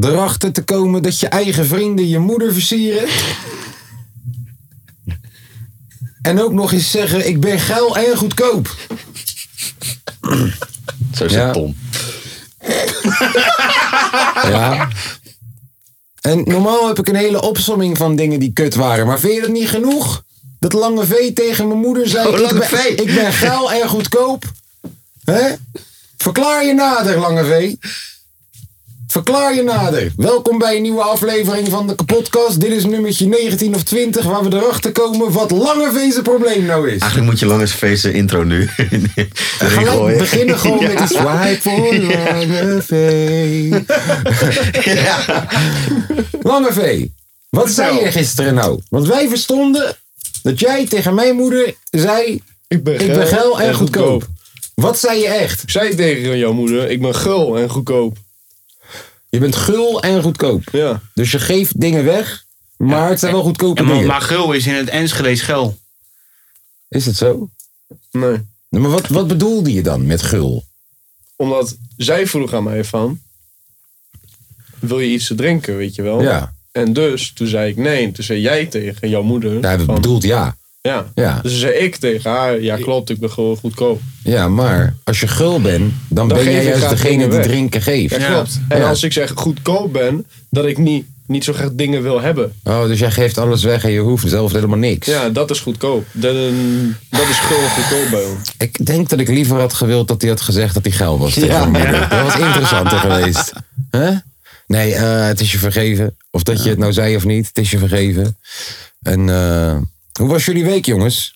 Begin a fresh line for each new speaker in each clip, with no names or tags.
erachter te komen dat je eigen vrienden je moeder versieren. en ook nog eens zeggen: Ik ben geil en goedkoop.
Zo zit
Ja.
Tom.
Ja. En normaal heb ik een hele opsomming van dingen die kut waren. Maar vind je dat niet genoeg? Dat lange V tegen mijn moeder zei:
Oh, Lange
ik, ben,
V.
ik ben geil en goedkoop. Hè? Verklaar je nader, lange V. Verklaar je nader. Welkom bij een nieuwe aflevering van de podcast. Dit is nummertje 19 of 20, waar we erachter komen wat lange V zijn probleem nou is.
Eigenlijk moet je lange feesten intro nu erin
Gelijk
gooien.
beginnen gewoon
Ja.
met die swipe voor lange V.
Ja.
Lange V, wat zei je gisteren nou? Want wij verstonden dat jij tegen mijn moeder zei:
Ik ben,
Ik ben geil en goedkoop. Wat zei je echt?
Zij tegen jouw moeder, ik ben gul en goedkoop.
Je bent gul en goedkoop.
Ja.
Dus je geeft dingen weg, maar het zijn wel goedkope
Ja, maar,
dingen.
maar Gul is in het Enschede schel.
Is het zo?
Nee.
Maar wat, wat bedoelde je dan met gul?
Omdat zij vroeg aan mij van... Wil je iets te drinken, weet je wel?
Ja,
En dus, toen zei ik nee. Toen zei jij tegen jouw moeder
nou, dat
van...
bedoelt ja.
Ja.
Ja.
Dus toen zei ik tegen haar, ja klopt, ik ben gewoon goedkoop.
Ja, maar als je gul bent, dan, ben
geef
jij
je
juist
graag
degene
dingen
die
weg.
drinken geeft.
Ja, klopt. En
Ja.
als ik zeg goedkoop ben, dat ik niet, niet zo graag dingen wil hebben.
Oh, dus jij geeft alles weg en je hoeft zelf helemaal niks.
Ja, dat is goedkoop. Dat, ehm, dat is gul en goedkoop bij ons.
Ik denk dat ik liever had gewild dat hij had gezegd dat hij geil was. tegen mijn moeder. Dat was interessanter geweest. Hè? Nee, eh, het is je vergeven. Of dat je het nou zei of niet, het is je vergeven. En eh, hoe was jullie week, jongens?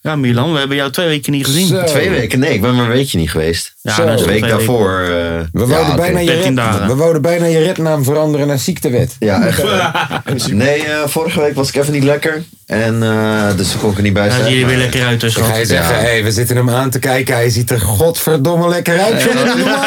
Ja, Milan, we hebben jou twee weken niet gezien.
Zo.
Twee weken? Nee, ik ben maar een weekje niet geweest.
Ja, nou,
Zo.
dat is
De
wel
week
twee weken.
daarvoor. eh,
We
ja,
wouden,
oké.
bijna je
13
red,
dagen.
we wouden bijna je rednaam veranderen naar ziektewet.
Ja, echt. Nee, eh, vorige week was ik even niet lekker. En eh, dus kon ik er niet bij
Ja,
zijn.
jullie weer
maar-
lekker uit, dus
Ik ga je
schat.
zeggen,
Ja.
hey, we zitten hem aan te kijken. Hij ziet er godverdomme lekker uit. jongen.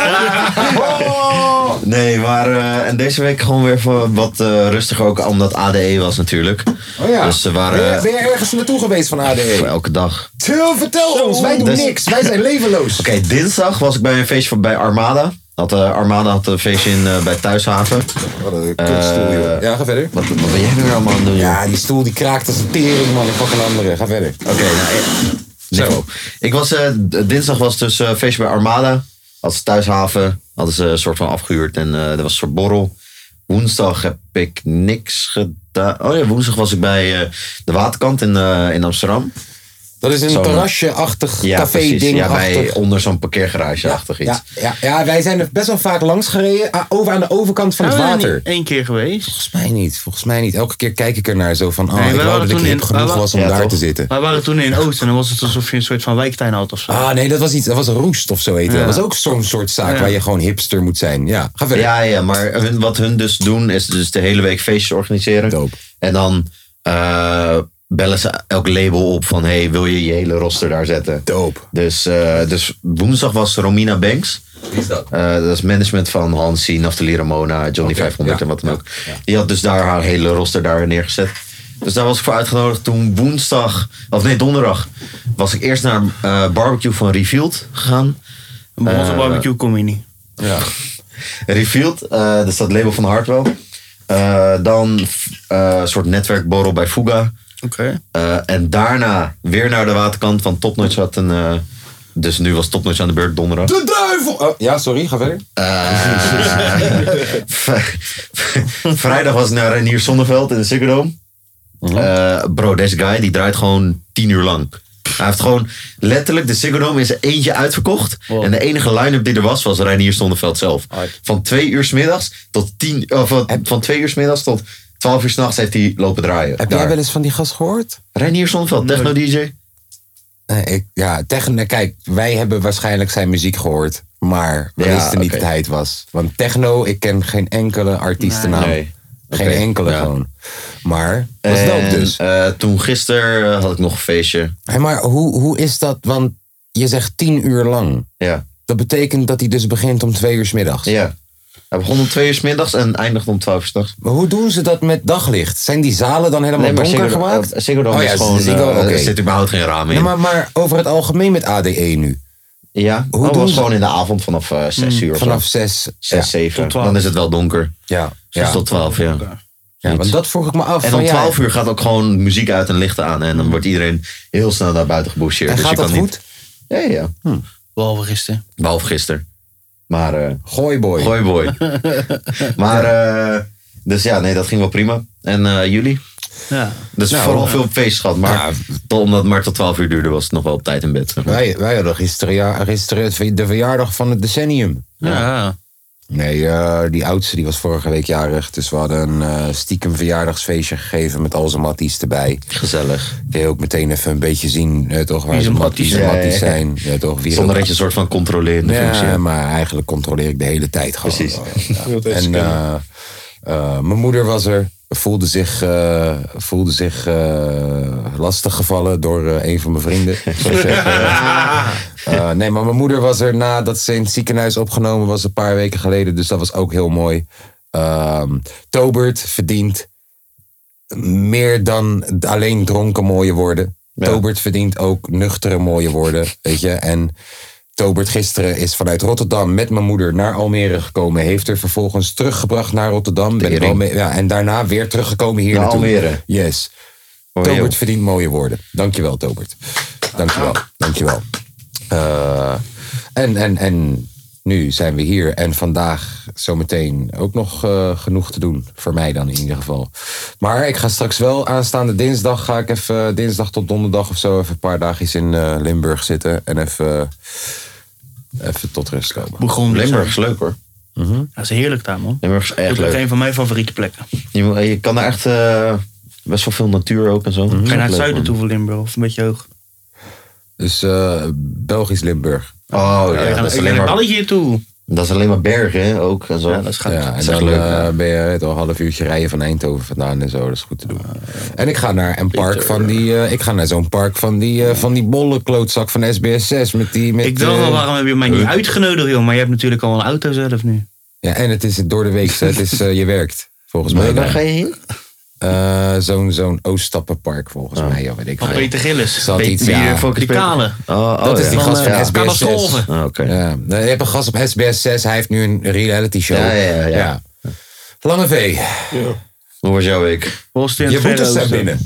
Nee, maar eh, en deze week gewoon weer voor wat eh, rustiger ook, omdat ADE was natuurlijk.
Oh ja.
Dus ze
ben,
waren
je,
eh,
ben je ergens naartoe geweest van E?
voor
ADE?
elke dag.
Til, vertel ons, wij doen
Dus-
niks. Wij zijn levenloos.
Oké, dinsdag was ik bij een feestje van, bij Armada. Had, eh, Armada had een feestje in, eh, bij Thuishaven.
Wat een kutstoel,
Eh,
joh. Ja, ga verder.
Wat, wat ben jij weer allemaal aan het doen? joh?
Ja, die stoel die kraakt als een tering, man. Ik pak een andere. Ga verder.
Oké, nou, ik, Zo. ik was, eh, d- dinsdag was dus eh, feestje bij Armada. Als thuishaven hadden ze een soort van afgehuurd en eh, er was een soort borrel. Woensdag heb ik niks gedaan. Oh ja, woensdag was ik bij eh, de waterkant in, eh, in Amsterdam.
Dat is een
Zo'n-
terrasje-achtig
Ja, precies.
café-ding.
Ja, bij, onder zo'n parkeergarage-achtig iets.
ja, ja, ja, wij zijn er best wel vaak langs gereden. ah, Over aan de overkant van het
Ah,
water.
Eén keer geweest.
Volgens mij niet. Volgens mij niet. Elke keer kijk ik ernaar zo van... ah
Nee, wij
ik wou
waren
dat ik
toen
hip
in-
genoeg
wij wa-
was om
Ja,
daar
toch?
te zitten.
Wij waren toen in Oost en dan was het alsof je een soort van wijktuin had of zo.
Ah, nee, dat was iets. Dat was roest of zo heet
Ja.
Dat was ook zo'n soort zaak
Ja.
waar je gewoon hipster moet zijn. Ja, ga verder.
Ja, ja, maar hun- wat hun dus doen is dus de hele week feestjes organiseren.
Dope.
En dan eh, bellen ze elk label op van hey, wil je je hele roster daar zetten?
Dope.
Dus, eh, dus woensdag was Romina Banks.
Wie is dat?
Eh, dat is management van Hansi, Naftali Ramona, Johnny
Oké,
500
ja,
en wat dan
ja,
ook. Die had dus daar haar hele roster daar neergezet. Dus daar was ik voor uitgenodigd. Toen woensdag, of nee donderdag, was ik eerst naar eh barbecue van Revealed gegaan. Eh,
Bij
Eh,
onze barbecue kom je niet.
Ja.
Revealed, eh dat is dat label van Hardwell. Eh, dan eh, een soort netwerkborrel bij Fuga.
Oké.
Eh, en daarna weer naar de waterkant van Topnotch had een... eh, dus nu was Topnotch aan de beurt donderdag.
De duivel! Oh, ja, sorry, ga verder.
Eh, V- Vrijdag was ik naar Renier Zonneveld in de Ziggo Dome.
Mhm.
Eh, bro, deze guy die draait gewoon tien uur lang. Hij heeft gewoon letterlijk de Ziggo Dome in zijn eentje uitverkocht. En de enige line-up die er was, was Reinier Zonneveld zelf. Van twee uur 's middags tot tien... Of van, van twee uur 's middags tot twaalf uur 's nachts heeft hij lopen draaien.
Heb jij wel eens van die gast gehoord?
Reinier Zonneveld, techno-dj.
Nee, ik, ja, techno, kijk, wij hebben waarschijnlijk zijn muziek gehoord. Maar we
Ja,
wisten niet
oké.
dat hij het was. Want techno, ik ken geen enkele artiestennaam.
Nee.
Geen enkele gewoon. Maar, dat is
En,
dope dus.
eh, toen gisteren eh, had ik nog een feestje.
Hé, maar hoe, hoe is dat? Want je zegt tien uur lang.
Ja.
Dat betekent dat hij dus begint om twee uur 's middags.
Ja. Hij begon om twee uur 's middags en eindigde om twaalf uur 's nachts.
Maar hoe doen ze dat met daglicht? Zijn die zalen dan helemaal donker
Ziggo-
gemaakt?
eh, Ziggo Dome
Oh ja,
is gewoon...
Ziggo,
eh,
oké.
Er zit überhaupt geen ramen in.
Nee, maar, maar over het algemeen met ADE nu.
ja,
hoe
dat
doen
was
ze-
gewoon in de avond vanaf eh, zes uur of zo.
Hmm, Vanaf zes.
Zes,
ja.
zeven.
Hmm. Tot twaalf.
Dan is het wel donker.
Ja,
Dus
ja.
tot twaalf, ja.
ja, want dat vroeg ik me af.
En
van,
om
ja, Hmm.
12 uur gaat ook gewoon muziek uit en lichten aan. En dan wordt iedereen heel snel naar buiten geboucheerd.
En
Dus
gaat
je kan
dat
niet...
goed? Hm.
Ja, ja, ja.
Behalve gisteren.
Behalve gisteren. Maar, eh
Gooiboy.
gooi boy. maar, eh, dus ja, nee, dat ging wel prima. En eh, jullie?
Ja.
Dus
Nou,
vooral
eh,
veel feest gehad. Maar tot- omdat het maar tot 12 uur duurde, was het nog wel op tijd in bed. zeg maar.
Wij, wij hadden gisteren, ja, gisteren het ver- de verjaardag van het decennium.
Ja.
Nee, eh, die oudste die was vorige week jarig. Dus we hadden een eh, stiekem verjaardagsfeestje gegeven met al zijn matties erbij.
Gezellig.
Kun je ook meteen even een beetje zien, eh, toch? Waar
Wie
ze
zijn
matties,
matties?
matties
Ja, ja, ja.
zijn. Ja, toch? Wie
Zonder dat je een soort van controlerende functie
Ja,
hebt.
maar eigenlijk controleer ik de hele tijd gewoon.
Precies.
Ja.
wil het even
En eh,
scannen.
eh, mijn moeder was er. Voelde zich, eh, voelde zich eh, lastiggevallen door eh, een van mijn vrienden. Dus, eh, eh, nee, maar mijn moeder was er nadat ze in het ziekenhuis opgenomen was een paar weken geleden. Dus dat was ook heel mooi. Ehm, Tobert verdient meer dan alleen dronken mooie woorden. Tobert verdient ook nuchtere mooie woorden, weet je. En Tobert gisteren is vanuit Rotterdam met mijn moeder naar Almere gekomen. Heeft er vervolgens teruggebracht naar Rotterdam. Ben ik wel mee- ja, en daarna weer teruggekomen hier
Naar
naartoe.
Almere.
Yes.
Hoor je,
Tobert
Oh, joh.
verdient mooie woorden. Dankjewel, Tobert. Dankjewel. Dankjewel. Eh en, en, en nu zijn we hier. En vandaag zometeen ook nog eh, genoeg te doen. Voor mij dan in ieder geval. Maar ik ga straks wel aanstaande dinsdag. Ga ik even eh, dinsdag tot donderdag of zo. Even een paar dagjes in eh, Limburg zitten. En even, even tot rust komen.
Begon
Limburg is leuk hoor.
Mhm.
Dat is heerlijk daar, man.
Limburg is
Dat
echt
is
leuk.
een van mijn favoriete plekken.
Je, moet- je kan daar echt eh, best wel veel natuur ook en zo.
Mhm.
Ga
Ga je naar het zuiden toe van Limburg of een beetje hoog?
Dus eh, Belgisch Limburg.
Oh
Ja,
ja,
ik ga
dat,
naar-
is
ik ga
alleen
naar
maar,
Balletje toe.
dat is alleen maar bergen hè, ook en zo.
Ja, dat is gaaf.
Ja, en
is
dan
echt leuk,
eh,
ja.
ben je toch een half uurtje rijden van Eindhoven vandaan en zo. Dat is goed te doen. en ik ga naar een park van die. eh, ik ga naar zo'n park van die, eh, van die bolle klootzak van SBS6 met die. Met,
Ik dacht wel,
eh,
waarom heb je mij niet uitgenodigd, joh? Maar je hebt natuurlijk al een auto zelf nu.
Ja, en het is door de week. het is, eh, je werkt. Volgens mij.
Maar waar ga je heen?
Eh, zo'n zo'n Oostappenpark volgens mij. Ja, weet ik
Van
veel.
Peter Gillis.
Zat
Pe-
iets,
Pe-
ja.
Die kale.
Oh, oh,
Dat is
ja.
die gast
eh,
van SBS6.
Catastrofe.
Ah, Oké.
Ja, nou, je hebt een gast op SBS6. Hij heeft nu een reality show.
Ja, ja, ja, ja.
Lange V,
Ja.
Hoe was jouw week?
Boston,
je
Verre
boetes zijn
Oosten.
binnen.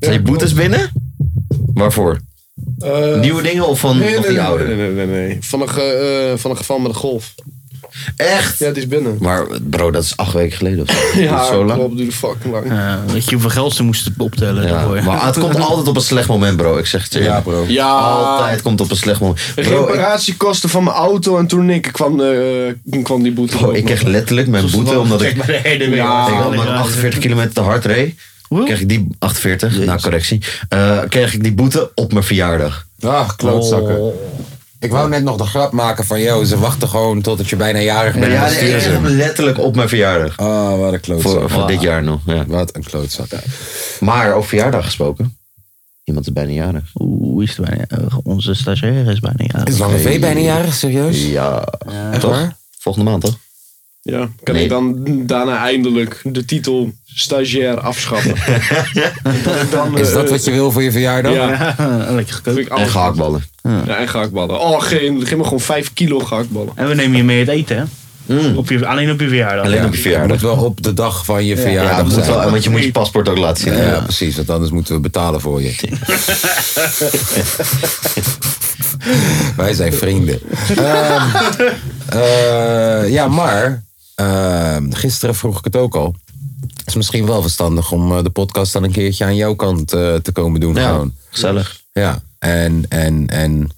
Zijn je boetes binnen? Waarvoor?
Eh,
Nieuwe dingen of van
nee,
of
nee,
die
nee,
oude?
nee, nee, nee, nee. Van een, ge- eh, van een geval met een golf.
Echt?
Ja, het is binnen.
Maar bro, dat is acht weken geleden of zo. Dat
Ja,
is zo lang.
klopt, duurde fucking lang.
Eh, weet je hoeveel geld ze moesten optellen
Ja,
daarvoor?
maar het komt altijd op een slecht moment, bro. Ik zeg het je.
Ja, bro.
Ja.
Altijd komt op een slecht moment.
De
Bro, ik,
reparatiekosten van mijn auto en toen ik kwam, eh, toen kwam die boete.
bro, ik kreeg letterlijk mijn boete omdat ik
Kijk maar de hele
Ja,
Ik had maar 48 kilometer te hard reed.
Hoe?
Kreeg ik die 48, na correctie. eh, kreeg ik die boete op mijn verjaardag.
Ah, klootzakken.
Oh.
Ik wou net nog de grap maken van, joh, ze wachten gewoon totdat je bijna jarig bent. en
ja,
dan
nee,
sturen
ik
ze
kreeg
hem.
hem letterlijk op mijn verjaardag.
Ah, wat een klootzak.
Voor, voor dit jaar nog. Ja.
Wat een klootzak.
Maar over verjaardag gesproken. Iemand is bijna jarig.
Oeh, is het bijna, onze stagiair is bijna ja.
Is Lange V bijna jarig, serieus?
Ja,
Echt
toch?
waar?
Volgende maand toch?
Ja, kan
Nee.
ik dan daarna eindelijk de titel stagiair afschaffen? dan,
Is
eh,
dat wat je eh, wil voor je verjaardag?
Ja,
Lekker
vind
gekookt.
ik
En
alles.
gehaktballen.
Ja, en gehaktballen. Oh, geef, geef me gewoon 5 kilo gehaktballen.
En we nemen je mee het eten, hè? Op je, alleen op je verjaardag.
Mm. Alleen op je
Het
verjaardag.
moet wel op de dag van je
Ja,
verjaardag
het moet
zijn.
wel, want je moet je paspoort ook laten zien.
Ja, precies, want anders moeten we betalen voor je. Wij zijn vrienden. Ehm, eh, ja, maar ehm, gisteren vroeg ik het ook al. Het is misschien wel verstandig om eh, de podcast dan een keertje aan jouw kant eh, te komen doen.
Ja,
Gewoon.
gezellig.
Ja, en, en, en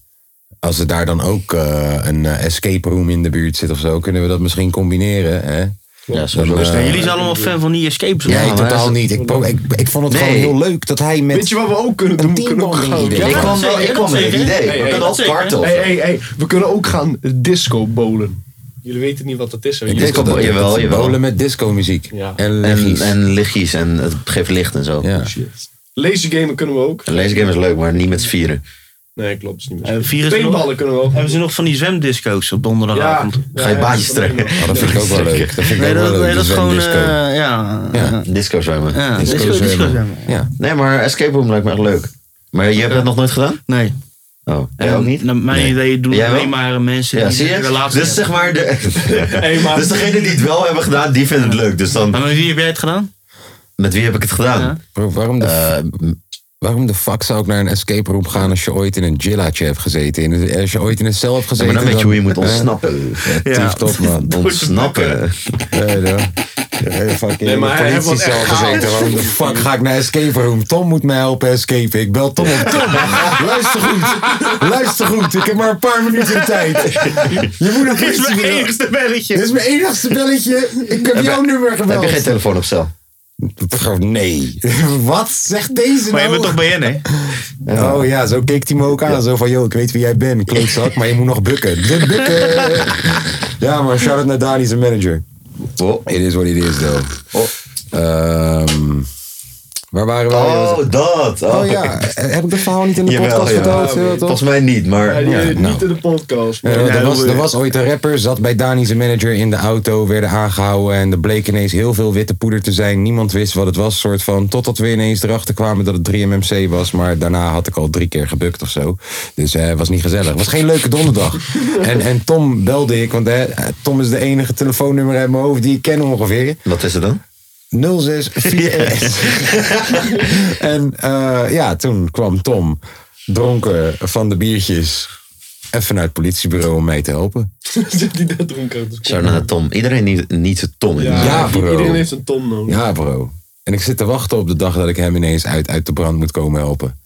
als er daar dan ook eh, een eh, escape room in de buurt zit of zo, kunnen we dat misschien combineren. Hè?
Ja, soms
Dan,
ook.
eh,
En jullie zijn allemaal fan van die escapes.
Nee,
maar
totaal
is-
niet. Ik, pro- ik, ik vond het
Nee.
gewoon heel leuk dat hij met...
Weet je wat we ook kunnen
Een
doen? We kunnen ook
teambonding
gaan...
idee.
ik
Ja.
kwam wel ik kwam met het idee.
Hey,
We
hey,
kunnen ook
dat zeker.
kartel.
Hey, hey, hey, we kunnen ook gaan disco bowlen. Jullie weten niet wat dat is. hè?
Ik
Jullie
denk
Disco-
dat het-
jawel,
het
jawel.
Bolen met disco-muziek.
Ja.
En
En,
leggies.
en lichtjes en het geeft licht en zo.
ja.
Shit. Lasergamen kunnen we ook.
Een lasergame is leuk, maar niet met z'n vieren.
Nee, klopt. Is niet meer.
Eh,
zo.
virus-
Paintballen kunnen we ook.
Hebben ze nog van die zwemdisco's op donderdagavond?
Ga je baantjes trekken.
Oh, dat vind ik ook wel leuk. Dat vind ik
Nee,
ook wel
dat,
leuk.
nee, dat is gewoon...
disco.
eh, ja,
Ja.
eh,
Disco zwemmen.
ja,
Disco
disco, disco,
zwemmen.
zwemmen.
ja.
Nee, maar escape room lijkt me echt leuk. Maar je hebt dat nog nooit gedaan?
eh, Nee.
Oh, jij ook niet?
Naar Nou, mijn
Nee.
idee doen
Jij wel?
alleen maar eh, mensen
Ja,
die
zie
een
je?
relatie
Dus zeg
hebben.
maar, de,
maar-
dus degene die het wel hebben gedaan, die vinden het leuk. Dus dan,
Maar met wie heb jij het gedaan?
met wie heb ik het
Ja.
gedaan?
Bro, waarom de,
Eh,
waarom de fuck zou ik naar een escape room gaan als je ooit in een gillaatje hebt gezeten? In- Als je ooit in een cel hebt gezeten. Eh?
maar dan weet je hoe je moet ontsnappen.
Ja, tief top, man.
Ontsnappen.
Nee, hoor. Nee, fuck,
Nee, maar hij
in de
heeft wat
politiecel
echt chaos.
gezeten. Waarom de fuck ga ik naar escape room? Tom moet mij helpen escapen. Ik bel Tom op. Tom, luister goed. Luister goed. Ik heb maar een paar minuten de tijd. Je moet nog
Dit is
iets
mijn
doen.
enigste belletje.
Dit is mijn enigste belletje. Ik heb jouw nummer
Heb
gebeld.
je geen telefoon op cel?
Gewoon, Nee. Wat zegt deze
Maar je
nou?
bent toch BN, hè?
Oh ja, zo keek hij me ook aan. Zo van, joh, ik weet wie jij bent, klootzak, maar je moet nog bukken. De bukken! ja, maar shout-out naar Dani, zijn manager.
Oh,
It is what it is, though. Ehm, waar waren we?
Oh, dat.
Oh ja, heb ik dat verhaal niet in de
Jawel,
podcast
ja.
verteld? Ja, toch?
Volgens mij niet, maar...
Ja, die-
Ja, nou.
Niet in de podcast.
Eh,
maar-
er, was, er was ooit een rapper, zat bij Dani zijn manager in de auto, werden aangehouden en er bleek ineens heel veel witte poeder te zijn. Niemand wist wat het was, soort van. Totdat we ineens erachter kwamen dat het 3MMC was, maar daarna had ik al drie keer gebukt of zo. Dus het was niet gezellig. Het was geen leuke donderdag. en, en Tom belde ik, want eh, Tom is de enige telefoonnummer uit mijn hoofd die ik ken ongeveer.
Wat is het dan?
0641. en eh, ja, toen kwam Tom, dronken van de biertjes, even naar het politiebureau om mij te helpen.
Zit die dat dronken?
Shout naar Tom. Iedereen niet, niet zijn Tom in.
Ja,
Ja, bro.
Iedereen heeft een ton nodig.
Ja, bro. En ik zit te wachten op de dag dat ik hem ineens uit, uit de brand moet komen helpen.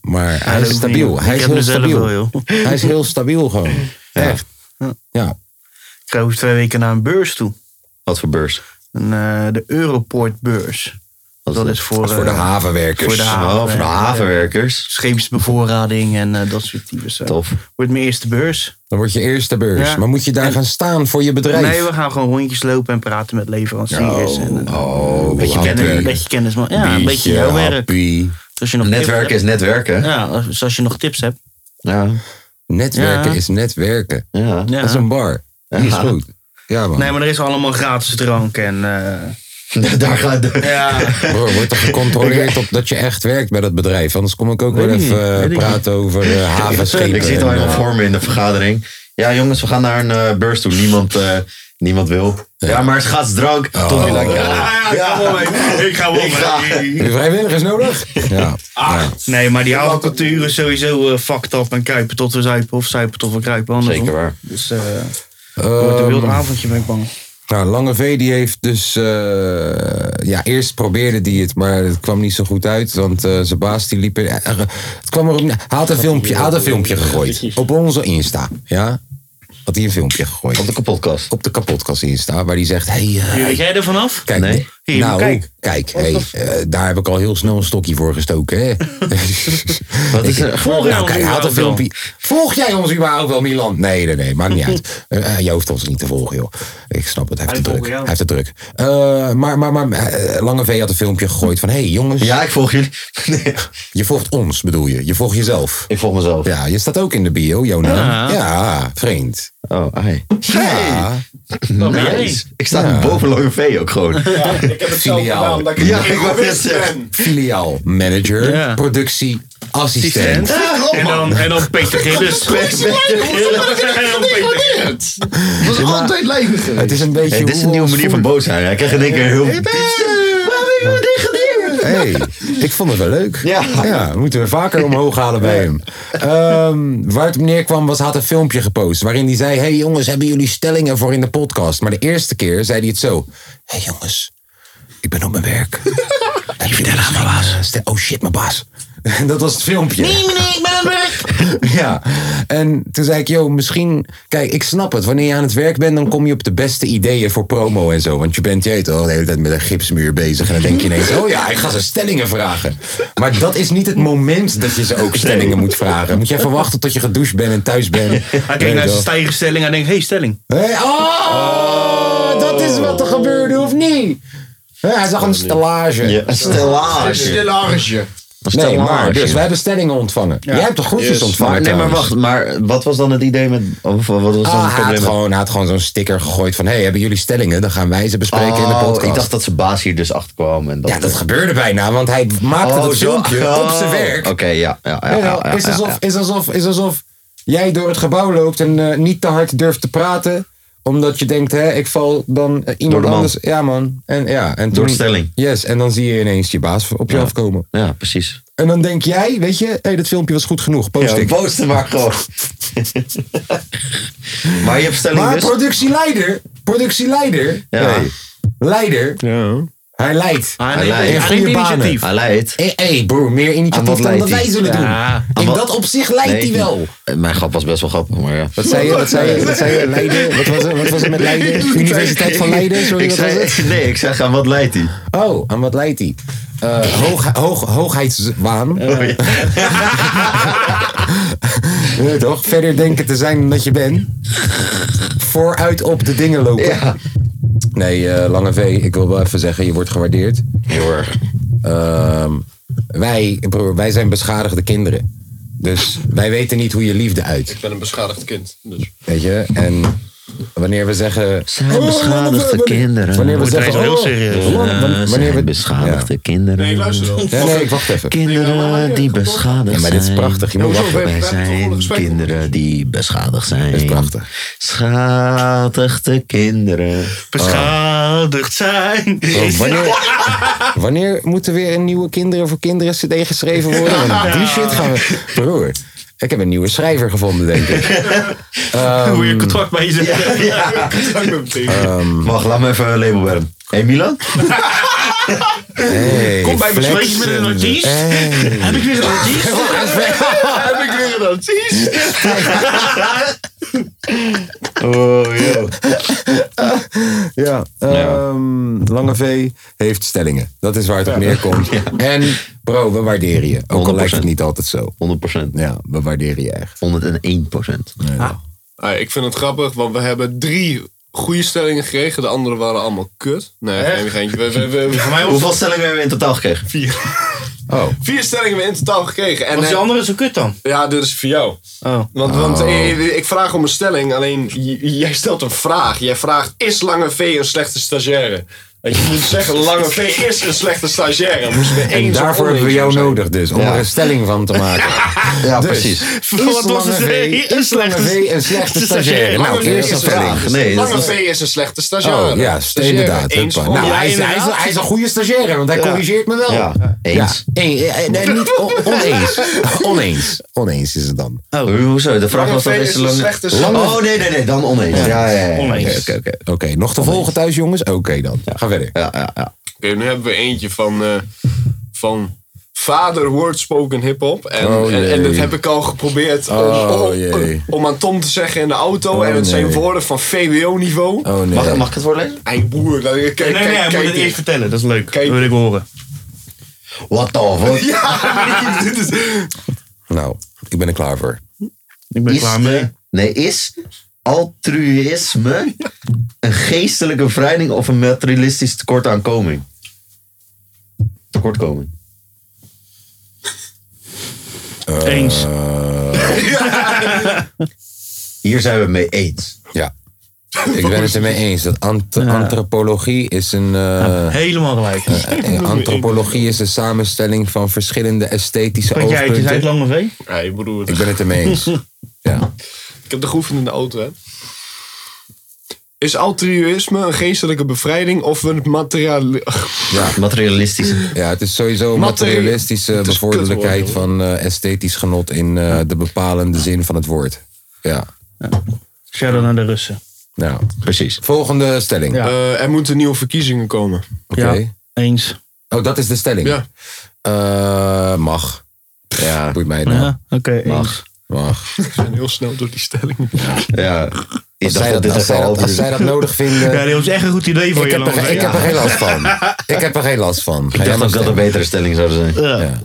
Maar hij
dat
is
hoeft
stabiel.
niet.
Hij
Ik
is
heb
heel
mezelf
stabiel.
wel, joh.
Hij is heel stabiel gewoon. Echt. Ja.
Ik ga over twee weken naar een beurs toe.
Wat voor beurs?
Een, eh, de Europortbeurs.
Wat is
Dat
dat?
is voor,
Voor de
eh,
havenwerkers.
voor de ha-
Oh, van de havenwerkers.
scheepsbevoorrading en eh, dat soort types. eh.
Tof.
Wordt mijn eerste beurs.
Dan word je eerste beurs.
Ja.
Maar moet je daar gaan staan voor je bedrijf?
Nee, we gaan gewoon rondjes lopen en praten met leveranciers. en, eh,
Oh,
een beetje
hapje.
kennis, een beetje kennis. maar- Ja, een beetje jouw werk.
happy.
Dus als je nog tips
Netwerken is
hebt-
netwerken.
Ja, dus als je nog tips hebt.
Ja.
Netwerken
Ja.
is netwerken.
ja.
Ja.
Dat is een bar. Die is goed. Ja, man.
Nee, maar er is allemaal gratis drank en... eh,
Daar gaat de...
ja,
Bro, wordt er gecontroleerd op dat je echt werkt bij dat bedrijf? Anders kom ik ook wel
Weet ik
even
niet,
eh,
weet ik
praten over eh, havenschepen.
Ik zit al
en,
helemaal
eh,
voor me in de vergadering. Ja, jongens, we gaan naar een eh, beurs toe. Niemand, eh, niemand wil. Ja, maar het gaat drank.
Oh.
Tom, die lijkt- ja.
ik ga wel mee. Ik ga wel mee.
Heb je Vrijwilligers nodig? Ja. ja.
Ah, Nee, maar die oude cultuur is sowieso eh fucked up. En kuipen tot we zuipen of zuipen tot we kruipen. Andersom.
Zeker waar.
Dus eh wordt een
Ehm,
wild avondje, ben ik bang.
Nou, Lange V die heeft dus... eh, ja, eerst probeerde die het, maar het kwam niet zo goed uit. Want eh, zijn baas die liep... in- eh, eh, het kwam erop... neer- Hij had een filmpje, hij had een filmpje gegooid. Op onze Insta, ja? Had hij een filmpje gegooid.
Op de kapotkast.
Op de kapotkast Insta, waar hij zegt... Hey, eh,
Weet jij er vanaf?
Kijk,
Nee.
Hier,
nou,
kijk.
kijk, hey, eh, daar heb ik al heel snel een stokje voor gestoken. Hè?
Wat is er?
Volg jij
nou,
ons
kijk, hij had een
überhaupt
filmpje. Volg jij ons überhaupt wel, Milan? Nee, nee, nee, maakt niet uit. Eh eh, jij hoeft ons niet te volgen, joh. Ik snap het, hij heeft
Hij
het druk.
volgt
Hij
jou.
heeft het druk. Eh, maar maar, maar eh, Lange V had een filmpje gegooid van... Hé, hey, jongens,
Ja, ik volg jullie. Nee,
je volgt ons, bedoel je. Je volgt jezelf.
ik volg mezelf.
Ja, je staat ook in de bio, jouw naam. Ja,
Ja.
vreemd.
Oh, ai.
Ja,
Dan ben jij.
Nice. Ik sta boven Lange V ook gewoon.
Ja, ik heb het zelf
Filiaal.
gedaan omdat ik
Ja,
niet
ik wou
geweest
net zeggen.
ben.
filiaal manager,
Ja.
productie, assistent.
Ah,
Ah,
En dan, en dan dus. Peter Gillis. En dan Peter
Dat is altijd leeg.
Het is een beetje...
dit is
hoe
een
we
nieuwe
ons voelen.
manier van boos zijn. Hij krijgt in één keer heel...
Hey, ik vond het wel leuk.
Ja.
moeten we vaker omhoog halen bij hem. Ehm, waar het op neerkwam was, hij had een filmpje gepost. Waarin hij zei, hey jongens, hebben jullie stellingen voor in de podcast? Maar de eerste keer zei hij het zo. Hey jongens, ik ben op mijn werk. Heb je vertelt aan mijn baas. Oh eh, shit, mijn baas. dat was het filmpje. Nee, meneer, ik ben aan het werk. ja. En toen zei ik, joh, misschien... Kijk, ik snap het. Wanneer je aan het werk bent, dan kom je op de beste ideeën voor promo en zo. Want je bent, je weet wel, de hele tijd met een gipsmuur bezig. En dan denk je ineens, oh ja, ik ga ze stellingen vragen. Maar dat is niet het moment dat je ze ook stellingen moet vragen. Moet je even wachten tot je gedoucht bent en thuis bent.
Hij
Weet
kijkt naar
wel.
zijn stijgerstelling en denkt, hey, stelling.
Hey, oh, dat is wat er gebeurde, of niet? Hè, hij zag een stellage.
Ja, een stellage.
Stellage.
Nee, maar,
Stellage.
dus we hebben stellingen ontvangen. Jij hebt toch groetjes
Yes.
ontvangen?
Maar, nee, maar
trouwens?
wacht, maar wat was dan het idee met. Of wat was dan
Ah, hij,
het
had
probleem? met-
gewoon, hij had gewoon zo'n sticker gegooid van... hey, hebben jullie stellingen? Dan gaan wij ze bespreken in de
Oh,
podcast.
Ik dacht dat zijn baas hier dus achter kwam. En dat
ja, dat gebeurde bijna, want hij maakte
Oh,
dat
zo-
filmpje op zijn
oh.
werk.
Oké, ja. ja, ja,
Ja,
ja,
nou,
ja,
is,
ja,
alsof,
ja.
is, alsof, is alsof jij door het gebouw loopt en eh, niet te hard durft te praten. Omdat je denkt, hè, ik val dan eh,
Door
iemand
de man.
anders. Ja, man. En, ja, en
Door
toen,
de stelling.
Yes, en dan zie je ineens je baas op je afkomen.
Ja, precies.
En dan denk jij, weet je, hey, dat filmpje was goed genoeg. Post
Ja,
ik.
posten maar gewoon. maar je hebt stelling
maar
dus.
productieleider, productieleider,
Ja.
nee, leider,
Ja.
hij leidt.
Hij
Hij
neemt-
leidt.
hij
Goede
neemt
banen.
initiatief.
Hij leidt.
Hé, hey, broer, meer
Aan
initiatief
wat
dan
leidt
dat wij
hij?
zullen
Ja.
doen.
Aan
In
wat- eh,
dat opzicht leidt hij wel.
Mijn grap was best wel grappig, maar ja.
Wat zei je? Wat zei je? Wat zei je? Leiden? Wat was het, wat was het met Leiden? Universiteit van Leiden? Sorry,
ik
wat was
zei,
het?
Nee, ik zeg aan wat leidt hij?
Oh, aan wat leidt hij? Eh, hoog, hoog, hoogheidswaan.
Oh,
Ja, toch? Verder denken te zijn dan dat je bent. Vooruit op de dingen lopen.
Ja.
Nee, eh, Lange V, ik wil wel even zeggen, je wordt gewaardeerd.
Heel erg.
Ehm, wij, broer, wij zijn beschadigde kinderen. Dus wij weten niet hoe je liefde uit.
Ik ben een beschadigd kind. Dus.
Weet je? En wanneer we zeggen... Oh,
Zijn beschadigde kinderen.
Wanneer we
Wordt
zeggen...
ineens heel
oh,
serieus.
wan- wan- wanneer we,
eh, zijn beschadigde kinderen.
Nee, ik luister wel.
Ja, nee, ik wacht even.
eh,
Kinderen die beschadigd
Ja,
zijn.
maar dit is prachtig. Je moet
Hoezo?
wachten.
We
Wij
hebben toch wel een
zijn
gesprek
kinderen die beschadigd zijn.
Dit is prachtig.
Schadigde kinderen.
Beschadigd zijn.
Oh, wanneer, wanneer moeten weer een nieuwe Kinderen voor Kinderen CD geschreven worden? Want die shit gaan we... Broer, ik heb een nieuwe schrijver gevonden, denk ik. Ehm,
Hoe je contract bij jezelf.
Ik ben tegen.
Ehm,
Oh. Wacht, laat me even een label bij hem. Hé hey Milan?
Hey,
Kom bij me
flex.
spreken met een artiest.
Hey.
Heb ik weer een artiest?
Heb ik weer een artiest?
Oh, yo.
Ja, ehm, Lange V heeft stellingen. Dat is waar het op neerkomt. En bro, we waarderen je. Ook al
100%.
lijkt het niet altijd zo.
100%.
Ja, we waarderen je echt.
101%.
Ah, ik vind het grappig, want we hebben drie goede stellingen gekregen. De andere waren allemaal kut. Nee, geen geintje. We, we, we- we-
Hoeveel stellingen hebben we in totaal gekregen?
Oh,
vier stellingen hebben we in totaal gekregen. En,
Wat is die
eh,
andere zo kut dan?
ja, dit is voor jou.
Oh.
Want, want eh, ik vraag om een stelling, alleen j- jij stelt een vraag. Jij vraagt, is Lange V een slechte stagiaire? Dat je moet zeggen, Lange V is een slechte stagiaire. Dan moesten we
en
eens of
daarvoor hebben we
oneens
jou
zijn.
nodig dus. Om
Ja.
er een stelling van te maken.
Ja,
Dus.
Wat was
Lange
het?
V-
Een
is Lange V een slechte stagiaire? Nou,
Lange V is
eerste
een
stelling.
vraag.
Nee, dat
Lange
was-
V is een slechte stagiaire.
Oh, ja, st-
Stagiaire.
inderdaad.
Eens
Huppa.
of
Nou,
oneens.
hij is, hij, is, hij is een goede stagiaire, want hij corrigeert me wel.
Ja, eens.
Ja, een- eh, nee, niet o- oneens. Oneens. Oneens is het dan.
Oh, Hoezo? De vraag
Lange
was
V
dan
is
is
een slechte
lang...
slag.
Oh, nee, nee, nee. Dan oneens. Ja, ja, ja. ja.
Oneens.
Oké, oké, oké.
Oké, nog te volgen thuis, jongens? Oké dan. Ga verder.
Ja, ja, ja.
Oké, nu hebben we eentje van, eh, van vader wordspoken hip-hop. En,
Oh,
en, en dat
jee.
heb ik al geprobeerd om,
Oh,
om-
jee. Oh,
om aan Tom te zeggen in de auto. en het zijn
nee.
woorden van VWO-niveau.
Oh nee.
Mag, mag ik het voorlezen?
Hey broer, nou, kijk,
Nee, nee,
kijk,
hij moet
kijk
het eerst
dit.
vertellen. Dat is leuk. Dat
Kijk.
wil ik horen.
What the fuck?
Ja, dit is...
Nou, ik ben er klaar voor.
Ik ben
Is
klaar
de-
mee.
nee, is altruïsme een geestelijke bevrijding of een materialistisch tekort aan koming? Tekortkoming.
Eh,
Eens.
Hier zijn we het mee eens.
Ja. Ik ben het ermee eens dat ant- antropologie is een. eh,
Helemaal gelijk.
eh, antropologie is een samenstelling van verschillende esthetische
Wat jij, het is eigenlijk
oogpunten.
lange V.
Hey broer,
Ik ben het ermee eens. Ja.
ik heb de geoefend in de auto, hè. Is altruïsme een geestelijke bevrijding of een materiaal...
Ja.
Materialistische.
Ja, het is sowieso een
Materie-
materialistische
is
bevorderlijkheid
kutwoord,
van eh, esthetisch genot in eh, de bepalende zin van het woord. Ja.
Shout-out naar de Russen.
Nou,
Precies.
volgende stelling.
Ja.
Eh, er moeten nieuwe verkiezingen komen.
Oké.
Ja, eens.
Oh, dat is de stelling.
Ja.
Eh, mag.
Ja.
Boeit mij nou.
Ja, oké,
Mag. Mag.
We zijn heel snel door die stelling.
Ja. Ik
Als
dacht
zij dat,
dat dus dit
als
echt
zij
al
dat,
over
als
is.
zij dat nodig vinden.
Ja, dat is echt een goed idee voor
ik
je.
heb, er,
Lange V.
ik heb er geen last van. Ik heb er geen last van. Ga jij
Ik dacht
maar
ook dat een
stemmen.
betere stelling zou zijn.
Ja.
Ja.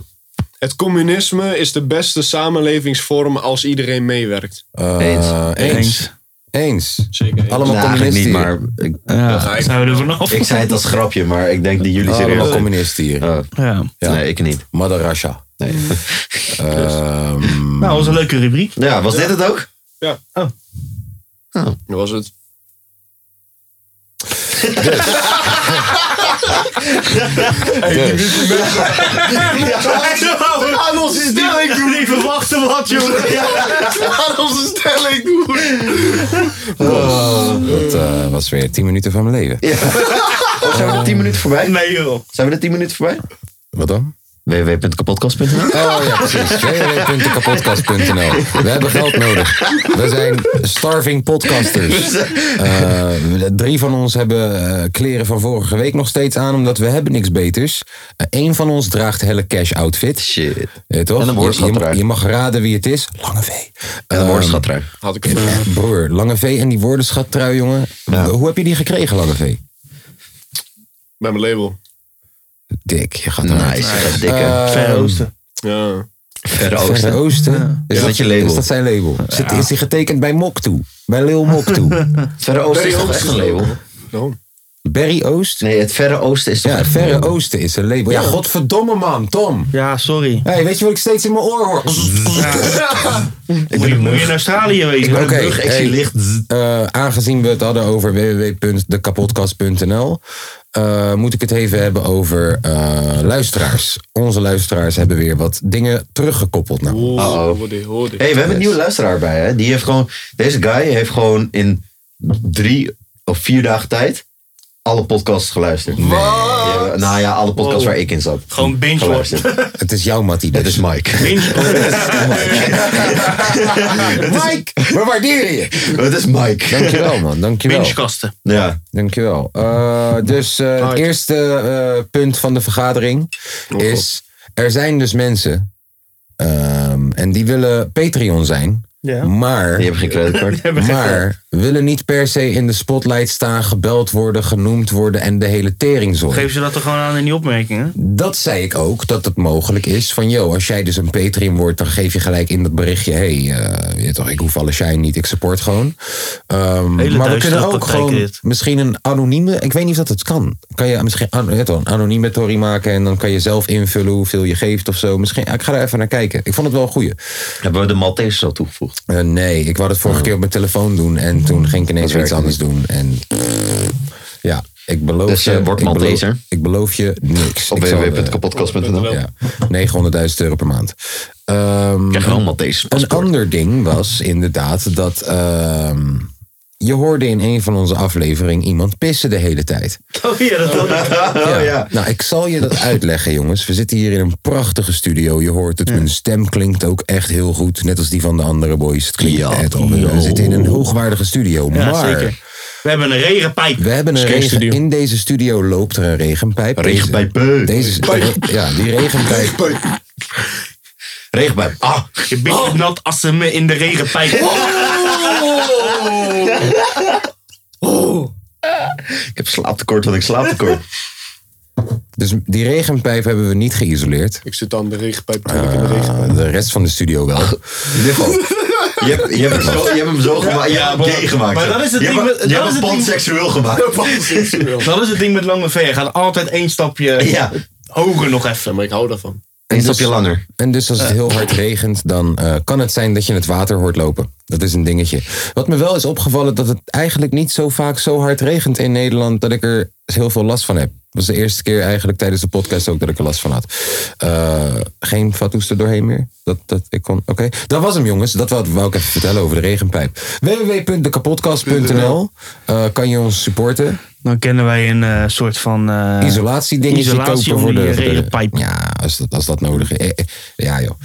Het communisme is de beste samenlevingsvorm als iedereen meewerkt.
Eh, eens.
Eens.
Eens.
Zeker.
Allemaal
Nou, eigenlijk
communisten
niet,
hier.
maar ik,
Ja, daar zijn we er vanaf.
ik zei het als grapje, maar ik denk dat jullie serieus...
Allemaal communisten hier.
Oh,
Ja.
Ja.
Nee, ik niet.
Mother Russia.
Nee. Eh, oh,
Ehm,
Nou, dat was een leuke rubriek.
Ja, was dit het ook?
Oh.
Dat was het.
Aan onze stelling doen. Ik verwachtte wat, jongen.
Aan onze stelling doen.
dat eh, was weer 10 minuten van mijn leven.
Of zijn we de 10 minuten voorbij?
Nee, joh.
Zijn we de 10 minuten voorbij?
Wat dan?
www.kapotkast.nl
Oh ja, precies. www.kapotkast.nl We hebben geld nodig. We zijn starving podcasters. Eh, drie van ons hebben eh, kleren van vorige week nog steeds aan, omdat we hebben niks beters. Eén Eén van ons draagt helle cash outfit.
Shit.
Eh, toch? je,
En een
je, mag-
woordschatrui.
je mag raden wie het is. Lange V. Ehm, eh,
En een woordschatrui.
Had ik het.
Broer, Lange V en die woordenschattrui, jongen. Hoe heb je die gekregen, Lange V?
Bij mijn label.
Dik, je gaat Ehm, naar
Nice. Eh, Vet Dikke.
Verre Oosten.
Ja.
Verre
Verre Oosten.
Oosten. Is,
Is dat je label?
is dat zijn label? Zit, is die getekend bij Mok toe? Bij Lil Mok toe?
Verre Oosten is
Verre
toch echt een
Oosten is ook-
label?
Daarom.
Barry Oost?
Nee, het Verre Oosten is toch
Ja, het
echt een
Verre
label?
Oosten is een label. Ja, godverdomme man, Tom.
Ja, sorry.
Hé, hey, weet je wat ik steeds in mijn oor hoor?
Moet je, moet je in Australië wezen.
ben-
Oké,
Oké,
ik
hey.
zie licht.
Eh, aangezien we het hadden over www.dekapotkast.nl, eh, moet ik het even hebben over eh, luisteraars. Onze luisteraars hebben weer wat dingen teruggekoppeld. Nou,
Oh, hoor dit, hoor dit.
Hé, hey, we hebben een nieuwe luisteraar bij, hè? Die heeft gewoon, deze guy heeft gewoon in drie of vier dagen tijd alle podcasts geluisterd. Nee. Ja, nou ja, alle podcasts waar ik in zat.
Gewoon binge
Geluisterd.
het is jouw Mattie.
Dat is Mike.
Mike, we waarderen je.
Dat is Mike.
Dankjewel man, dankjewel.
Binge-kasten.
Ja.
Dankjewel. Eh, dus eh, het eerste eh, punt van de vergadering
Oh,
is: er zijn dus mensen ehm, en die willen Patreon zijn,
Ja.
maar,
Je hebt geen creditcard.
Hebben we geen-
maar willen niet per se in de spotlight staan, gebeld worden, genoemd worden en de hele teringzooi.
Geef ze dat er gewoon aan in die opmerkingen.
Dat zei ik ook, dat het mogelijk is van, yo, als jij dus een Patreon wordt, dan geef je gelijk in dat berichtje, hé, hey, eh, weet toch, ik hoef alle shine niet, ik support gewoon. Ehm,
Hele
maar we
duistere
kunnen ook
praktijk
gewoon
dit.
misschien een anonieme, ik weet niet of dat het kan. Kan je misschien an, weet toch, een anonieme tory maken en dan kan je zelf invullen hoeveel je geeft of zo. Misschien, ik ga er even naar kijken. Ik vond het wel een goeie.
Hebben we de Maltese al toegevoegd? Oh.
Eh, nee, ik wou het vorige keer op mijn telefoon doen en toen ging ik ineens
Dat
weer iets
werkt
anders doen. En ja, ik beloof
Dus,
je,
eh, word
ik beloof-
Malteser.
Ik beloof je niks.
Op
Ik zal, eh,
www.kapotkast.nl.
ja, 900.000 euro per maand. Ehm,
Krijg je wel een Maltese
een
paspoort.
ander ding was inderdaad dat. ehm, je hoorde in een van onze afleveringen iemand pissen de hele tijd.
Oh ja, dat Oh,
ja. Nou, ik zal je dat uitleggen, jongens. We zitten hier in een prachtige studio. Je hoort het. Mijn stem klinkt ook echt heel goed. Net als die van de andere boys. Het klinkt
Ja.
echt op. We zitten in een hoogwaardige studio.
Ja,
maar
zeker. We hebben een regenpijp.
we hebben een
Skate
regen,
studio.
in deze studio loopt er een regenpijp. Deze-
Regenpijp, eh.
Deze, ja, die regenpijp
Regenbui. Ah, Oh.
Je bent nat als ze me in de regenpijp.
ik heb slaaptekort, want ik slaaptekort.
Dus die regenpijp hebben we niet geïsoleerd.
Ik zit aan de regenpijp. terwijl ik in de regen.
Eh, de rest van de studio wel.
Je hebt, je hebt, hem, zo, je hebt hem zo gemaakt. Je
ja,
hebt hem
maar-
gay gemaakt.
maar dat is het
je
ding
hebt,
met-
je
dat
hebt
is
hem
het ding-
panseksueel gemaakt.
Dat is het ding met Lange V. Hij gaat altijd één stapje
Ja.
hoger nog
Ja,
even.
maar ik hou daarvan.
Eens op je langer.
En dus als het heel hard regent, dan eh, kan het zijn dat je het water hoort lopen. Dat is een dingetje. Wat me wel is opgevallen, dat het eigenlijk niet zo vaak zo hard regent in Nederland dat ik er heel veel last van heb. Dat was de eerste keer eigenlijk tijdens de podcast ook dat ik er last van had. Eh, geen fatsoes er doorheen meer? Dat, dat ik kon. Oké, dat was hem jongens. Dat wou, wou ik even vertellen over de regenpijp. www.dekapodcast.nl Eh, kan je ons supporten.
Dan kennen wij een eh, soort van... eh,
isolatiedingetje
isolatie
kopen
om
voor
die eh,
de, voor de-
regenpijp.
Ja, als dat, als dat nodig is. Eh, eh, Ja, joh.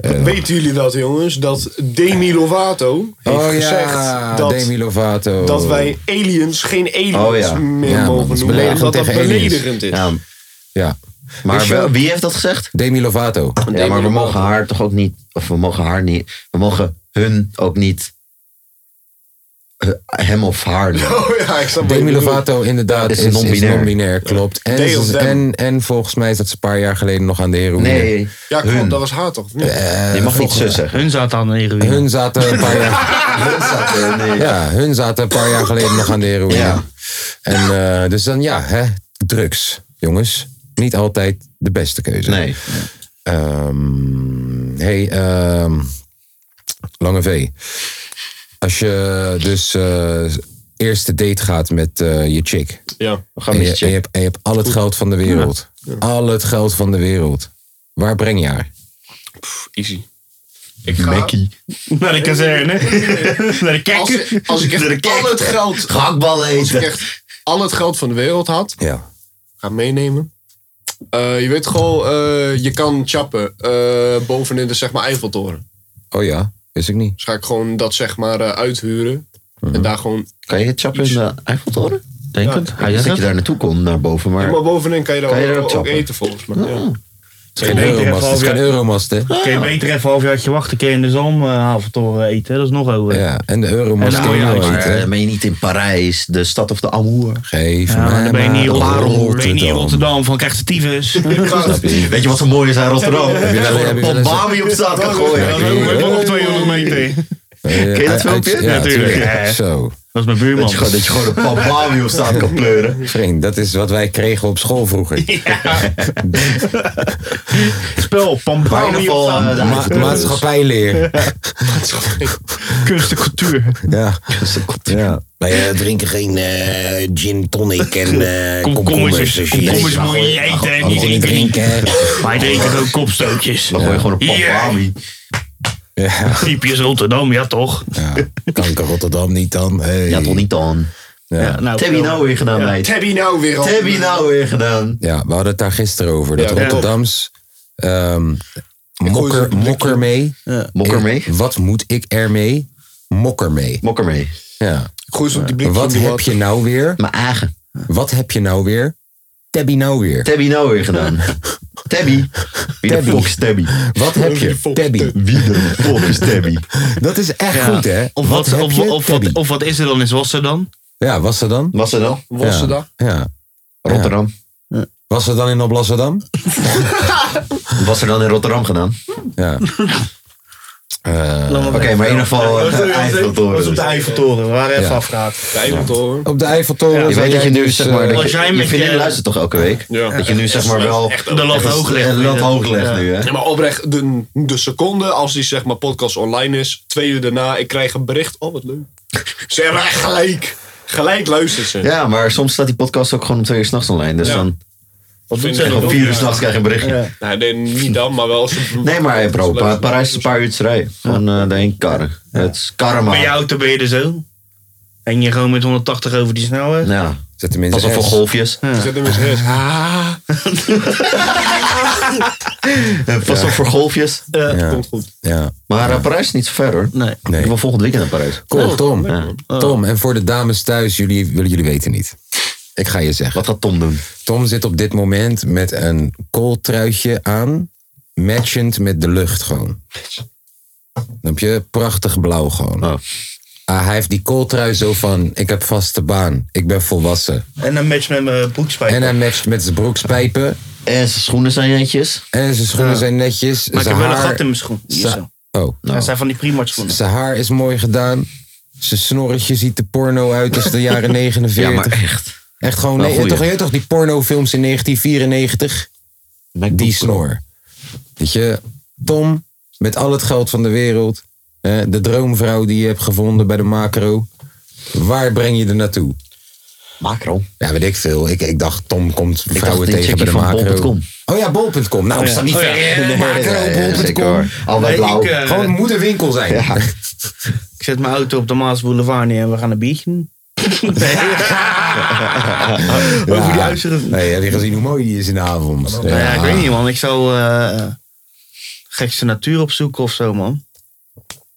Eh,
Weten jullie dat, jongens? Dat Demi Lovato heeft
oh
gezegd
ja,
dat,
Demi Lovato.
dat wij aliens geen aliens
Oh ja.
meer
Ja, man,
mogen
dat is
noemen.
beledigend
Omdat dat
tegen aliens.
beledigend is.
Ja,
Ja.
Maar
Is je-
wel- wie heeft dat gezegd?
Demi Lovato.
Ja, maar we mogen haar toch ook niet. Of we mogen haar niet. We mogen hun ook niet. eh, hem of haar. noemen.
Oh ja, ik snap wat je
Demi
bedoelt.
Lovato inderdaad
Is
is, is
non-binair.
non-binair. klopt. En,
They
ze-
of them.
en, en volgens mij is dat ze een paar jaar geleden nog aan de heroïne.
Nee,
Ja, klopt,
hun.
dat was haar toch? of niet?
Eh,
je mag niet
volgens-
zus zeggen.
Hun zaten aan de heroïne.
Hun zaten een paar jaar,
Nee.
ja, hun zaten een paar jaar geleden nog aan de heroïne.
Ja.
En eh, dus dan ja, hè, drugs, jongens. Niet altijd de beste keuze.
Nee.
Ehm, hey, ehm, Lange V. Als je dus eh, eerste date gaat met eh, je chick.
Ja.
We gaan
En je,
met je
en je hebt, en je hebt al het geld van de wereld. Al het geld van de wereld. Waar breng je haar?
Easy. Ik ga,
Naar de kazerne. Naar de
als,
kerk.
als ik echt al het geld,
Gehaktballen
als ik
eten.
echt al het geld van de wereld had,
Ja.
ga meenemen. Eh, je weet gewoon, eh, je kan chappen eh, bovenin de zeg maar Eiffeltoren.
Oh ja, wist ik niet. Mhm.
Dus ga ik gewoon dat zeg maar eh, uithuren. En daar gewoon...
Kan je chappen in de Eiffeltoren?
Denk
Ja.
het.
Hij
Hij
wist
zegt
dat je
het.
daar naartoe komt, naar boven. Maar,
Maar bovenin kan je daar,
Kan je daar ook
ook, ook
chappen? Ah.
eten volgens mij. Ja.
Het is geen
Nee,
euromast. Het is geen
ja.
euromast, hè?
Kun je beter even een halfjaartje wachten. Een keer in de zalmhaventoren eten. hè? Dat is nog over.
Ja, en de euromast
En
kan
nou,
je
ja,
nooit,
maar,
hè?
eh, ben je niet in Parijs, de stad of de Amour?
Geef
Ja, maar
mij
dan ben je niet in
maar
Rotterdam. Ben je niet in
Rotterdam.
Rotterdam van krijgt de tyfus.
Weet je wat zo mooi is aan Rotterdam? Heb je daar gewoon
heb
een
je wel
pot
eens-
Bami op straat kan
Dat
gooien?
is ook nog 200 meter.
Ken
je dat filmpje?
eh, Ja,
Ja, tuurlijk.
natuurlijk.
Ja.
Zo.
Dat is mijn
Dat
buurman.
je, gewoon- dat je gewoon een pot Bami op straat kan pleuren.
Vriend, dat is wat wij kregen op school vroeger.
Spel,
Maar in
pampaan,
ieder geval, eh, de
Ma- maatschappijleer.
kunst en cultuur.
Ja. ja. Wij eh, drinken geen eh, gin tonic en eh komkommers.
Komkommers
Dus
is-
je-
komkommers
je
moet je niet eten en
mag
niet
niet
drinken.
drinken.
Wij drinken gewoon kopstootjes.
Dan gooi je gewoon een pot
Ja.
Bami.
Ja.
Typisch Rotterdam, ja toch?
Ja. Kanker Rotterdam niet dan. Hey.
Ja, toch niet dan.
Ja.
Nou,
Wat heb je nou weer gedaan, meid?
Tabby nou weer al.
Wat heb je nou weer gedaan?
Ja, we hadden het daar gisteren over. Dat
Ja, ja.
Rotterdams... ehm,
gooi
mokker,
zo'n
mokker mee.
Mokker mee?
Wat moet ik ermee? Mokker mee.
Mokker mee.
Ja.
Ik Gooi ze op die blik.
Wat heb je nou weer?
Mijn eigen.
Wat heb je nou weer? Tabby nou weer.
Wat heb je nou weer gedaan? Tabby. Wie de
Tabby.
fok is Tabby?
Wat heb je?
Fok,
Tabby.
Wie de fok is Tabby?
Dat is echt goed, hè?
Of wat,
heb
of,
je?
of, wat,
Tabby.
of wat is er dan in Zwasser dan?
Ja, was ze dan?
Was er dan?
Wassendag.
nou? Ja.
Rotterdam.
Was ze dan in Oblasserdam?
Was er dan in Rotterdam gedaan?
Ja.
Oké, maar in ieder geval eh, Eiffeltoren. dus.
Eiffeltoren. We waren
even Ja.
afgehaakt.
De Eiffeltoren.
Op de Eiffeltoren.
Je
zou
weet dat
jij
je nu zeg maar... dat
Als
je-
jij
Je
met
vriendin
je-
luistert toch elke week?
Ja.
Dat je nu zeg maar wel...
De lat hoog legt.
De lat hoog legt nu, hè?
Ja, maar oprecht, de, de seconde als die zeg maar podcast online is, twee uur daarna, ik krijg een bericht. Oh, wat leuk. Ze hebben echt gelijk. Gelijk luistert ze.
Ja, maar soms staat die podcast ook gewoon om twee uur s'nachts online. Dus
Ja.
dan
wat doet
ze
om
dan?
vier uur s'nachts krijg je een berichtje.
Nou, nee, niet dan, maar wel als ze...
Nee, maar hey bro,
als ze
Pa-
luisteren.
Parijs is een paar uur te rijden. Gewoon eh, daarheen karren. Het is
Bij je
karma.
auto ben je er zo. En je gewoon met 180 over die snelweg.
Ja,
Zet hem in
pas op
zijn
voor
S.
golfjes.
Zet hem eens rechts.
Ah.
Eh, Pas op voor golfjes.
Komt goed.
Ja.
Maar eh, Parijs is niet zo ver hoor.
Nee.
Ik
Nee. Oh,
wil volgend weekend naar Parijs.
Cool, Tom.
Ja.
Oh.
Tom, en voor de dames thuis, jullie, willen jullie weten niet. Ik ga je zeggen.
Wat gaat Tom doen?
Tom zit op dit moment met een kooltruitje aan. Matchend met de lucht gewoon. Snap je? Prachtig blauw gewoon.
Oh.
Ah, hij heeft die kooltrui zo van, ik heb vaste baan. Ik ben volwassen.
En een match met mijn broekspijp.
En hij matcht met zijn broekspijpen.
En zijn schoenen zijn netjes.
En zijn schoenen zijn netjes.
Maar ik
zijn
heb wel een
haar-
gat in mijn schoen. Hier
Zijn-
zo.
Oh.
Dat zijn van die Primark schoenen.
Zijn haar is mooi gedaan. Zijn snorretje ziet de porno uit als de jaren 49.
Ja, maar echt.
Echt gewoon,
Wel
nee,
goeie.
toch, je weet toch die pornofilms in 1994? Die snor. Weet je, Tom, met al het geld van de wereld. eh, De droomvrouw die je hebt gevonden bij de macro. Waar breng je er naartoe?
Macro.
Ja, weet ik veel. Ik, ik dacht, Tom komt vrouwen
die
tegen bij de
chickie van
macro.
bol.com.
Oh ja, bol.com. Nou, staat niet
Oh ja.
ver.
Ja,
Eh, macro, bol.com.
Altijd
Nee,
blauw.
ik, eh,
Gewoon moet een winkel zijn.
Ik zet mijn auto op de Maas Boulevard neer en we gaan een biertje doen. Nee. Ah. Over die uitzicht.
Nee, heb je gezien hoe mooi die is in de avond?
Nou ja, ik weet niet man. Ik zou eh, gekste natuur opzoeken of zo man.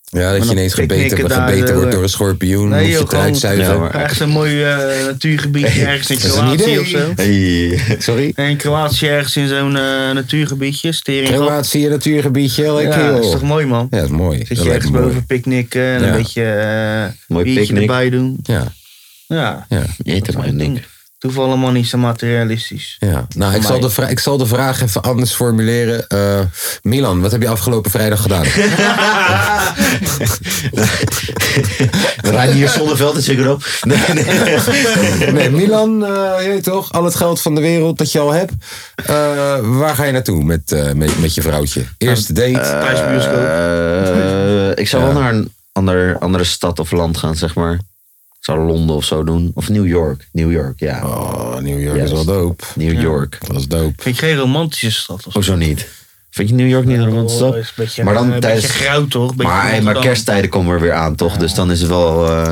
Ja, dat
Met
je
een
ineens
picknicken
gebeten,
daar,
gebeten
eh,
wordt door een schorpioen.
Nee,
moet je
joh,
het
gewoon-
eruit zuigen.
Ja, maar Echt zo'n mooi eh, natuurgebiedje ergens in
Dat is een
Kroatië
idee.
of zo.
Hey.
Sorry?
In Kroatië ergens in zo'n eh, natuurgebiedje. Stering.
Kroatië, natuurgebiedje, lekker
Ja,
joh.
dat is toch mooi, man?
Ja, dat is mooi.
Zit
Dat
je
lijkt
ergens
me mooi.
boven picknicken en
Ja.
een beetje eh
Mooi
biertje
picknick.
erbij doen.
Ja,
Ja.
ja,
Jeet er maar een ding.
Toeval allemaal niet zo materialistisch.
ja. Nou, ik
mij.
zal, de vra- ik zal de vraag even anders formuleren. Eh, Milan, wat heb je afgelopen vrijdag gedaan?
Reinier Zonneveld is zeker op. Nee, nee.
Nee, Milan, eh, je weet toch? Al het geld van de wereld dat je al hebt. Eh, waar ga je naartoe met, eh, met, met je vrouwtje? Eerste date?
Thuisbioscoop.
Eh, ik zou wel naar een ander, andere stad of land gaan, zeg maar. Ik zou Londen of zo doen. Of New York. New York, ja.
Oh, New York is
Juist.
wel dope.
New York.
Dat is dope.
Vind ik geen romantische stad of
Oh.
zo.
Of zo niet. Vind je New York niet een romantische
Oh, is een
stad?
beetje-
Maar dan
een
tijdens...
beetje grauw, toch? Beetje
Maar, hey, maar
Rotterdam.
kersttijden komen er weer aan, toch? Dus dan is het wel... eh,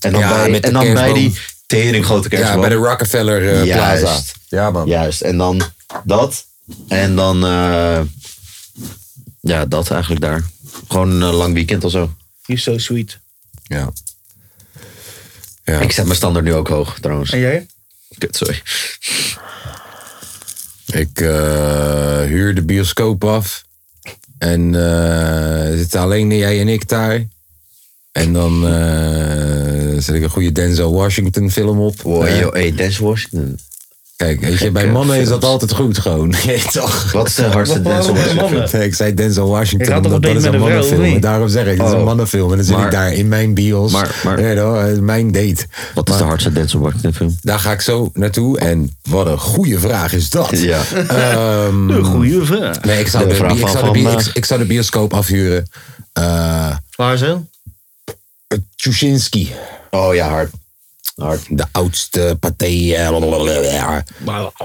En dan,
Ja,
bij,
met de
en dan bij
kerstboom.
die tering grote
Ja,
kerstboom.
bij de Rockefeller eh,
Juist.
Plaza. Ja, man.
Juist, en dan dat. En dan, eh, ja, dat eigenlijk daar. Gewoon een eh, lang weekend of zo.
You're so sweet.
Ja. Ja.
Ik zet mijn standaard nu ook hoog, trouwens.
En jij?
Kut, sorry.
Ik eh, huur de bioscoop af. En eh, zitten alleen jij en ik daar. En dan eh, zet ik een goede Denzel Washington film op.
Wow,
Eh,
yo, hey, Denzel Washington.
Kijk, weet je, bij
Gekke
mannen is dat
films.
altijd goed gewoon. Nee, toch?
Wat is de hardste
Wat-
Denzel
wat-
Washington?
mannen?
Nee, ik zei Denzel
Je
Washington,
gaat toch
omdat
op
dat is
date
een
met een vrouw,
mannenfilm.
of
En
niet?
daarom zeg ik, dat is een
Oh.
mannenfilm. En dan zit
Maar-
ik daar in mijn bios.
Maar- maar-
Nee, hoor, eh, mijn date.
Wat is de hardste Denzel Washington film?
Daar ga ik zo naartoe. En wat een goede vraag is dat.
Ja.
Ehm,
Een goede vraag.
nee, ik zou
De
de, bi-
vraag
ik
van eh,
zou de bi-
vandaag.
ik- ik zou de bioscoop afhuren. Eh
Waar zo?
Tuschinski,
Oh ja, hard. Hard.
de oudste paté. eh, blablabla.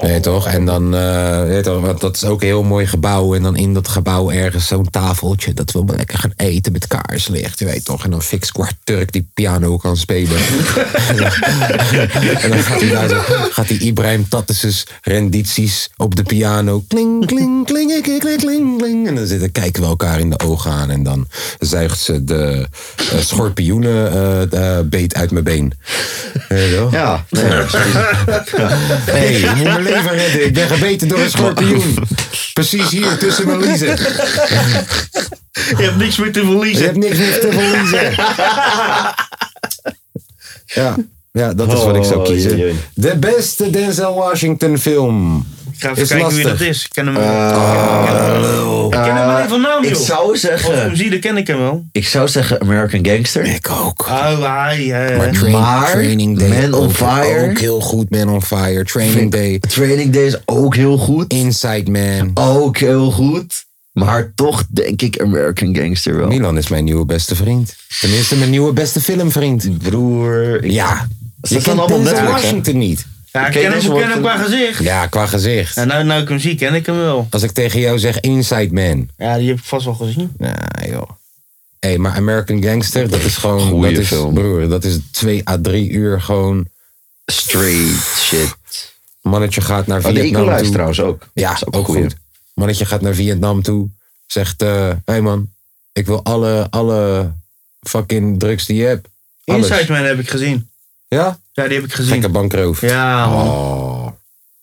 Nee, toch? En dan, eh, weet je toch, want dat is ook een heel mooi gebouw. En dan in dat gebouw ergens zo'n tafeltje. Dat we maar lekker gaan eten met kaarslicht, je weet toch? En dan fix kwart Turk die piano kan spelen. en dan gaat hij daar zo, gaat hij Ibrahim Tattis's rendities op de piano. Kling, kling, kling, kling, kling, kling, kling. En dan zitten, kijken we elkaar in de ogen aan. En dan zuigt ze de eh, schorpioenen eh, eh, beet uit mijn been. Weet je toch?
Ja. nee.
Hey, je moet mijn leven redden. Ik ben gebeten door een schorpioen. Precies hier tussen mijn liezen.
Je hebt niks meer te
Je
verliezen.
hebt niks meer te verliezen. Ja, ja dat is wat ik zou
Oh,
kiezen.
jee, jee.
De beste Denzel Washington film.
Ik ga even
Is
kijken wie
lastig. Eh,
dat is. Ik ken hem, ik ken hem, ik ken hem alleen van naam, joh.
Oh. Ik zou
Als ik hem
zeggen...
zie, dan ken ik hem wel.
Ik zou zeggen American Gangster.
Ik ook.
Oh, hij. eh,
Maar, train-
Maar
Training Day
Man on
ook-
Fire.
Ook heel goed, Man on Fire. Training Day.
Training Day is ook heel goed.
Inside Man.
Ook heel goed. Maar toch denk ik American Gangster wel.
Milan is mijn nieuwe beste vriend. Tenminste, mijn nieuwe beste filmvriend.
Broer. ik-
Ja. Je
staan
kent
allemaal
Denzel
netwerken.
Washington niet.
ja, ik
ken
ken hem,
deze
ik ken hem
woorden.
qua gezicht.
Ja, qua gezicht.
En nou, nou ik hem zie, ken ik hem wel.
Als ik tegen jou zeg Inside Man.
Ja, die heb ik vast wel gezien.
Nou, joh. Hé, maar American Gangster, dat is gewoon...
Goeie
dat is,
film.
Broer, dat is twee à drie uur gewoon...
Straight shit.
Mannetje gaat naar
Oh, de
Vietnam
Equalizer
toe.
trouwens ook.
Ja,
Dat is
ook,
een goeie.
goed. Mannetje gaat naar Vietnam toe. Zegt, eh, hé man, ik wil alle, alle fucking drugs die je hebt. Alles.
Inside Man heb ik gezien.
Ja?
Ja, die heb ik gezien.
Gekke bankroof.
Ja, man.
Oh.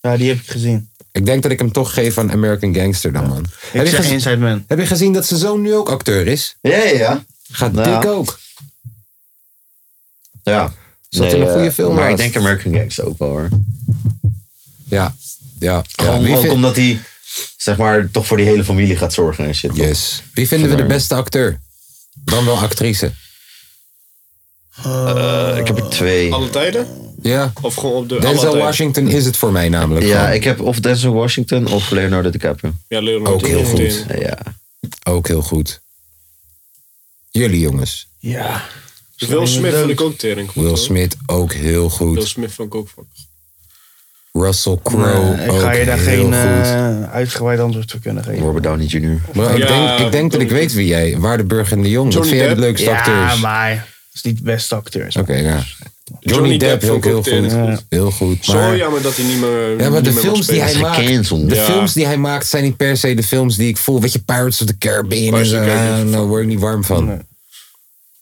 Ja, die heb ik gezien.
Ik denk dat ik hem toch geef aan American Gangster dan, man. Heb
Ik
je,
zeg
gezien,
Inside Man.
heb je gezien dat zijn zoon nu ook acteur is?
Ja, ja, ja.
Gaat
Nou.
dik ook.
ja.
Zat in een goede
eh,
film
Maar ik
naast.
denk American Gangster ook wel hoor.
Ja, ja. ja.
Gewoon
Wie
ook
vind-
omdat hij, zeg maar, toch voor die hele familie gaat zorgen en shit.
Yes. Wie vinden we de beste acteur? Dan wel actrice.
Eh, ik heb er twee.
Alle tijden?
Ja.
Of gewoon op de... alle
Denzel
tijden?
Washington is het voor mij namelijk.
Ja,
Ja,
ik heb of Denzel Washington of Leonardo DiCaprio.
Ja, Leonardo.
Ook heel
DiCaprio.
goed.
Eh, Ja.
ook heel goed. Jullie jongens.
Ja.
Dus Will Smith vond ik ook tering goed,
Will
hoor.
Smith ook heel
Will
goed.
Smith vond ik ook fuck.
Russell Crowe
ik
ook
ga je daar
heel
geen
goed.
eh, uitgebreid antwoord voor kunnen geven.
Robert Downey Jr.
maar ik
Ja,
denk, ik denk dat ik
Johnny-
weet wie jij, Waardenburg en de Jong. Wat
Johnny
vind jij de
Depp?
leukste acteurs?
Ja, maar dat is niet de beste acteurs.
Oké, ja. Johnny,
Johnny Depp
Depp
vond
ook
ik
heel
ook
goed.
tering
Heel goed.
Zo
Maar,
jammer dat hij niet meer
Ja, maar
niet
de
meer mag
films die
spelen.
hij
Hij is
maakt,
gecanceld.
de
Ja.
films die hij maakt zijn niet per se de films die ik voel. Weet je, Pirates of the Caribbean en
Pirates of
zo, Ah,
the Caribbean.
eh, nou word ik niet warm van.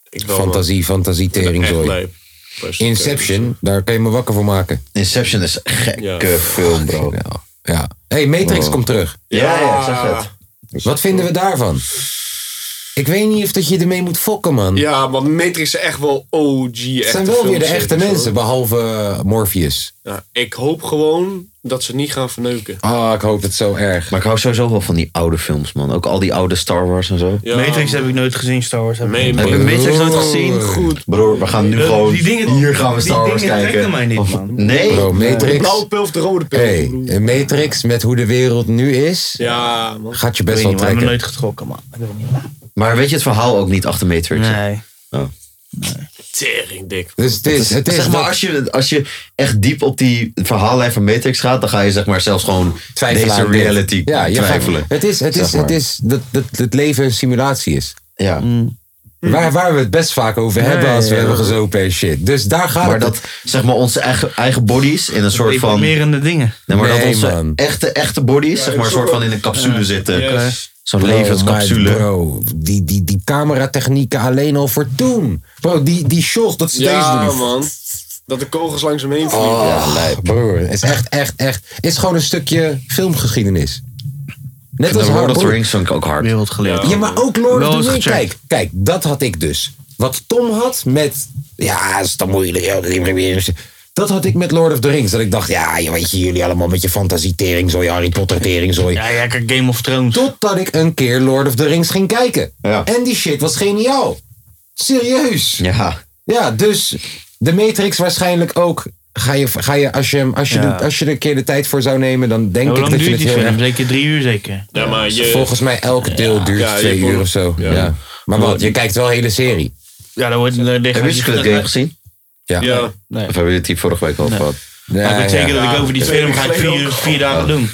Ik wel,
Fantasie, fantasie,
Echt
teringzooi.
lijp. Maar is-
Inception, daar kan je me wakker voor maken.
Inception is een gekke
Ja.
film, bro. Oh.
Ja. hey, Matrix komt terug.
Ja, ja, ik zag het.
Wat vinden we daarvan? Ik weet niet of dat je ermee moet fokken, man.
Ja, maar Matrix is echt wel OG.
het zijn wel weer de echte mensen, behalve eh, Morpheus.
Ja, ik hoop gewoon dat ze niet gaan verneuken.
Ah, ik hoop het zo erg.
Maar ik hou sowieso wel van die oude films, man. Ook al die oude Star Wars en zo.
Ja,
Matrix heb ik nooit gezien, Star Wars. Heb ik
Nee,
niet.
maar-
Heb je Matrix nooit gezien?
Goed.
Broer, we gaan nu
Eh,
gewoon...
die dingen-
hier gaan we Star
die
Wars
dingen
kijken.
trekken mij niet,
Of-
man.
Nee.
Bro,
De
Matrix.
blauwe pil of de rode pil?
Hey, een Matrix met hoe de wereld nu is,
Ja, man.
gaat je best
Ik weet
wel
niet, we hebben
trekken.
me nooit getrokken, man. Ik weet niet.
Maar weet je het verhaal ook niet achter Matrix? Oh.
Nee.
Tering dik.
Dus het is, het is
zeg maar,
dat-
als je, als je echt diep op die verhaallijn van Matrix gaat, dan ga je zeg maar zelfs gewoon
twijfelen
deze
aan dit.
reality
ja, je gaat-
twijfelen.
het is, het
Zeg
is,
maar.
het is dat, dat het leven een simulatie is. Mm.
Ja.
Waar, waar we het best vaak over hebben als we
ja.
hebben gezopen en shit. Dus daar gaat
Maar
het.
dat zeg maar onze eigen, eigen bodies in een soort van. Nee,
Deprimerende dingen.
maar dat
Nee,
onze
man.
echte, echte bodies zeg maar een soort van in een capsule zitten.
Yes.
Zo'n
Bro, maar
levenscapsule.
Bro, die, die, die cameratechnieken alleen al voor toen. Bro, die, die shots, dat steeds
Ja,
doen.
man. Dat de kogels langs hem heen vliegen.
Oh, broer, het is echt, echt, echt. Het is gewoon een stukje filmgeschiedenis. Net
De
als
Lord
Hard
of the
Boy.
Rings vond ik ook hard.
Wereld geleerd.
Ja, maar ook Lord
Wel
of
eens
the Rings.
gecheckt.
Kijk, kijk, dat had ik dus. Wat Tom had met... Ja, is toch moeilijk. ja, Dat had ik met Lord of the Rings. Dat ik dacht, ja, je weet je, jullie allemaal met je fantasieteringzooi, Harry Potter teringzooi.
Ja, ja, kijk, Game of Thrones.
Totdat ik een keer Lord of the Rings ging kijken.
Ja.
En die shit was geniaal. Serieus. Ja,
Ja.
dus de Matrix waarschijnlijk ook. Ga je, ga je, als, je, hem- als, je
Ja.
de- als je er een keer de tijd voor zou nemen, dan denk
Hoe
ik
lang
dat je
duurt
het
die
heel
film?
erg...
Zeker drie uur, zeker.
Ja, maar je...
Volgens mij elk deel duurt
Ja, je
twee
hebt
uur
ook-
of zo. Ja.
ja.
Maar wat, je kijkt wel hele serie.
Ja, dan wordt eh, dan ligt-
Heb je Squid Game gezien?
Ja.
Ja.
Nee.
Of hebben jullie het hier vorige week over gehad?
Maar ik
Ja,
weet zeker
ja.
dat ik over die
Ja.
film ga ik
Twee uur
vier, vier dagen doen.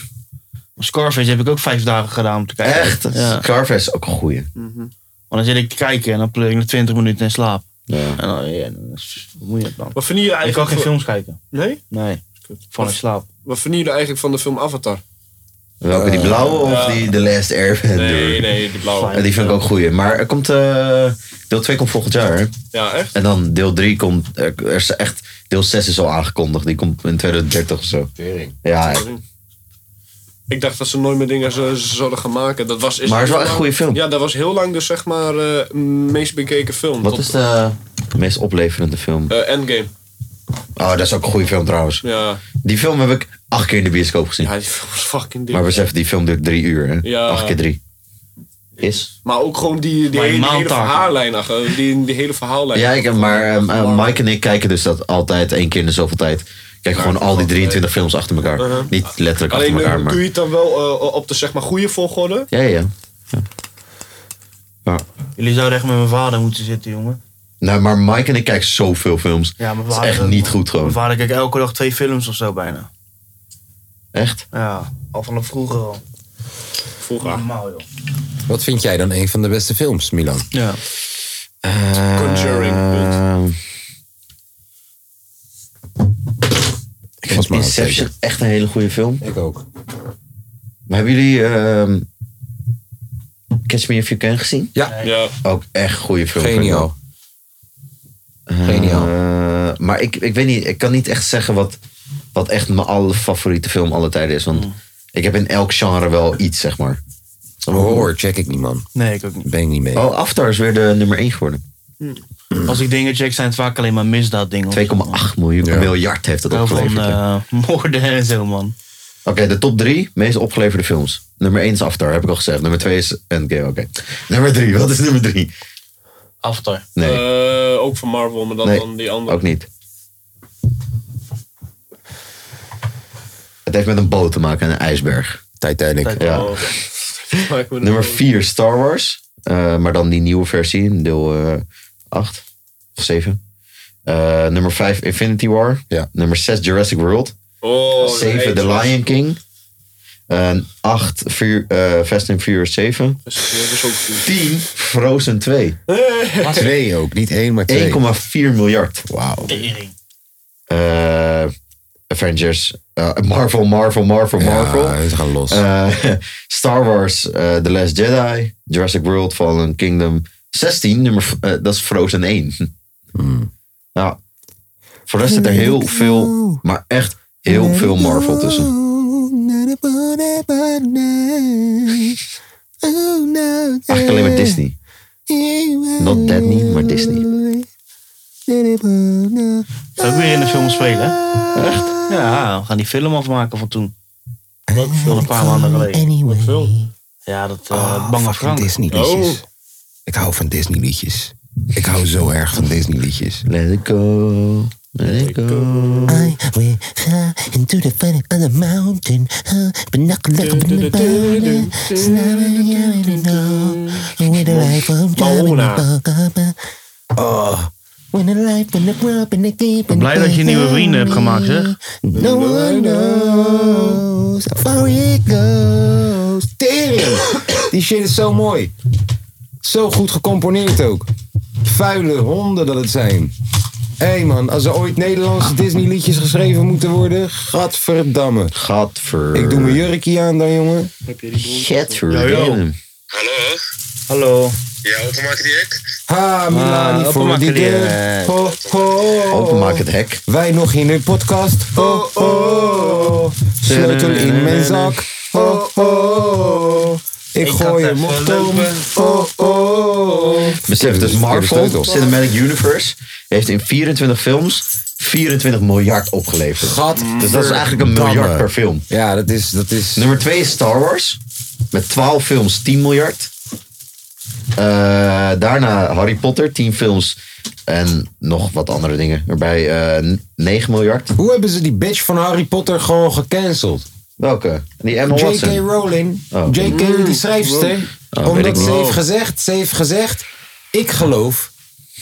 Scarface heb ik ook vijf dagen gedaan om te kijken.
Echt?
Ja.
Scarface is ook een goeie.
Want dan zit ik te kijken en dan pleur ik na 20 minuten in slaap.
Ja.
En dan, ja, dan is- hoe moet je dat dan?
Wat vinden jullie
Ik kan
eigenlijk...
geen films kijken.
van- Nee?
Nee. Van in slaap.
Wat vinden jullie eigenlijk van de film Avatar?
Welke, die blauwe of
Ja.
die The Last Airbender?
nee, die
Ja, die vind ik ook goeie. Maar er komt, eh, deel 2 komt volgend jaar. hè?
Ja, echt?
En dan deel 3 komt, er er is echt, deel 6 is al aangekondigd. Die komt in 2030 of zo. Ja, echt.
Ik dacht dat ze nooit meer dingen zo- zouden gaan maken. Dat was, is
Maar het is wel
heel
echt een
lang-
goede film.
Ja, dat was heel lang dus zeg maar eh meest bekeken film.
wat
Tot-
is de meest opleverende film?
eh, Endgame.
Oh, dat is ook een goede film trouwens.
Ja.
Die film heb ik acht keer in de bioscoop gezien.
ja, die film was fucking dik.
Maar
Maar,
besef, die film duurt drie uur. Hè?
Ja.
Acht keer drie. Is?
ook gewoon die, die,
Maar
hele, die hele
Mount Tarkin.
verhaallijn. ach, eh, Die, die hele verhaallijn.
Ja, ik, maar ehm, eh, Mike en ik kijken dus dat altijd één keer in de zoveel tijd. Kijken gewoon al die 23 films achter elkaar. Niet letterlijk
Uh-huh. Alleen
achter
eh,
elkaar, maar...
doe je het dan wel eh, op de zeg maar goede volgorde.
Ja, ja, ja.
Jullie zouden echt met mijn vader moeten zitten, jongen.
Nou, maar Mike en ik kijken zoveel films.
Ja, mijn
dat is
vader-
echt niet goed
Mijn
gewoon.
vader kijkt elke dag twee films of zo bijna.
Echt?
Ja, al vanaf vroeger al.
Vroeger.
Normaal, joh.
Wat vind jij dan een van de beste films, Milan? Eh,
Ja.
Conjuring.
Ehm, ik
Was
vind
maar
Inception echt een hele goede film.
Ik ook.
Maar hebben jullie ehm, Catch Me If You Can gezien?
Ja,
Ja.
Ook echt een goede film. vind ik wel.
geniaal. Geniaal.
Eh, maar ik, ik weet niet, ik kan niet echt zeggen wat, wat echt mijn allerfavoriete film alle tijden is. Want
Hmm.
ik heb in elk genre wel iets, zeg maar.
Horror check ik niet, man.
Nee, ik ook niet.
Ben ik niet mee.
Oh, Avatar is weer de nummer 1 geworden. 2,8
Als ik dingen check, zijn het vaak alleen maar misdaaddingen.
miljoen,
Ja.
miljard heeft dat
Wel van
opgeleverd. hè.
eh, moorden en zo, man.
Oké, de top 3 meest opgeleverde films. Nummer 1 is Avatar, heb ik al gezegd. Nummer 2 is Endgame, oké. Nummer 3, wat is nummer 3?
Avatar.
Nee,
Eh, ook van Marvel, maar dan,
Nee,
dan die andere.
ook niet. Het heeft met een boot te maken en een ijsberg.
Titanic.
Ja.
Oh. Maak me er-
Nummer 4, Star Wars. Eh, maar dan die nieuwe versie, deel 8 of 7. nummer 5, Infinity War.
Ja.
Nummer 6, Jurassic World.
Oh,
7, The
nee,
Lion King. Ehm, 8, eh, Fast and Furious 7.
Dat is, dat is ook goed.
10, Frozen 2.
Twee ook, niet één, maar twee.
1,4 miljard.
Wauw.
Tering.
Eh, Avengers. eh, Marvel, Marvel, Marvel, Marvel.
Ja, ze gaan los.
Eh, Star Wars, eh, The Last Jedi, Jurassic World, Fallen Kingdom, 16, nummer, eh, dat is Frozen 1.
Hmm.
Ja. Voor de rest zit er heel veel, maar echt heel veel Marvel tussen.
Oh,
Eigenlijk alleen maar Disney. Not dat niet, maar Disney.
Zou ook weer in de film spelen, hè? Echt? Ja, we gaan die film afmaken van toen. Wat? Van een paar maanden geleden.
Anyway. Ah,
Ja, dat eh Bang of Frank.
Disney liedjes. Ik hou van Disney liedjes. Ik hou zo erg van Disney liedjes.
Let it go. Let it go.
I will fly into the fun of the mountain. Huh, but not looking from the bottom. Snapping out in the door. With a life I'm driving
Mauna.
the bug up. When the life when the grub and the keep and
Blij dat je nieuwe vrienden hebt gemaakt, zeg.
No one knows how far it goes.
Tering! Die shit is zo mooi. Zo goed gecomponeerd ook. Vuile honden dat het zijn. Hé man, als er ooit Nederlandse Disney liedjes geschreven moeten worden, gadverdamme.
Gadver.
Ik doe mijn jurkje aan dan, jongen.
Gadver.
Hallo?
Hallo.
Ja, openmaken die ik?
Ha, Milani,
Ah,
voor
openmaken
die
die,
deur.
eh,
Ho, ho.
Openmaak het hek.
Wij nog in een podcast. Ho, ho. Sleutel in mijn zak. Ho, ho. Ik gooi
ga
hem
even
op Tom.
lopen.
Ho, ho.
Besef, dus Marvel Cinematic Universe heeft in 24 films 24 miljard opgeleverd.
Gadverdamme.
Dus dat is eigenlijk een miljard per film.
Ja, dat is... Dat is
Nummer 2 is Star Wars. Met 12 films 10 miljard. Eh, daarna Harry Potter, 10 films en nog wat andere dingen. Waarbij eh 9 miljard.
Hoe hebben ze die bitch van Harry Potter gewoon gecanceld?
Welke? Die Emma
J.K.
Watson.
Rowling,
Oh.
J.K. die schrijfster,
Oh, weet ik
omdat ze
niet.
heeft gezegd, ze heeft gezegd, ik geloof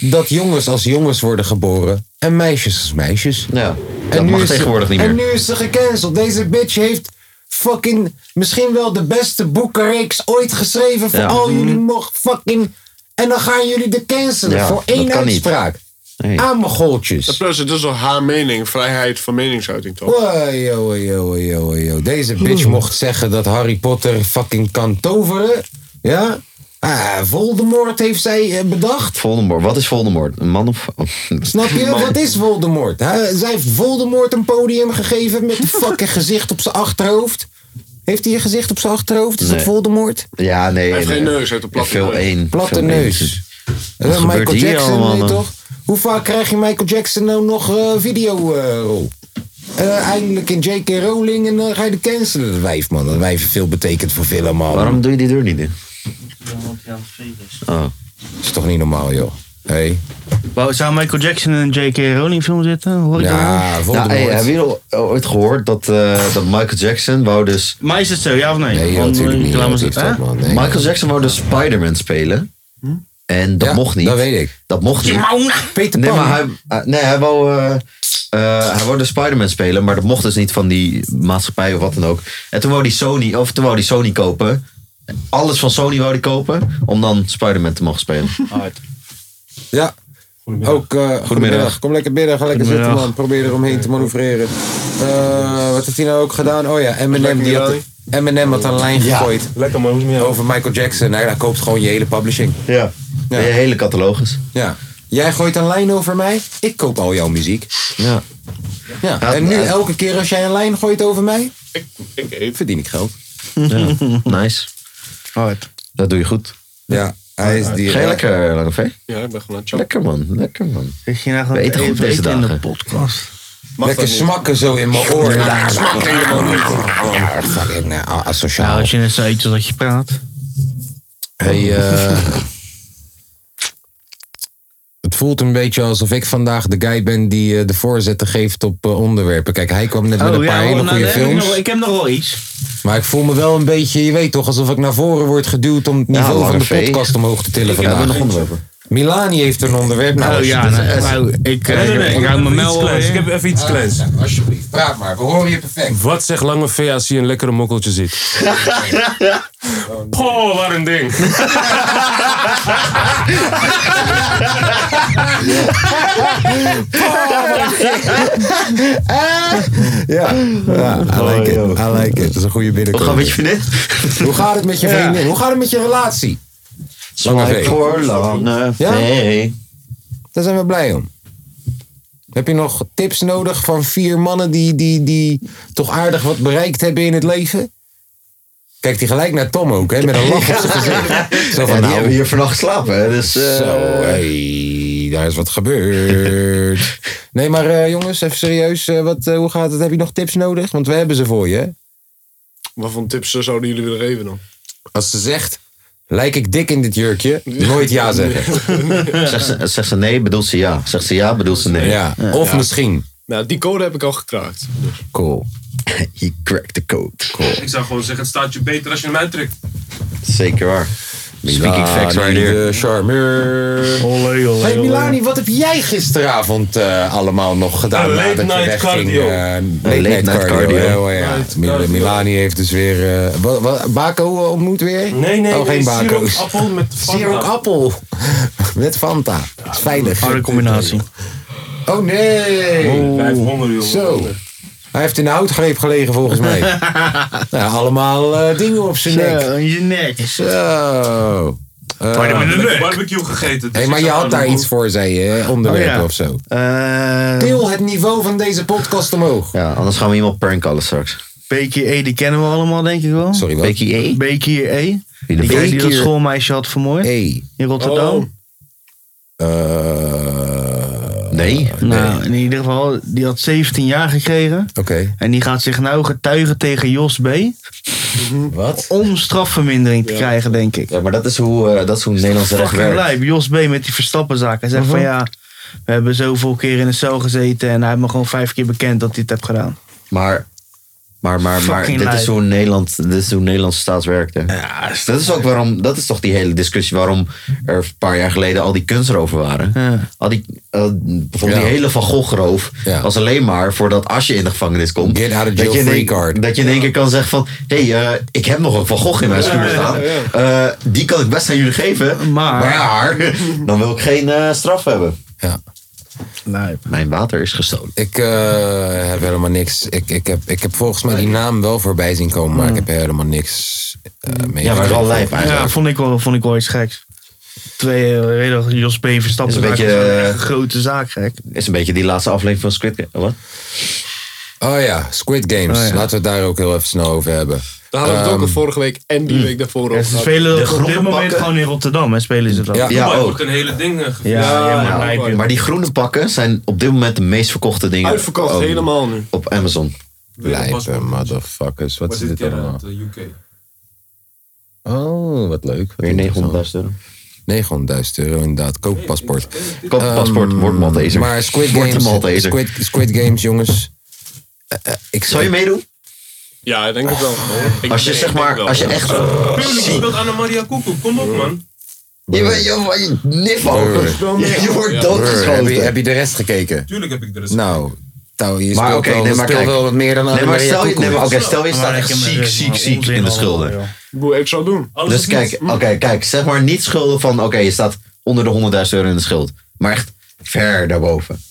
dat jongens als jongens worden geboren en meisjes als meisjes.
Ja,
En
dat
nu
mag
is ze-
tegenwoordig niet
En
meer.
nu is ze gecanceld. Deze bitch heeft fucking misschien wel de beste boekenreeks ooit geschreven voor
Ja.
al jullie mocht fucking... En dan gaan jullie de cancelen
Ja,
voor
dat
één
kan niet.
uitspraak.
Nee.
Aan Ah, mijn goaltjes.
Plus, het is al haar mening, vrijheid van meningsuiting toch?
Oei, oei, oei, oei, oei. Deze bitch mocht zeggen dat Harry Potter fucking kan toveren. Ja? Ah, Voldemort heeft zij eh, bedacht.
Voldemort. Wat is Voldemort? Een man of... oh.
Snap je? Wat is Voldemort? Hij- zij heeft Voldemort een podium gegeven met een fucking gezicht op zijn achterhoofd. Heeft hij een gezicht op zijn achterhoofd? Is
Nee.
dat Voldemort?
Ja, nee.
Hij heeft
nee.
geen neus, hij heeft een platte
Film
neus.
1.
Platte
film
neus.
1.
Eh,
gebeurt
Michael
hier
Jackson,
allemaal,
nee,
man?
toch? Hoe vaak krijg je Michael Jackson nou nog eh, video videorol? eindelijk in J.K. Rowling en dan ga je de cancelen. Dat wijf, man. Dat wijf heeft veel betekent voor veel allemaal.
Waarom doe je die deur niet in? Oh.
is toch niet normaal, joh. Hey.
Wou- Zou Michael Jackson in een J.K. Rowling film zitten? Hoor ik dat?
Ja,
Nou,
Voldemort.
hey, hebben jullie al ooit gehoord dat, eh, dat Michael Jackson wou dus...
Maar is het zo, ja of nee?
Nee, joh,
Want,
natuurlijk
eh,
niet.
laat
joh,
maar
die heeft
zitten,
dat,
hè?
man. Nee. Hm?
Michael Jackson wou dus Spider-Man spelen. En dat
Ja,
mocht niet.
dat weet ik.
Dat mocht niet.
Peter
Nee,
Pan.
maar hij, eh, nee, hij wou... eh eh, hij wou de Spider-Man spelen, maar dat mocht dus niet van die maatschappij of wat dan ook. En toen wou die Sony, of toen wou die Sony kopen. Alles van Sony wou die kopen, om dan Spider-Man te mogen spelen.
Ja. Ook, eh, goedemiddag. Kom lekker binnen, ga lekker zitten, man. Probeer eromheen te manoeuvreren. Eh, wat heeft hij nou ook gedaan? Oh ja, Eminem, die had, Eminem had een lijn gegooid
Lekker man, hoe is het met jou?
over Michael Jackson. Nou, hij koopt gewoon je hele publishing.
Ja.
Ja.
De hele catalogus.
Ja. Jij gooit een lijn over mij, ik koop al jouw muziek.
Ja.
Ja.
Ja,
En nu,
eh,
elke keer als jij een lijn gooit over mij,
Ik eet.
verdien ik geld.
Nice.
Alright.
Dat doe je goed.
Ja, hij is die. eh,
Ga je lekker, eh, Lange V?
Ja, ik ben gewoon aan het chappen.
Lekker man, lekker man.
Is je nou gewoon
We eten goed
even
deze
eten in de
dagen.
podcast?
Mag
Lekker
dat niet?
smakken zo in mijn oor. Ja, smakken helemaal niet. Ja, fucking eh,
Nou,
asociaal.
als je net zo eet als dat je praat.
Hey, eh, het voelt een beetje alsof ik vandaag de guy ben die eh, de voorzetten geeft op eh, onderwerpen. Kijk, hij kwam net met een paar hele
nou,
goede
daar heb ik, nog,
films.
wel- ik heb nog wel iets.
Maar ik voel me wel een beetje, je weet toch, alsof ik naar voren word geduwd om het niveau
lange
van de
vee.
podcast omhoog te tillen
Ja, we
vandaag.
nog onderwerpen.
Milani heeft een onderwerp. Nou,
Oh
als je-
ja, nou, nou, ik, eh,
Nee, nee, nee,
ik hou mijn mel.
Ik
eh,
heb even iets kleins.
Nou, alsjeblieft, praat maar. We horen je perfect.
Wat zegt Lange V als hij een lekkere mokkeltje ziet? Poh, wat een ding.
Ja, ja I like it. I like it. Dat is een goede
Hoe gaan
binnenkomen.
we je vinden?
Hoe gaat het met je vriendin? Hoe gaat het met je relatie? Lange V.
Voor lange
Ja?
V.
Daar zijn we blij om. Heb je nog tips nodig van vier mannen die, die, die toch aardig wat bereikt hebben in het leven? Kijkt hij gelijk naar Tom ook, hè? Met een lach op zijn gezicht. Zo
Ja,
van,
die
nou,
hebben hier vannacht geslapen. hè, Dus, eh,
Zo, hey, daar is wat gebeurd. Nee, maar eh, jongens, even serieus. eh, wat, eh, hoe gaat het? Heb je nog tips nodig? Want we hebben ze voor je. hè?
Wat voor tips zouden jullie willen geven dan?
Als ze zegt, lijk ik dik in dit jurkje? Nooit ja zeggen.
Zegt ze, zegt ze nee, bedoelt ze ja. Zegt ze ja, bedoelt ze nee.
Ja, of misschien.
Nou, die code heb ik al gekraakt.
Cool.
He cracked the code. Cool.
Ik zou gewoon zeggen, het staat je beter als je hem uittrekt.
Zeker waar. Speaking facts right
Milani
here.
de eh, charmeur.
Olé, olé,
Hey Milani, wat heb jij gisteravond eh, allemaal nog gedaan?
Een late
nadat je
night
wegging?
cardio.
Eh, late,
Een late
night
night
cardio.
cardio.
hè? Oh, ja.
Night
Mil-
cardio.
Milani heeft dus weer... eh, wat, wat, Baco ontmoet weer?
Nee, nee,
Oh,
nee.
geen
siroop,
Baco's.
appel met
Zero
Fanta.
appel. Met Fanta. Dat is veilig.
Harde combinatie.
Oh nee.
Oh. 500, jongen.
Zo. Hij heeft in de houtgreep gelegen volgens mij.
Eh,
nou, allemaal eh, dingen op zijn nek.
Zo, je nek.
Zo. Eh,
Ik heb barbecue gegeten. dus
hey,
ik
maar je
zou
had daar
aan de
iets voor, zei je, hè? onderwerpen
Oh, ja.
of zo.
Eh,
Til het niveau van deze podcast omhoog.
Ja, anders gaan we iemand pranken alles straks.
Beekje E, die kennen we allemaal, denk ik wel.
Sorry, wat?
Becky E.
Beekje E.
Wie
Die guy die dat
Becky-
schoolmeisje had vermoord
Hey.
in Rotterdam.
Eh,
Nee.
Nou, in ieder geval, die had 17 jaar gekregen.
Oké.
En die gaat zich nou getuigen tegen Jos B.
Wat?
om strafvermindering te krijgen, denk ik.
Ja, maar dat is hoe, eh, dat is hoe het Nederlandse recht
Fucking
werkt.
lijp. Jos B. met die Verstappenzaak. Hij zegt van ja, we hebben zoveel keer in de cel gezeten. En hij heeft me gewoon vijf keer bekend dat hij het heeft gedaan.
Maar, maar, maar, maar
Fucking
dit, is
lijp.
hoe Nederland, dit is hoe Nederlandse staat werkt. Hè. dat is ook waarom, dat is toch die hele discussie waarom er een paar jaar geleden al die kunstroof waren.
Ja.
Al die, eh, bijvoorbeeld
Ja.
die hele Van Gogh roof
Ja.
was alleen maar voordat als je in de gevangenis komt.
Get out of
dat
jail
je in
free
één-
card.
Dat je in één keer kan zeggen van, hé, hey, eh, ik heb nog een Van Gogh in mijn schuur staan. Eh, die kan ik best aan jullie geven.
Maar-
maar dan wil ik geen eh, straf hebben.
Ja.
Mijn water is gestolen.
Ik eh, heb helemaal niks. Ik, ik, heb, ik heb volgens mij die naam wel voorbij zien komen, maar ik heb helemaal niks eh, mee.
Ja, maar wel lijp
gekregen.
eigenlijk.
Ja, vond ik wel, vond ik wel iets geks. Twee, eh, weet je wel, Jos B. Verstappenzaak
Is
is
een
een,
beetje,
echt
eh,
een grote zaak, gek.
Is een beetje die laatste aflevering van Squid Game. Wat?
Oh ja, Squid Games.
Oh ja.
Laten we het daar ook heel even snel over hebben.
Daar hadden we het ook
Ehm,
al vorige week en die week daarvoor
Ja,
over
ze
gehad.
spelen dat op dit
groene
moment
pakken.
gewoon in Rotterdam, hè, spelen ze dat.
Ja.
Ja, oh,
Dubai
ook.
wordt een hele ding eh, gevierd.
Ja, ja, maar lijp, joh.
Maar die groene pakken zijn op dit moment de meest verkochte dingen.
Uitverkocht
Oh.
op-
helemaal nu.
Op Amazon.
Lijpe motherfuckers. Wat
Was
is
dit
dit
keer
allemaal?
uit de UK.
Oh, wat leuk. Wat
Weer 900.000
interessant.
euro.
900.000 euro inderdaad. Kooppaspoort.
Koop een paspoort, word Malteser.
Maar Squid
Wordt een
Games,
Malteser.
Squid, Squid Games jongens. Eh, eh, ik
Zou je meedoen?
Ja, ik denk het wel. Ik
Als je
denk-
zeg
ik denk
maar,
wel.
als je echt...
Tuurlijk,
Zie-
speelt Anna-Maria Koekoek. Kom op, man.
Je bent joh, je niffo. Je je wordt
Brr, heb, je,
doodgeschoten.
heb je de rest gekeken?
Tuurlijk heb ik er eens.
Nou, Touw, je
Maar
speelt,
oké,
wel,
nee,
je
maar
speelt
kijk.
wel wat meer dan
Nee, maar
Annemaria
stel je, nee,
Koekoek.
maar oké, stel je staat
Maar
echt
ik heb me
ziek,
rust,
ziek,
man.
ziek
Onzin
in de
allemaal,
schulden.
joh.
Boe, ik zou het doen.
Alles
Dus
is niet.
kijk, oké, kijk, zeg maar niet schulden van, oké, je staat onder de 100.000 euro in de schuld. Maar echt ver daarboven.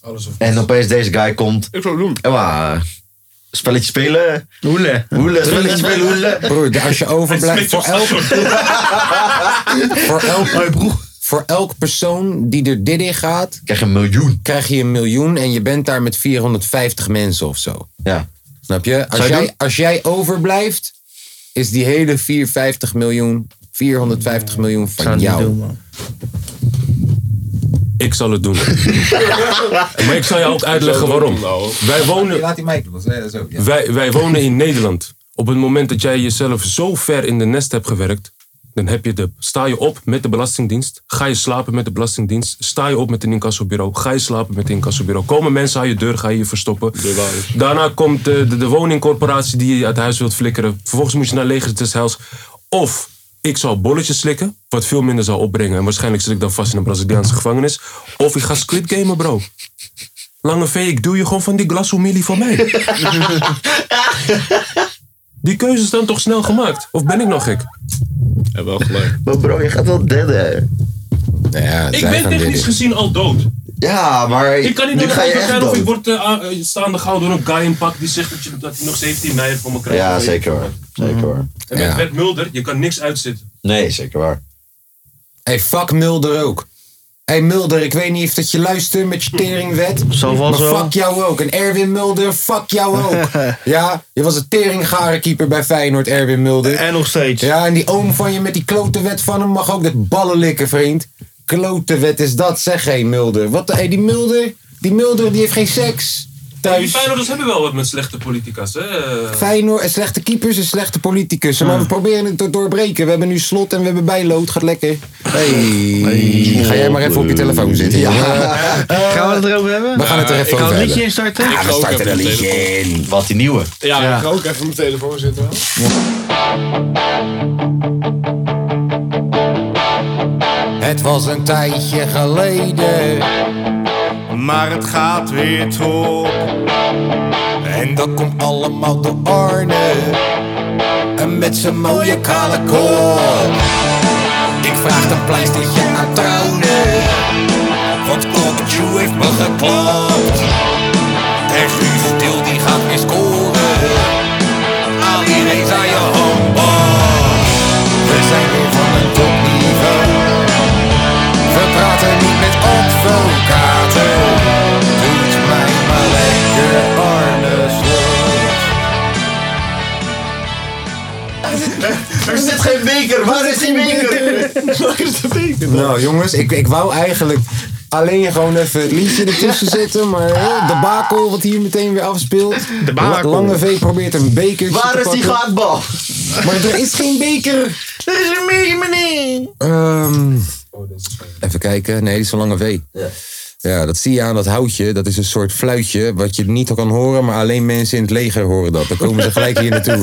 Alles of
En opeens deze guy komt.
Ik zou het doen.
Ewa, spelletje spelen.
Hoele.
Hoele, spelletje spelen, hoele.
Broer, de- als je overblijft voor elk, voor, elk, voor elk persoon die er dit in gaat,
Krijg je een miljoen.
krijg je een miljoen en je bent daar met 450 mensen of zo.
Ja.
Snap je?
Zou
Als,
je
jij,
doen?
als jij overblijft, is die hele 450 miljoen, 450 miljoen
Zou
van
het niet doen,
jou.
man.
Ik zal het doen. maar ik zal je ook uitleggen waarom.
nou,
Wij wonen,
Laat die mij doen. Zo, ja.
wij, wij wonen in Nederland. Op het moment dat jij jezelf zo ver in de nest hebt gewerkt, dan heb je de, sta je op met de Belastingdienst. Ga je slapen met de Belastingdienst. Sta je op met een incassobureau. Ga je slapen met een incassobureau. Komen mensen aan je deur, ga je je verstoppen. Daarna komt de, de, de woningcorporatie die je uit huis wilt flikkeren. Vervolgens moet je naar Legers des Heils. Of ik zal bolletjes slikken, wat veel minder zal opbrengen. En waarschijnlijk zit ik dan vast in een Braziliaanse gevangenis. Of ik ga squid gamen, bro. Lange V, ik doe je gewoon van die glasoemilie van mij. Die keuze is dan toch snel gemaakt? Of ben ik nog gek?
Ja, wel gelijk.
Maar bro, je gaat wel deaden.
Nou ja,
Ik
zij
ben
gaan dit
technisch
doen.
gezien al dood.
Ja, maar
Ik kan niet
nu
naar de
ga je
auto
echt
gaan of ik
dood.
word eh, a- eh, staande gehouden door een guy in pak die zegt dat, je, dat hij nog 17 mei voor me krijgt.
Ja, zeker waar. Zeker waar.
En met
Ja.
Bert Mulder, je kan niks uitzitten.
Nee, zeker waar.
hey, fuck Mulder ook. hey, Mulder, ik weet niet of dat je luistert met je teringwet.
Zo van
maar
zo.
fuck jou ook. En Erwin Mulder, fuck jou ook. ja, je was een teringgarenkeeper bij Feyenoord, Erwin Mulder.
En nog steeds.
Ja, en die oom van je met die klote wet van hem mag ook dat ballen likken, vriend. Klote wet is dat, zeg hé Mulder. Wat, hey, die Mulder, die Mulder die heeft geen seks
Die
thuis.
Feyenoorders hebben wel wat met slechte politica's, hè?
Feyenoord, en slechte keepers en slechte politicus. Maar we proberen het te doorbreken. We hebben nu slot en we hebben bijlood. Gaat lekker. Hey. Ga jij maar even op je telefoon zitten. Ja.
Gaan we het erover hebben?
We gaan het er even
Ik ga
over
een
hebben.
liedje instarten.
Ik ga ook even mijn telefoon-
En wat die nieuwe.
Ja, ik ga ook even mijn telefoon zitten. hoor.
Het was een tijdje geleden.
maar het gaat weer top.
En dat komt allemaal door Arne. En met zijn mooie kale kop. Ik vraag een pleistertje aan Trouwne. Want Cockatoo heeft me geklapt. En Guus Stil die gaat weer scoren. Ali Reza je handbal. We zijn weer van een topniveau. We praten niet met advocaten. Doet mij maar lekker Arne Slot.
Er zit geen beker, waar is die beker?
Nou jongens, ik, ik wou eigenlijk alleen gewoon even het liedje ertussen zetten. Maar hè, de bakel wat hier meteen weer afspeelt. De
bakel.
Lange V probeert een beker te
Waar is die
pakken.
gaatbal?
Maar er is geen beker. Ehm, even kijken. Nee, die is van Lange V. Ja. dat zie je aan dat houtje. Dat is een soort fluitje wat je niet kan horen, maar alleen mensen in het leger horen dat. Dan komen ze gelijk hier naartoe.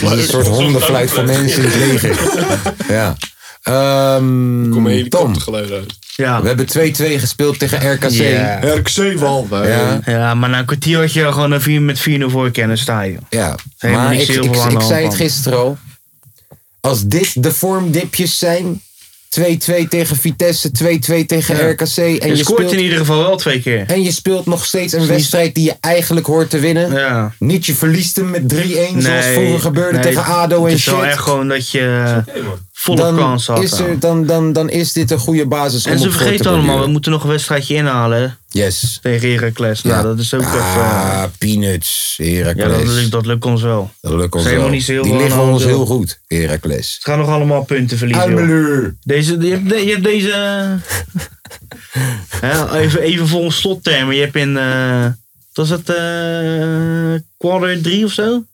Dat is een soort hondenfluit voor mensen in het leger. Ja. Ehm,
Kom een
Tom,
helikoptergeluid uit.
we
Ja.
hebben 2-2 gespeeld tegen RKC.
Ja.
RKC Walwijk.
Ja,
Ja, maar na een kwartier had je al gewoon een vier, met 4-0 voor kennen sta je.
ja.
Helemaal
maar
niks
ik,
heel
ik,
veel aan de
ik
hand
zei het
van.
gisteren al. Als dit de vormdipjes zijn, 2-2 tegen Vitesse, 2-2 tegen
Ja.
RKC. En
je
je,
scoort
speelt,
in ieder geval wel twee keer.
en je speelt nog steeds een wedstrijd die je eigenlijk hoort te winnen.
Ja.
Niet je verliest hem met 3-1 zoals vroeger gebeurde
nee,
tegen ADO en
Het is wel
shit.
echt gewoon dat je volle
Dan
kans had.
is,
aan.
er, dan, dan, dan is dit een goede basis om
en ze
op voor te
vergeten allemaal, we
borduren.
moeten nog een wedstrijdje inhalen
Yes.
tegen Heracles. Nou,
Ja.
dat is ook even...
Ah, peanuts,
ja, dat, lukt-
Heracles.
dat lukt ons wel.
Dat lukt ons
Zijn
wel.
helemaal niet zo heel
Die
veel aan
liggen
de
ons
hand,
heel
joh.
goed, Heracles.
Ze gaan nog allemaal punten verliezen. joh.
Uimeleur.
Deze, je, hebt, de- je hebt deze... hè, even, even volgens slottermen. Je hebt in... eh wat was het eh quarter 3 of zo?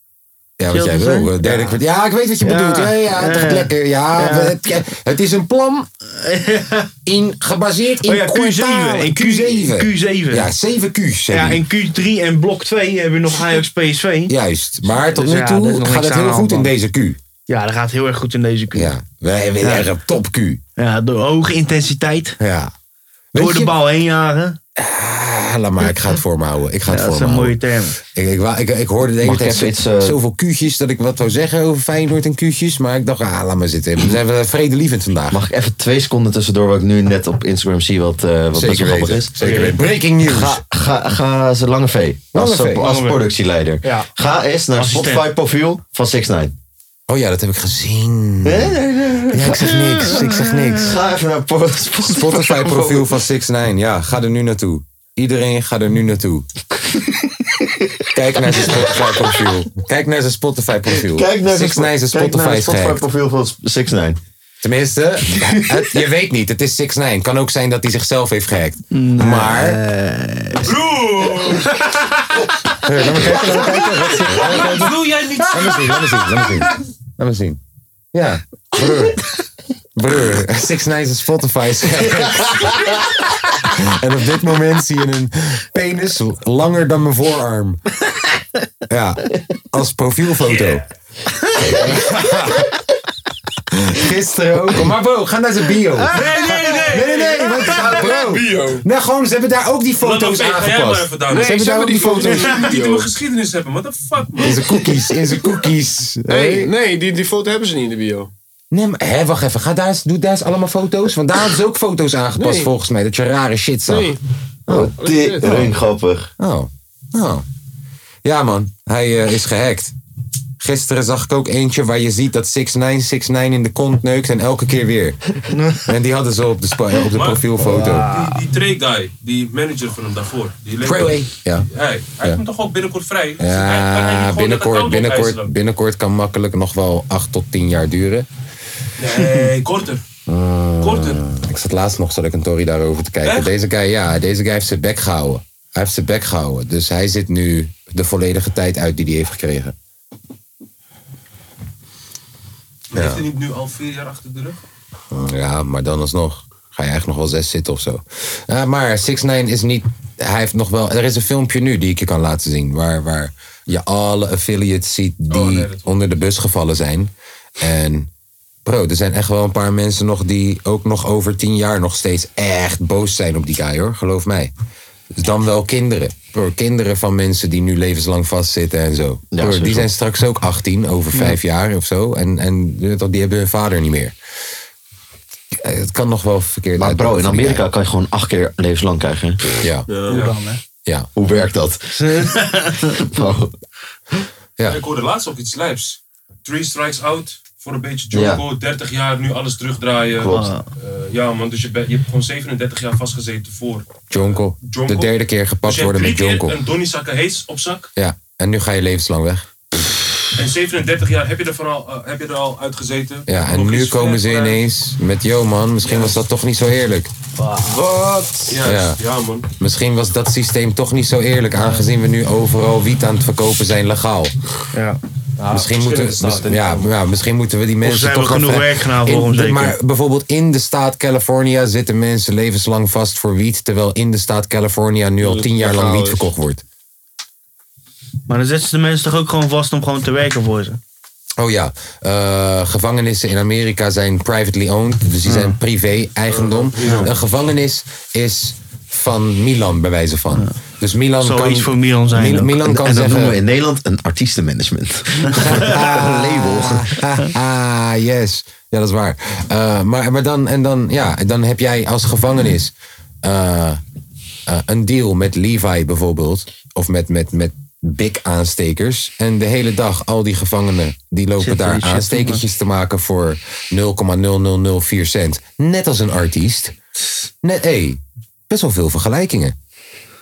Ja, wat jij
Chelsea
wil.
zijn?
eh, Derde kwart. Ja, ik weet wat je
Ja.
bedoelt. Ja, ja, het
Ja,
is
ja.
lekker. Ja,
Ja.
we- Het, het is een plan in, gebaseerd in
Oh ja, Q7.
kwartalen.
In
Q7.
Q7.
Ja, 7 Q's. zeg
Ja,
ik.
in Q3 en blok 2 hebben we nog Ajax PSV.
Juist. Maar tot
Dus
nu
ja,
toe
er is nog
gaat
niks
het
aan
heel
de
goed in
hand,
deze Q.
Ja, dat gaat heel erg goed in deze Q. Ja,
Ja, wij hebben
Ja.
echt een top Q.
door hoge intensiteit.
Ja.
Door
Weet
de
je-
bal heen jagen.
Ah, laat maar, ik ga het voor me houden. Ik ga
Ja,
het
dat is
voor me
een mooie
houden.
term.
Ik, ik, wou- ik, ik hoorde de hele
Mag ik
tijd
even iets,
zo-
eh,
zoveel Q'tjes dat ik wat wou zeggen over Feyenoord en Q'tjes. Maar ik dacht, ah, laat maar zitten. We zijn wel vredelievend vandaag.
Mag ik even twee seconden tussendoor, wat ik nu net op Instagram zie, wat, eh, wat best wel grappig is?
Zeker weten. Breaking news.
Ga, ga, ga ze Lange V,
Lange
als,
V.
als productieleider.
Ja.
Ga eens naar het
Assistent.
Spotify-profiel van 6 9
Oh ja, dat heb ik gezien. Hmm. Ja, ik zeg niks. Ik zeg niks.
Ga even naar po- Spotify.
Spotify profiel van 6 9 Ja, ga er nu naartoe. Iedereen ga er nu naartoe. Kijk naar zijn Spotify profiel. Kijk naar zijn Spotify profiel.
Kijk naar
Six Nine zijn
kijk naar
Spotify
het
is gehackt.
Spotify-profiel van 6 9
Tenminste, het- je weet niet. Het is 6 9 Kan ook zijn dat hij zichzelf heeft gehackt. Maar. Broer! Laat me kijken, laat me kijken. Wat zit- laat me kijken.
Wil jij niet
Laat me zien, laat me zien, laat me zien. Laat me zien. Ja, broer. Broer, Six Nines en Spotify is En op dit moment zie je een penis langer dan mijn voorarm. Ja, als profielfoto. Gisteren ook. al. Maar bro, ga naar zijn bio.
Nee, nee, nee.
Nee, nee, nee. Want, ah, bro.
Bio.
Nou, gewoon, ze hebben daar ook die
Laat ook
foto's
zeggen, ga jij maar
aangepast.
even daar.
Ze
Nee,
hebben daar ook die foto's.
niet in mijn geschiedenis hebben. What the fuck, man?
In zijn cookies, in zijn cookies.
Nee, nee die, die foto hebben ze niet in de bio.
Nee, maar hè, wacht even. Ga daar eens, doe daar eens allemaal foto's. Want daar hadden ze ook foto's aangepast
Nee.
volgens mij. Dat je rare shit zag.
Nee.
Oh,
shit.
tering grappig.
Oh. oh. Ja man, hij eh, is gehackt. Gisteren zag ik ook eentje waar je ziet dat 6 9 6 9 in de kont neukt en elke keer weer. En die hadden ze op de, spa- Oh, op de
Maar-
profielfoto.
Die, die Trey guy, die manager van hem daarvoor. Die leek-
Freeway. Ja.
Hij, hij
Ja.
komt toch ook binnenkort vrij? Dus hij- kan hij niet gewoon
Ja,
lekker
binnenkort,
koud
binnenkort,
opeisen
binnenkort kan makkelijk nog wel 8 tot 10 jaar duren.
dan? Nee, korter. Korter.
Eh, Ik zat laatst nog, zat ik een Tory daarover te kijken. Deze guy, ja, deze guy heeft zijn bek gehouden. Hij heeft zijn bek gehouden. Dus hij zit nu de volledige tijd uit die hij heeft gekregen.
Maar
Ja.
Heeft hij niet nu al vier jaar achter de rug?
Ja, maar dan alsnog ga je eigenlijk nog wel zes zitten of zo. Eh, maar 6 9 is niet. Hij heeft nog wel. Er is een filmpje nu die ik je kan laten zien. Waar, waar je alle affiliates ziet die onder de bus gevallen zijn. En bro, er zijn echt wel een paar mensen nog die ook nog over tien jaar nog steeds echt boos zijn op die guy hoor. Geloof mij. Dus dan wel kinderen. Bro, kinderen van mensen die nu levenslang vastzitten en zo.
Ja,
Bro, die
sowieso.
zijn straks ook 18 over vijf jaar of zo. En, en die hebben hun vader niet meer. Eh, Het kan nog wel verkeerd
Maar bro,
uitpakken
in
voor die
Amerika kan je gewoon acht keer levenslang krijgen. hè?
Ja.
Hoe dan, hè?
Ja.
Hoe werkt dat? Bro.
Ik hoorde laatst ook iets lijps. Three strikes out voor een beetje Joko. 30 jaar, nu alles terugdraaien.
Klopt.
Eh, ja man, dus je, bent- je hebt gewoon 37 jaar vastgezeten voor
Jonko.
Jonko.
De derde keer
Dus
gepakt
je hebt
worden
drie
met
keer
Jonko.
een Donnie zakken hees op zak.
Ja. En nu ga je levenslang weg.
En 37 jaar heb je er, van al, eh, heb je er al uitgezeten.
Ja. En nu komen ze ineens met, yo man, misschien was dat toch niet zo eerlijk.
Wat? Ja,
Ja.
ja. man.
Misschien was dat systeem toch niet zo eerlijk, aangezien we nu overal wiet aan het verkopen zijn legaal.
Ja.
misschien, moeten,
verschillende staten
mis- ja, ja, misschien moeten we die mensen
zijn we
toch
genoeg
af-
werk gaan halen
in-
voor ons, zeker?
Maar bijvoorbeeld in de staat California zitten mensen levenslang vast voor wiet, terwijl in de staat California nu al
het
tien jaar lang
legaal
wiet
is.
verkocht wordt.
Maar dan zetten ze de mensen toch ook gewoon vast om gewoon te werken voor ze.
Oh ja, eh, gevangenissen in Amerika zijn privately owned, dus die zijn privé-eigendom. Een gevangenis is van Milan, bij wijze van. Dus Milan kan... Mil- Milan kan
en dat
zeggen,
noemen we in Nederland een artiestenmanagement.
label. Ah, yes. Ja, dat is waar. Eh, maar maar dan, en dan, ja, dan heb jij als gevangenis eh, eh, een deal met Levi bijvoorbeeld. Of met, met, met big aanstekers. En de hele dag al die gevangenen die lopen
Zitten
daar
die shit te
aanstekertjes te maken voor 0,0004 cent. Net als een artiest. Net, hey, best wel veel vergelijkingen.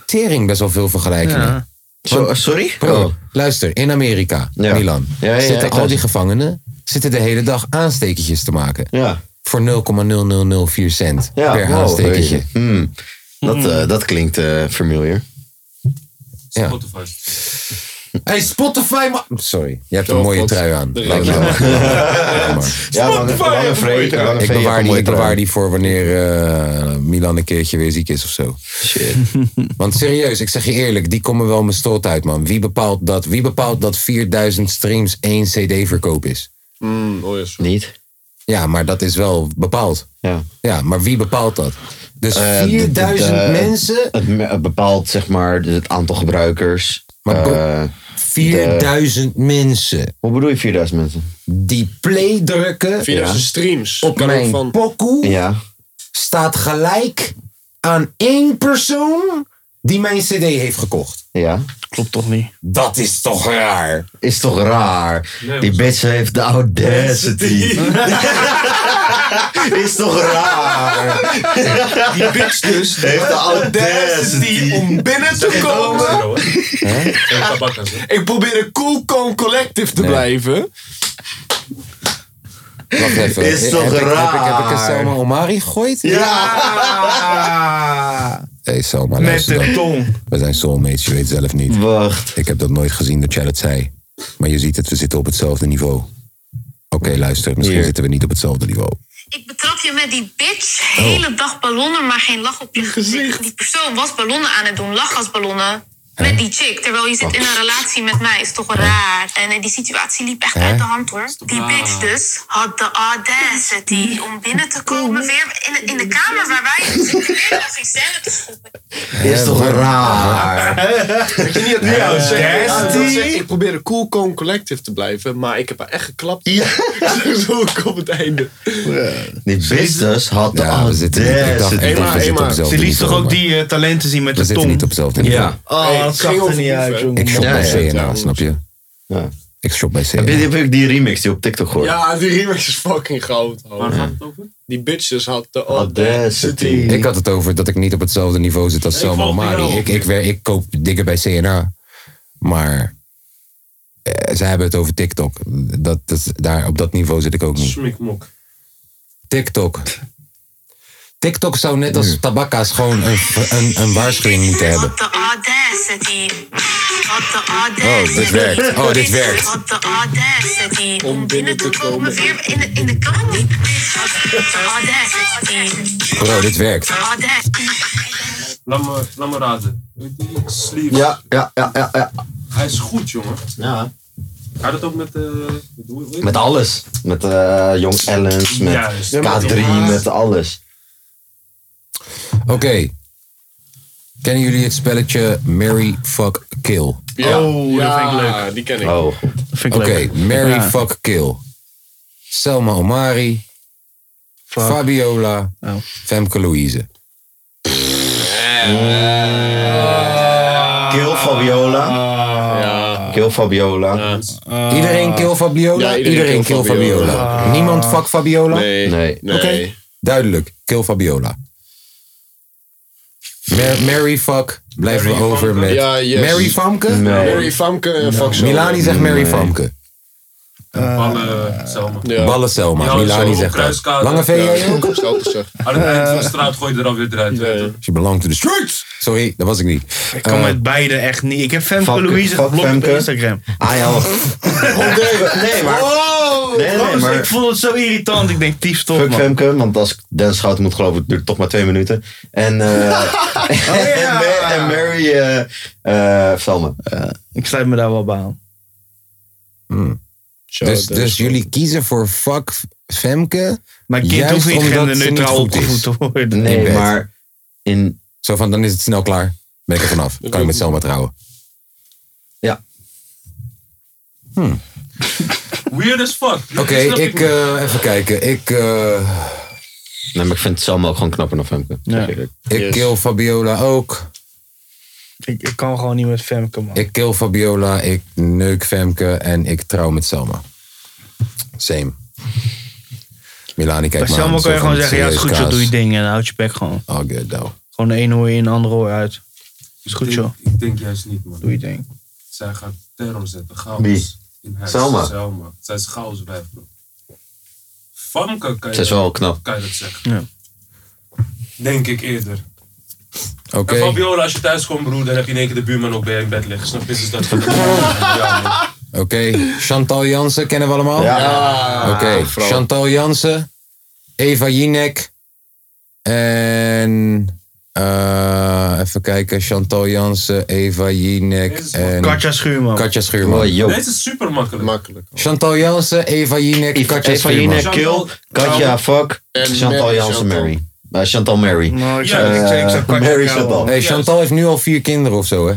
Tering best wel veel vergelijkingen.
Ja. Zo- sorry?
Bro,
Oh.
luister, in Amerika,
Ja.
Milan,
Ja, ja, ja, ik
zitten al die
luister.
gevangenen zitten de hele dag aanstekertjes te maken.
Ja.
Voor 0,0004 cent
Ja,
per
wow,
aanstekertje.
weet je. Hmm. Dat, eh, dat klinkt eh familiar.
Ja.
Spotify.
Hey, Spotify, ma- Sorry, je hebt een mooie trui aan. Dankjewel.
Ja, lange, lange vreemd. Lange
Ik
vreemd,
bewaar,
een
die,
mooie
ik bewaar
trui.
die voor wanneer eh, Milan een keertje weer ziek is of zo.
Shit.
Want serieus, ik zeg je eerlijk, die komen wel mijn stoot uit, man. Wie bepaalt dat, wie bepaalt dat 4000 streams één CD-verkoop is?
Mm.
Oh,
Niet.
Ja, maar dat is wel bepaald.
Ja.
Ja, maar wie bepaalt dat? Dus
Eh, de- de-
4000
de-
mensen?
Het, me- het bepaalt zeg maar de- het aantal gebruikers.
Maar kom-
Eh,
4000 mensen.
Hoe bedoel je 4000 mensen?
Die play drukken
4000 streams.
op
Kan ook
mijn
van-
pokoe
Ja.
staat gelijk aan één persoon die mijn cd heeft gekocht.
Ja.
Klopt toch niet?
Dat is toch raar?
Is toch raar? Die bitch heeft de audacity. Is toch raar?
Die bitch dus.
Heeft de audacity.
om binnen te komen.
En tabakkas, hè?
Ik probeer een cool, calm, collective te blijven.
Wacht even.
Is
Eh, Heb
toch
ik- heb ik, Heb ik,
raar?
een Selma Omari gegooid?
Ja!
Hey Selma, luister dan.
tong.
We zijn soulmates, je weet zelf niet.
Wacht.
Ik heb dat nooit gezien dat jij dat zei. Maar je ziet het, we zitten op hetzelfde niveau. Oké, luister, misschien
Hier.
zitten we niet op hetzelfde niveau.
Ik betrap je met die bitch. Hele dag ballonnen, maar geen lach op Oh. je gezicht. Die persoon was ballonnen aan het doen, lachgasballonnen. Met die chick, terwijl je zit in een relatie met mij, is toch raar. En eh, die situatie liep echt uit de hand hoor. Die bitch dus had de audacity om binnen te komen weer in, in de kamer waar wij in zitten. Weer nog geen scène te schoppen.
Is toch raar?
Ik weet niet dat ja, dat zegt. Ja, dat zegt, Ik probeer een cool, calm, collective te blijven. Maar ik heb haar echt geklapt.
Ja.
Zo ik op het einde.
Die business had de
Ja, we zitten niet, ik dacht, ik
audacity.
dacht, we zitten op
Emma,
hetzelfde
Ze liet toch
niveau,
ook
maar
die eh, talenten zien met
We
de tong?
zitten niet op hetzelfde niveau.
Ja.
Oh,
Hey,
dat
ging
zag er
over
niet
proeven.
uit, jongen.
Ik shop
Ja,
mijn
ja, ja.
CNA, snap je?
Ja.
Ik shop bij CNA.
Heb je, heb je ook die remix die op TikTok hoort?
Ja, die remix is fucking goud. Waar gaat het over? Die bitches had Ah, de audacity.
Ik had het over dat ik niet op hetzelfde niveau zit als
Ik
Selma
volg jou.
Mari. Ik, ik, wer- ik koop dingen bij CNA. Maar eh, zij hebben het over TikTok. Dat, dat, daar, op dat niveau zit ik ook niet.
Smikmok.
TikTok. TikTok zou net als tabakka's gewoon een, een, een waarschuwing moeten hebben.
The audacity. Had de audacity.
Oh, dit werkt. Oh, dit werkt.
Had de audacity. Om binnen te komen. Weer in de, in de kamer. Had de audacity.
Bro, dit werkt.
Audacity.
Laat me, laat me raden. Weet je, Sleeves.
Ja, ja, ja, ja. ja.
Hij is goed, jongen.
Ja.
Gaat het ook met... eh, hoe- hoe-
Met alles. Met eh, Jong Ellens, met
Juist. Ja, maar-
K3, met alles.
Oké. Kennen jullie het spelletje Mary Fuck Kill?
oh, dat vind ik leuk. die ken ik.
Oh,
Oké, Mary
Ja.
Fuck Kill. Selma Omari. Fabiola.
Oh.
Femke Louise.
Mm. Kill Fabiola. Kill Fabiola.
iedereen kill Fabiola?
Ah. Ja,
iedereen, kill Fabiola.
Ah.
Niemand fuck Fabiola? Nee.
nee.
Oké, duidelijk. Kill Fabiola. Mar- Mary fuck. Blijven we over met...
Ja, yes.
Mary Famke?
Mary Famke en fuck zo.
Milani zegt Mary Famke.
Ballen, Selma.
Ja. Ballen Selma,
Ja,
Milani
zo,
zegt dat.
kruiskade.
Lange V,
Ja.
jij ook?
Aan het eind van de straat gooi je er alweer eruit. weet je.
She belongs to the streets. Sorry, dat was ik niet.
Ik kan met beide echt niet. Ik heb Femke
fuck-
Louise
fuck
geblokt op
Femke.
Instagram.
Ah ja. Nee, maar... nee,
Trouwens,
maar-
Ik vond het zo irritant. Ik denk, tief toch,
Fuck
man.
Femke, want als ik Dennis Schout moet geloven, het duurt toch maar twee minuten. En,
Oh,
eh en, Ma- en Mary eh eh Selma.
ik sluit me daar wel bij aan. Zo,
Dus,
dat
dus jullie kiezen voor fuck Femke?
Maar kind
juist
hoeft niet
omdat
genderneutraal
ze niet goed is.
opgevoed te worden. Nee,
In bed.
maar
in...
Zo van, dan is het snel klaar. Ben ik er vanaf. Kan ik met Selma trouwen.
Weird as fuck.
Hmm. Oké, ik... eh, even kijken. Ik... eh,
Nee, maar ik vind Selma ook gewoon knapper dan Femke.
Ja.
Ik kill Fabiola ook.
Ik, ik kan gewoon niet met Femke, man.
Ik kill Fabiola, ik neuk Femke en ik trouw met Selma. Same. Milani kijkt
Bij
me aan,
Selma
zo
kan je
van,
gewoon zeggen, ja, het is goed
serieus,
zo, doe je
Kaas.
ding. En dan houd je bek gewoon.
Oh, good, though.
Gewoon de ene hoor je in, de andere hoor je uit. Is goed
Ik
zo.
denk- Ik denk juist niet, man.
Doe je ding.
Zij gaat terror zetten. Chaos.
Wie?
In huis.
Selma.
Selma. Zij is chaos wijf, bro. Famke kan je,
Ze is wel knap.
kan je dat zeggen. Denk ik eerder.
Oké.
En Fabiola, als je thuis komt, broer, dan heb je in één keer de buurman ook bij je in bed liggen. Snap je? Dus dat ja, man.
Oké, Chantal Jansen kennen we allemaal?
Ja.
Oké,
Vrouw.
Chantal Jansen, Eva Jinek en... eh, even kijken, Chantal Jansen, Eva Jinek en...
Katja Schuurman.
Katja Schuurman.
Deze is super makkelijk.
Makkelijk.
Chantal Jansen, Eva Jinek, Katja
Eva
Schuurman.
Jinek, Kill, Katja, Fuck, Chantal Jansen, Mary. Eh, Chantal Mary.
Nou, ik zou- ik zou- ik zou
Eh,
Katja
Mary
trouwen.
Chantal.
Hey, Chantal heeft nu al vier kinderen of zo, hè?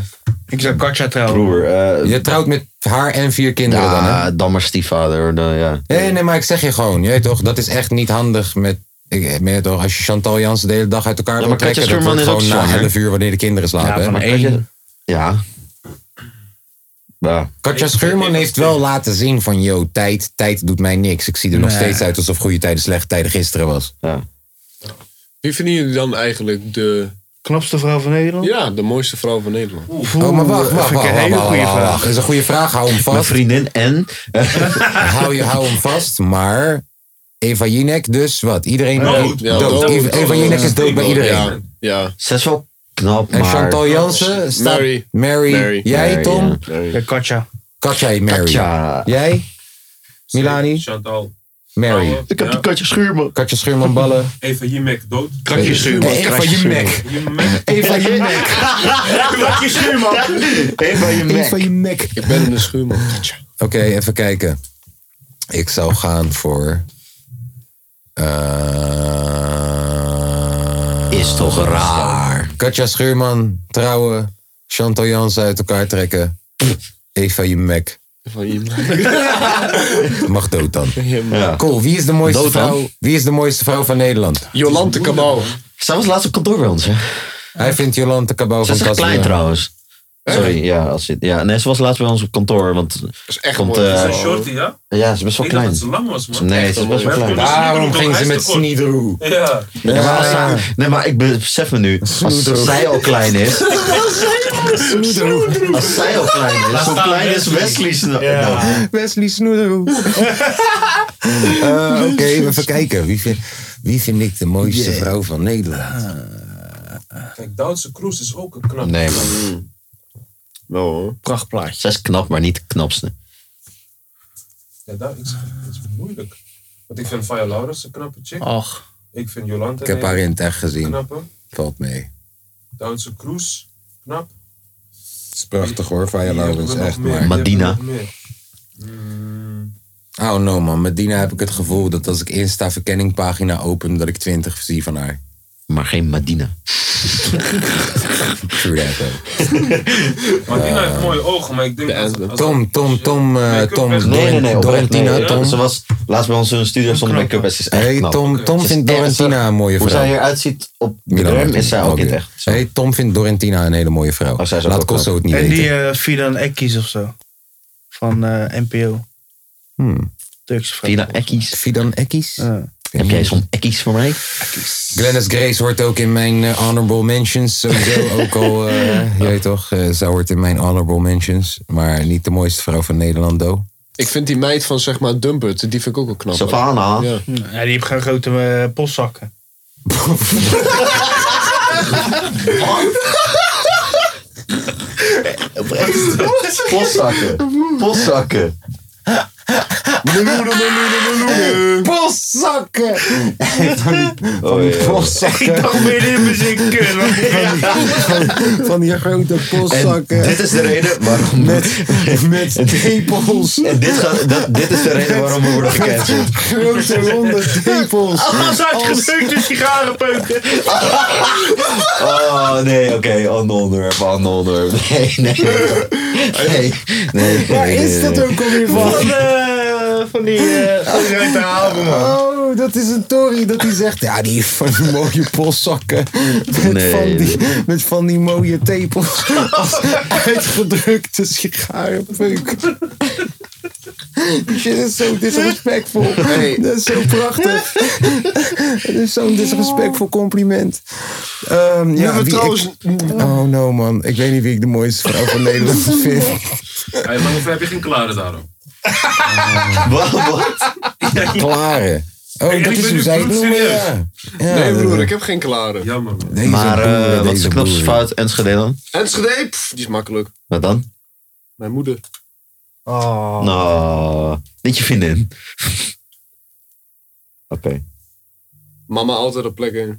Ik zou Katja trouwen.
Broer, eh,
Je trouwt met haar en vier kinderen dan, hè?
ja, dan maar stiefvader. dan, ja.
Nee, nee, maar ik zeg je gewoon, je weet toch, dat is echt niet handig met. Ik meen het toch, als je Chantal Jansen de hele dag uit elkaar
Ja,
wil
maar Katja
trekken, dat
Schuurman
wordt
is ook
gewoon na
zwanger.
11 uur wanneer de kinderen slapen.
Ja,
hè?
van
Maar
één.
Katja-
Ja. ja.
Katja Schuurman heeft wel laten zien van, yo, tijd, tijd doet mij niks. Ik zie er nog
Nee.
steeds uit alsof goede tijden slechte tijden gisteren was.
Wie vinden jullie dan eigenlijk de...
Knapste vrouw van Nederland?
Ja, de mooiste vrouw van Nederland.
oh, maar wacht, wacht, wacht, wacht, wacht, wacht, wacht. Dat is een goede vraag, hou hem vast.
Mijn vriendin en?
hou, je, hou hem vast, maar Eva Jinek dus, wat? Iedereen
Dood. Ja,
dood.
dood.
Eva- Eva Jinek is dood bij iedereen.
Ja, ja.
Ze is wel knap,
En
maar...
Chantal Jansen staat...
Mary.
Mary.
Mary.
Jij,
Mary,
Tom?
ja. Mary.
Ja, Katja.
Katja, Mary.
Katja.
Jij? Milani?
Chantal.
Mary.
Ik heb
Oh, Ja.
de Katja Schuurman.
Katja Schuurman ballen.
Eva Jimek dood.
Katja Schuurman. Eva Katja Jimek. Eva Jinek.
Katja Schuurman.
Eva
Eva Jinek.
Ik ben in de schuurman.
Oké, even kijken. Ik zou gaan voor...
Is toch raar.
eh, Katja Schuurman trouwen. Chantal Jansen uit elkaar trekken. Eva Jimek. Mag dood dan.
Ja.
Cool, wie is de mooiste
Dood dan?
vrouw? Wie is de mooiste vrouw van Nederland?
Jolante Cabau.
Zij was laatst op kantoor bij ons, hè?
Hij vindt Jolante Cabau
Ze
van
is echt klein trouwens. Sorry, ja, als je, ja. Nee, ze was laatst bij ons op kantoor. Want eh,
is
echt mooi. Is een shorty, ja?
Ja, ze is best wel
Ik dacht
klein.
dat ze lang was, man.
Nee,
Echt,
ze is best wel
man.
klein.
Waarom Waarom ging ze met
sneedroe?
Ja.
Nee, maar, als zij- nee, maar ik besef me nu, als
Snoedroe.
zij al klein is,
Snoederhoe.
als zij al klein is,
Laat
zo
staan
klein is Wesley. Sno- Nou,
Wesley Snoederhoe. Eh, Oké, even kijken. Wie vind, wie vind ik de mooiste
Yeah.
vrouw van
Ah,
Nederland?
Kijk, Duitse Kroes is ook een knap.
Nee, man. Wel hoor.
Prachtplaatje.
Zij is knap, maar niet de knapste.
Ja, daar, ik zeg, het is moeilijk. Want ik vind Faya Laurens een knappe chick.
Och.
Ik vind Jolanta
Ik heb haar in het echt
een
gezien.
Knappe.
Valt mee.
Duitse Kroes, knap.
Het is prachtig hoor, Faya Laurens.
hebben we
nou, Echt
nog meer?
maar.
Die hebben we nog meer.
Oh no man, met Dina heb ik het gevoel dat als ik Insta verkenningpagina open, dat ik 20 zie van haar.
Maar geen Madina.
True that, though.
Maar Dina heeft mooie ogen, maar ik denk dat... als-
Tom, Tom, Tom, eh, Tom,
Nee, nee, nee.
Dor-
oprecht,
Dorentina,
nee.
Tom.
Ze was laatst bij ons in de studio zonder make-up en ze is echt
Hey,
knap.
Tom, Tom
Ze Nou, is
vindt
echt-
Dorentina een mooie
Hoe
vrouw.
zij eruit ziet op de
Milan
rem
Martin,
is zij ook in het
weer.
echt. Oh,
Hey, Tom vindt Dorentina een hele mooie vrouw. Laat Kosso het niet
en
weten.
die eh via een Ekkies of zo. Van eh, NPO.
Hmm.
Turkse vrouw.
Fidan Ekkies. Fidan Ekkies?
Heb jij zo'n Ekkies voor mij?
Glennis Grace hoort ook in mijn eh, honorable mentions. Sowieso ook al, eh je weet toch, eh, zij hoort in mijn honorable mentions. Maar niet de mooiste vrouw van Nederland, do.
Ik vind die meid van zeg maar Dumpert, die vind ik ook wel knap.
Savannah.
Ja.
Ja, die heeft geen grote eh, postzakken.
Postzakken. Postzakken.
Postzakken!
Oh,
Van
die postzakken. Ik dacht
weer in muziek kunnen.
Van, van die grote postzakken.
Dit is de reden waarom... Met,
met tepels.
En dit, gaat, dat, dit is de reden waarom we worden gecanceld.
Grote ronde tepels.
Alles uitgedrukt in sigarenpeuken.
Oh, nee, oké. ander onderwerp, ander onderwerp. Nee, nee. Nee, nee.
Waar
nee,
is
nee,
dat
nee.
ook alweer van?
Van, eh, van die eh, van die grote halen, man.
Oh, dat is een Tory dat hij zegt. Ja, die heeft van die mooie postzakken. Met,
Nee,
van, die, met van die mooie tepels. Als uitgedrukte sigarenpeuk. Dit is zo disrespectvol.
Nee.
Dat is zo prachtig. Het is zo'n disrespectvol compliment. Ehm,
Ja,
ja,
maar
wie
trouwens-
ik- Oh no man, ik weet niet wie ik de mooiste vrouw van Nederland vind.
Hey, maar hoeveel heb je geen klare daarom?
Wat?
Klare. Oh,
En
dat
ik
is
ben
hoe
nu
zij het noemen,
bloedserieus.
ja. Ja,
nee
dat-
broer, ik heb geen klare.
Jammer.
Deze
Maar
broer,
eh, wat is
deze
de knapste
broer.
fout? Enschede dan?
Enschede, pff, die is makkelijk.
Wat dan?
Mijn moeder.
Oh.
Nou, niet je vriendin. Oké.
Mama altijd op plek één.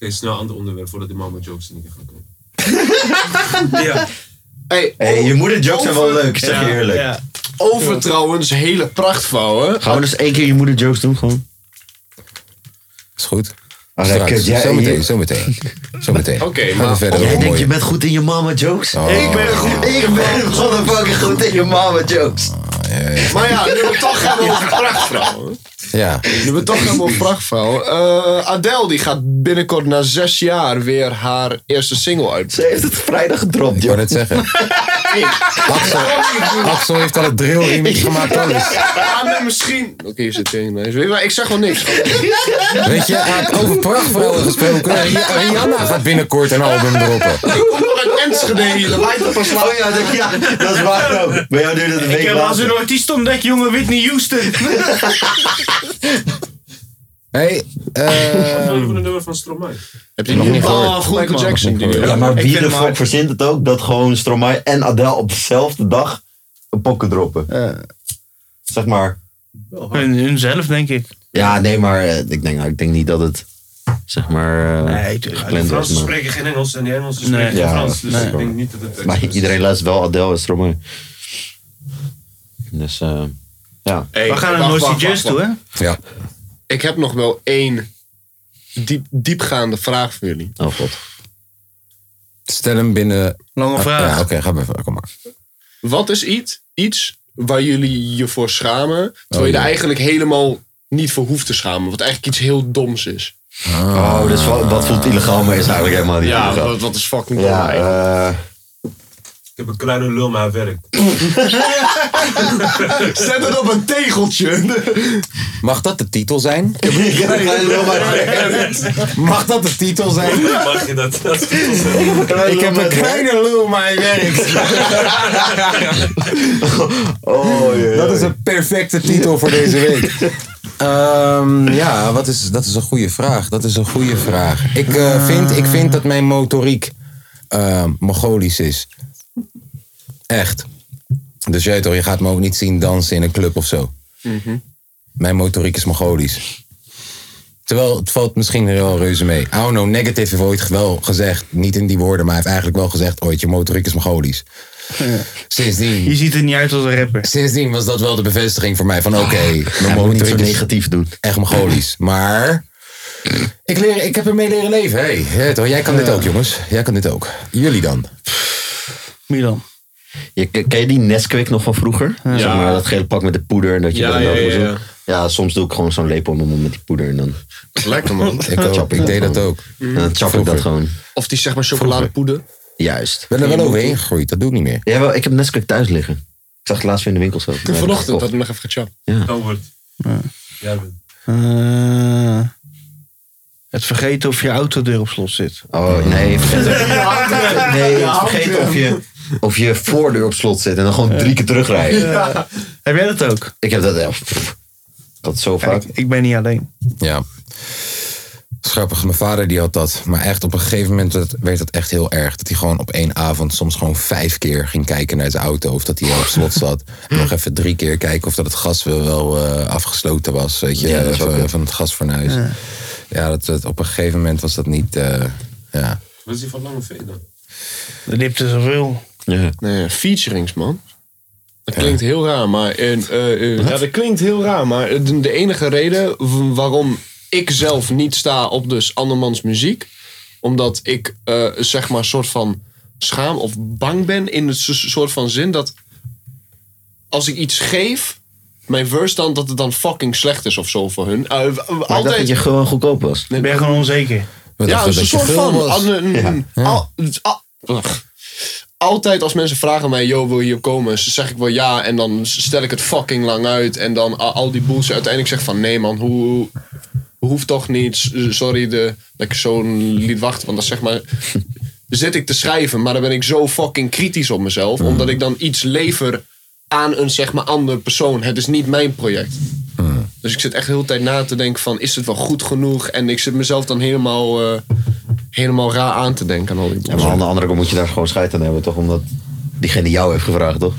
Oké, snel ander onderwerp voordat die mama jokes niet gaan komen.
Hey,
Hey, je moeder jokes zijn wel leuk, ik zeg je eerlijk.
Over trouwens, hele prachtvouwen.
Gaan we dus één keer je moeder jokes doen gewoon?
Is goed.
Ah,
Straks,
kut, jij-
zometeen,
je-
zometeen. Zometeen.
Oké,
Gaan we
maar-
verder
Jij
over
denkt, je
mooie-
bent goed in je mama jokes?
Oh.
Ik ben goed, ik ben motherfucking goed in je mama jokes.
Maar ja, nu we toch gaan over prachtvrouwen.
Ja.
Nu we toch gaan over prachtvrouwen. Eh, Adele die gaat binnenkort na zes jaar weer haar eerste single uit.
Ze heeft het vrijdag gedropt,
Ik wou
joh.
net zeggen. Axel, Axel heeft al het drill remix gemaakt. Alles.
Ah, nee, misschien. Oké, je zit tegen mij. Weet je wat, Ik zeg wel niks.
Weet je, ah, over prachtvrouwen gesproken. Rihanna gaat binnenkort een album droppen.
Ik kom nog uit Enschede hier. Dat lijkt op een slag.
Oh ja, dat, ja, dat is waar ook. Bij jou duurde het een
Ik
week
heb als
later.
een artiest ontdekt, jongen, Whitney Houston.
Hey,
Wat
eh, Ah,
wil je voor een nummer van Stromae?
Heb je nog niet gehoord? Michael Jackson. Die
Ja, maar
Ik
wie
vind
de
hem
fuck
hard.
verzint het ook dat gewoon Stromae en Adele op dezelfde dag een pokken droppen? Zeg maar.
Hun, hunzelf, denk ik.
Ja, nee, maar eh, ik denk, nou, ik denk niet dat het, zeg maar, eh,
Nee, tuurlijk.
De
gepland was.
Fransen
maar-
spreken geen Engels en die Engelsen
Nee.
spreken geen
Ja,
Frans. Dus
nee.
ik denk niet dat het expres
Maar
is.
iedereen luistert wel Adele en Stromae. Dus eh, ja.
We gaan naar Noisy Jazz toe, hè?
ja.
Ik heb nog wel één diep, diepgaande vraag voor jullie.
Oh god.
Stel hem binnen.
Lange
Ja, oké,
vraag.
ga maar even. Kom maar.
Wat is iets, iets waar jullie je voor schamen,
Oh,
terwijl je er eigenlijk helemaal niet voor hoeft te schamen, wat eigenlijk iets heel doms is?
Oh, dus wat, wat voelt illegaal, maar is eigenlijk helemaal niet
Ja,
illegaal.
wat, wat is fucking dom
Ja,
eigenlijk.
eh,
heb een kleine lul, maar hij werkt.
Zet het op een tegeltje.
Mag dat de titel zijn?
Mag
dat de titel zijn?
Mag je dat? dat
Ik heb een kleine lul, maar hij werkt.
Oh,
dat is een perfecte titel voor deze week. Ehm, ja, wat is, dat is een goede vraag. Dat is een goede vraag. Ik, eh, vind, ik vind dat mijn motoriek eh, Mongolisch is. Echt. Dus jij toch, je gaat me ook niet zien dansen in een club of zo.
Mhm.
Mijn motoriek is Mongolisch. Terwijl het valt misschien wel reuze mee. I don't know, Negative heeft ooit wel gezegd, niet in die woorden, maar hij heeft eigenlijk wel gezegd ooit, je motoriek is Mongolisch. Sindsdien. Je ziet er niet uit als een rapper. Sindsdien was dat wel de bevestiging voor mij van oké,
Ah.
mijn motoriek is negatief doen. Echt Mongolisch. Maar ik, leer, ik heb ermee leren leven. Hey, hè, toch, jij kan dit ook jongens. Jij kan dit ook. Jullie dan?
Milan. Je, ken je die Nesquik nog van vroeger?
Ja.
Zeg maar, dat gele pak met de poeder en dat je
Ja,
dan
ja,
dat
ja,
moet doen.
ja.
Ja, soms doe ik gewoon zo'n lepel in mijn mond met die poeder en dan...
Lekker man.
Ik ook.
Chap
Ik deed dat ook. eh,
Mm.
Mhm. Ja, dan chap ik
Vroeger.
dat gewoon.
Of die zeg maar chocoladepoeder.
Juist. Ik
ben er wel overheen
gegroeid, dat doe ik niet meer.
Ja, wel, ik heb Nesquik thuis liggen. Ik zag het laatst weer in de winkel zo.
Ik Vanochtend had ik nog even gechapt.
Ja.
Jij bent.
Eh, het vergeten of je autodeur op slot zit.
Oh nee, vergeten- nee,
Ja,
vergeet
handen.
of je, of je voordeur op slot zit en dan gewoon drie keer terugrijden.
Ja. Heb jij dat ook?
Ik heb dat echt. Dat zo
vaak. ik ben niet alleen.
Ja. Schappig, mijn vader die had dat. Maar echt, op een gegeven moment werd- werd dat echt heel erg. Dat hij gewoon op één avond soms gewoon vijf keer ging kijken naar zijn auto. Of dat hij op slot zat. En nog even drie keer kijken of dat het gas wel, wel eh, afgesloten was. Weet je,
Ja, dat is ook
van,
het.
van het gasfornuis. Ja,
Ja.
dat, dat- op een gegeven moment was dat niet... eh, ja.
Wat is die van Lange V dan?
Er liep er zoveel.
Nee, featurings, man. Dat klinkt heel raar, maar. eh, eh, eh, ja, dat klinkt heel raar, maar eh, de, de enige reden w- waarom ik zelf niet sta op dus andermans muziek, omdat ik eh, zeg maar soort van schaam of bang ben in het so- soort van zin dat als ik iets geef, mijn verse dan dat het dan fucking slecht is of zo voor hun. Eh, w- w-
Maar ik dacht dat je gewoon goedkoop was.
ben je gewoon onzeker?
ja,
dat
een soort van. an- een- een- al- al- ugh. Dus Altijd als mensen vragen mij, yo, wil je hier komen? Ze- Zeg ik wel ja en dan stel ik het fucking lang uit. En dan al, al die boels uiteindelijk zeg van, nee man, hoe, hoeft toch niet. S- Sorry de, dat ik zo liet wachten. Want dat zeg maar, zit ik te schrijven, maar dan ben ik zo fucking kritisch op mezelf. Omdat ik dan iets lever aan een zeg maar andere persoon. Het is niet mijn project. Dus ik zit echt de hele tijd na te denken van, is het wel goed genoeg? En ik zit mezelf dan helemaal, eh, helemaal raar aan te denken aan al die
Ja, maar aan de andere kant moet je daar gewoon scheid aan hebben, toch? Omdat diegene die jou heeft gevraagd, toch?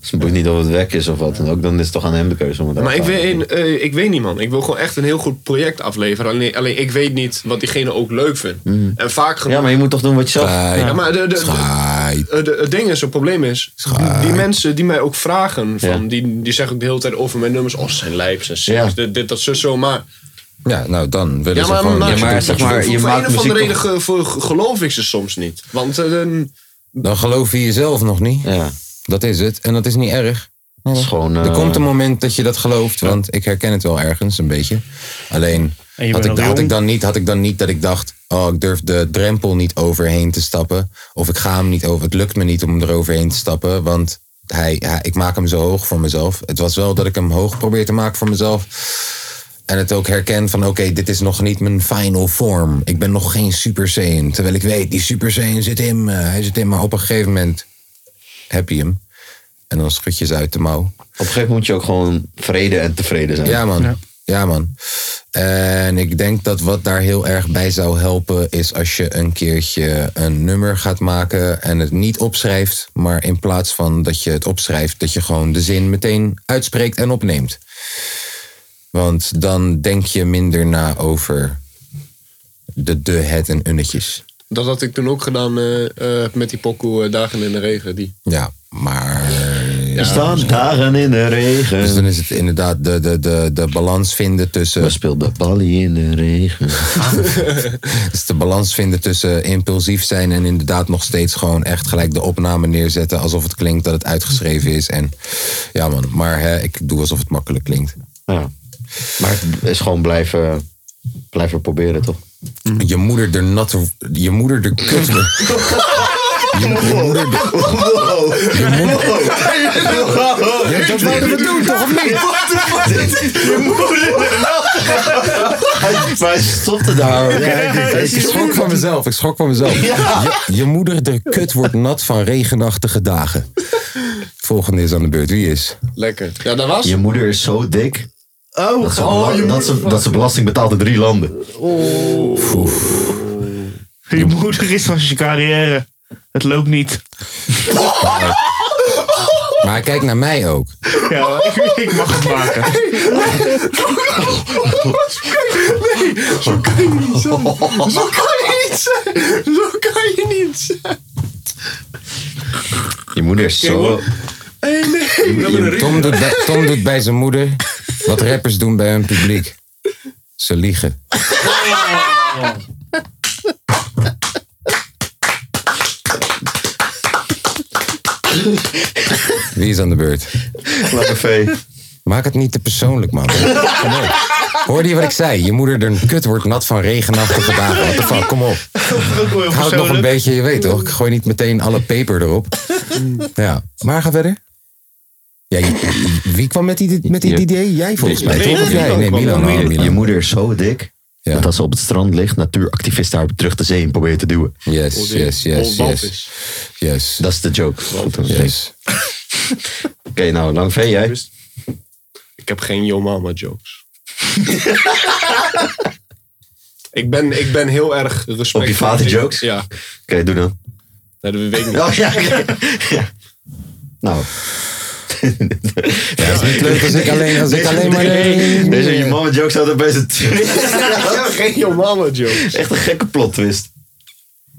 Dus het boeit niet of het werk is of wat dan ook. Dan is het toch aan hem de keuze. Om het
Maar
uit
ik
te halen.
weet, eh, ik weet niet, man. Ik wil gewoon echt een heel goed project afleveren. Alleen, alleen ik weet niet wat diegene ook leuk vindt.
Mm.
En vaak genoeg...
Ja, maar je moet toch doen wat je zelf...
Ja, maar de, de, de- de- het ding is, het probleem is, die mensen die mij ook vragen, van, die, die zeggen ook de hele tijd over mijn nummers, oh, ze zijn lijps en seks, dit, dit, dat, zo, zo, maar...
Ja, nou dan willen
Ja,
ze
maar,
gewoon...
maar,
Ja, maar
voor,
zeg maar,
voor,
je
voor
maakt
een of andere
muziek
reden ge- voor- ge- geloof ik ze soms niet. Want eh, dan-
Dan geloof je jezelf nog niet. Dat is het. En dat is niet erg.
is gewoon,
Er
eh,
komt een moment dat je dat gelooft. Want ik herken het wel ergens een beetje. Alleen
En je
had
bent
ik, had,
nog jong.
ik dan niet, had ik dan niet dat ik dacht... Oh, ik durf de drempel niet overheen te stappen. Of ik ga hem niet over. Het lukt me niet om eroverheen te stappen. Want hij, hij- ik maak hem zo hoog voor mezelf. Het was wel dat ik hem hoog probeer te maken voor mezelf. En het ook herken van oké, dit is nog niet mijn final form. Ik ben nog geen Super Saiyan. Terwijl ik weet, die Super Saiyan zit in me. Hij zit in me. Maar op een gegeven moment heb je hem. En dan schud je ze uit de mouw. Op een
gegeven moment moet je ook gewoon vrede en tevreden zijn.
Ja man, ja, man. En ik denk dat wat daar heel erg bij zou helpen... is als je een keertje een nummer gaat maken en het niet opschrijft... maar in plaats van dat je het opschrijft... dat je gewoon de zin meteen uitspreekt en opneemt. Want dan denk je minder na over de de, het en unnetjes.
dat had ik toen ook gedaan eh, eh, met die pokoe eh, Dagen in de Regen. Die.
Ja, maar...
Er staan dagen in de regen.
Dus dan is het inderdaad de, de, de, de balans vinden tussen... We
speelden Bali in de regen.
dus de balans vinden tussen impulsief zijn en inderdaad nog steeds gewoon echt gelijk de opname neerzetten. Alsof het klinkt dat het uitgeschreven is. En ja man, maar hè, ik doe alsof het makkelijk klinkt.
Ja. Maar het is gewoon blijven, blijven proberen, toch?
Mhm. Je moeder de natte... Je moeder de kut... Je, je moeder de... Je hebt dat wel te doen, toch? Of niet?
Je moeder. Maar hij stopte daar.
Ja, ik, ik- ik schrok van mezelf. Ik schrok van mezelf. Je, je moeder, de kut, wordt nat van regenachtige dagen. Volgende is aan de beurt. Wie is?
Lekker. Ja, dat was.
Je moeder is zo dik.
Oh,
Dat ze, bela- dat, ze, dat ze belasting betaalt in drie landen.
Je moeder is van je carrière. Het loopt niet.
Maar hij kijkt naar mij ook.
Ja, ik, ik mag het maken.
Nee, zo kan je niet zijn. Zo kan je niet zijn. Zo kan je niet zijn.
Je moeder is zo...
Hey, nee.
Tom doet, bij, Tom doet bij zijn moeder wat rappers doen bij hun publiek. Ze liegen. Wie is aan de beurt?
Lange V.
Maak het niet te persoonlijk, man. Kom op. Hoorde je wat ik zei? Je moeder, de kut wordt nat van regenachtige dagen. What the fuck, kom op. Ik hou het nog een beetje, je weet toch? Ik gooi niet meteen alle peper erop. Ja, maar ga verder. Ja, je- wie kwam met die, met die idee? Jij volgens mij, toch? Of jij? Nee, Milan.
Je-
oh, Milan.
Je moeder is zo dik. Dat als ze op het strand ligt, natuuractivisten haar terug de zee in proberen te duwen.
Yes, yes, yes, yes. Yes.
Dat is de joke. Goed, dat is
yes.
Oké, nou, lang V, jij?
Ik heb geen yo mama jokes. ik, ben, ik ben heel erg respectvol.
Op je vader jokes?
Ja.
Oké, doe dan.
Nee, dat weet ik niet.
Oh, ja, ja. Nou.
het is niet leuk als ik alleen- als ik
Deze-
alleen maar-
Deze, deze je mama jokes hadden bij zijn
Geen yo mama jokes.
Echt een gekke plot twist.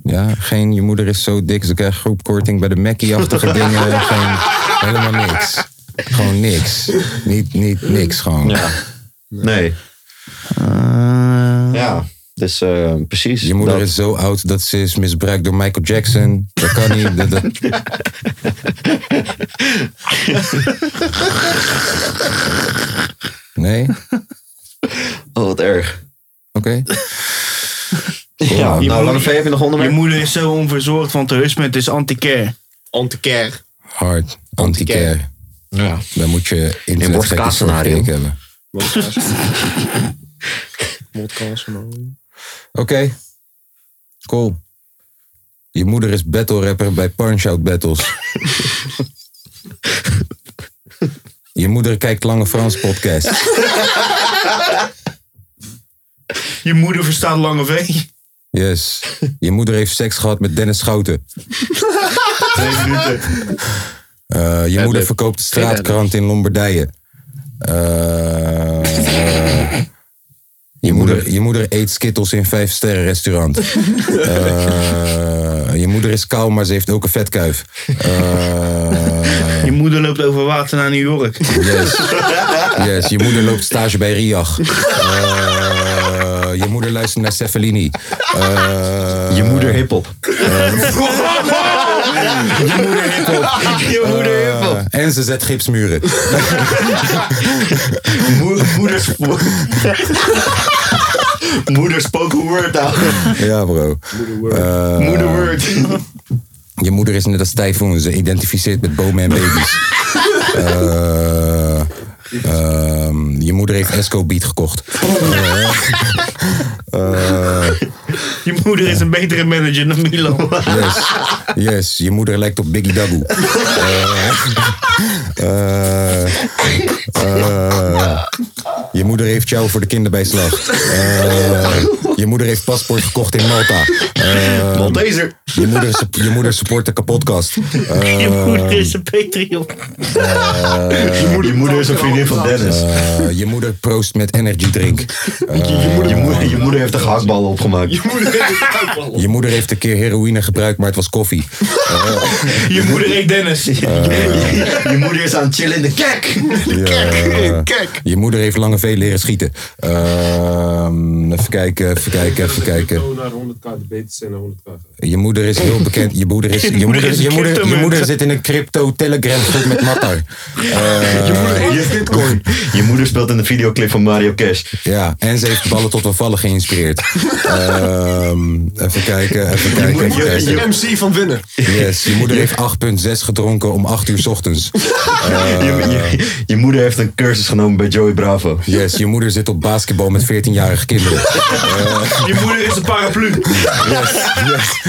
Ja, geen je moeder is zo dik, ze krijgt groepkorting bij de Mackie-achtige dingen. Geen, helemaal niks. Gewoon niks. Niet, niet niks, gewoon.
Nee. ja, dus eh, precies.
Je moeder is zo oud dat ze is misbruikt door Michael Jackson. Dat kan niet. Dat, dat- Nee?
Oh, wat erg.
Oké. Oh,
Ja,
Je
nou,
moeder-
Lange V, heb je nog onderwerp?
Je moeder is zo onverzorgd, want haar husband is anti-care.
Anti-care.
Hard. Anti-care.
Ja.
Dan moet je
In
internetgekkers voor
borstkaasscenario.
gekeken hebben. Oké. Cool. Je moeder is battle rapper bij Punch Out Battles. je moeder kijkt Lange Frans podcast.
Je moeder verstaat lange V.
Yes. Je moeder heeft seks gehad met Dennis Schouten. Eh, je moeder verkoopt de straatkrant in Lombardije. Eh, je, moeder, je moeder eet skittels in vijf sterren restaurant. Eh, je moeder is kou, maar ze heeft ook een vetkuif. Eh,
Je moeder loopt over water naar New York.
Yes. Yes, je moeder loopt stage bij Riach. Eh, je moeder luistert naar Cefalini. Eh, je moeder
hip-hop.
je moeder hip-hop.
Je moeder hip-hop.
Eh, en ze zet gipsmuren.
moeders. moeders spoken word out.
Ja, bro. Eh,
Moeder word.
Je moeder is net als tyfoon. Ze identificeert met bomen en baby's. Eh, ehm, je moeder heeft Esco Beat gekocht. Eh, eh,
Je moeder is een betere manager dan Milan.
Yes. yes, je moeder lijkt op Biggie Dagoe. Eh, eh, eh, je moeder heeft jou voor de kinderbijslag. Eh, je moeder heeft paspoort gekocht in Malta. Eh,
Malteser.
Je moeder, sup- je moeder support de kapotkast. Eh,
Je moeder is een Patreon.
Eh, je, moeder, is een vriendin van Dennis.
eh, je moeder proost met energy drink. Eh,
je, moeder, je, moeder, je moeder heeft een gehaktbal opgemaakt.
Je moeder heeft een keer heroïne gebruikt, maar het was koffie. Eh,
Je moeder eet Dennis.
Je moeder is aan het chillen in de kek.
Ja. Je moeder heeft lange vee leren schieten. Ehm, even kijken, even kijken, even kijken.
naar 100k, de beter zijn naar 100k.
Je moeder is heel bekend. Je moeder, is, je moeder,
is een
je moeder, je
cryptomunt.
moeder zit in een crypto-telegram-groep met Mattar. Eh,
Je moeder speelt in de videoclip van Mario Cash.
ja, en ze heeft ballen tot een vallen geïnspireerd. Eh, Ehm, even kijken, even kijken.
Je
even
moeder is
kijken.
de MC van winnen.
Yes, je moeder heeft 8,6 gedronken om 8 uur 's ochtends.
je,
je moeder heeft een cursus genomen bij Joey Bravo. Yes, je moeder zit op basketbal met 14-jarige kinderen.
Je moeder is een paraplu.
Eh. Yes,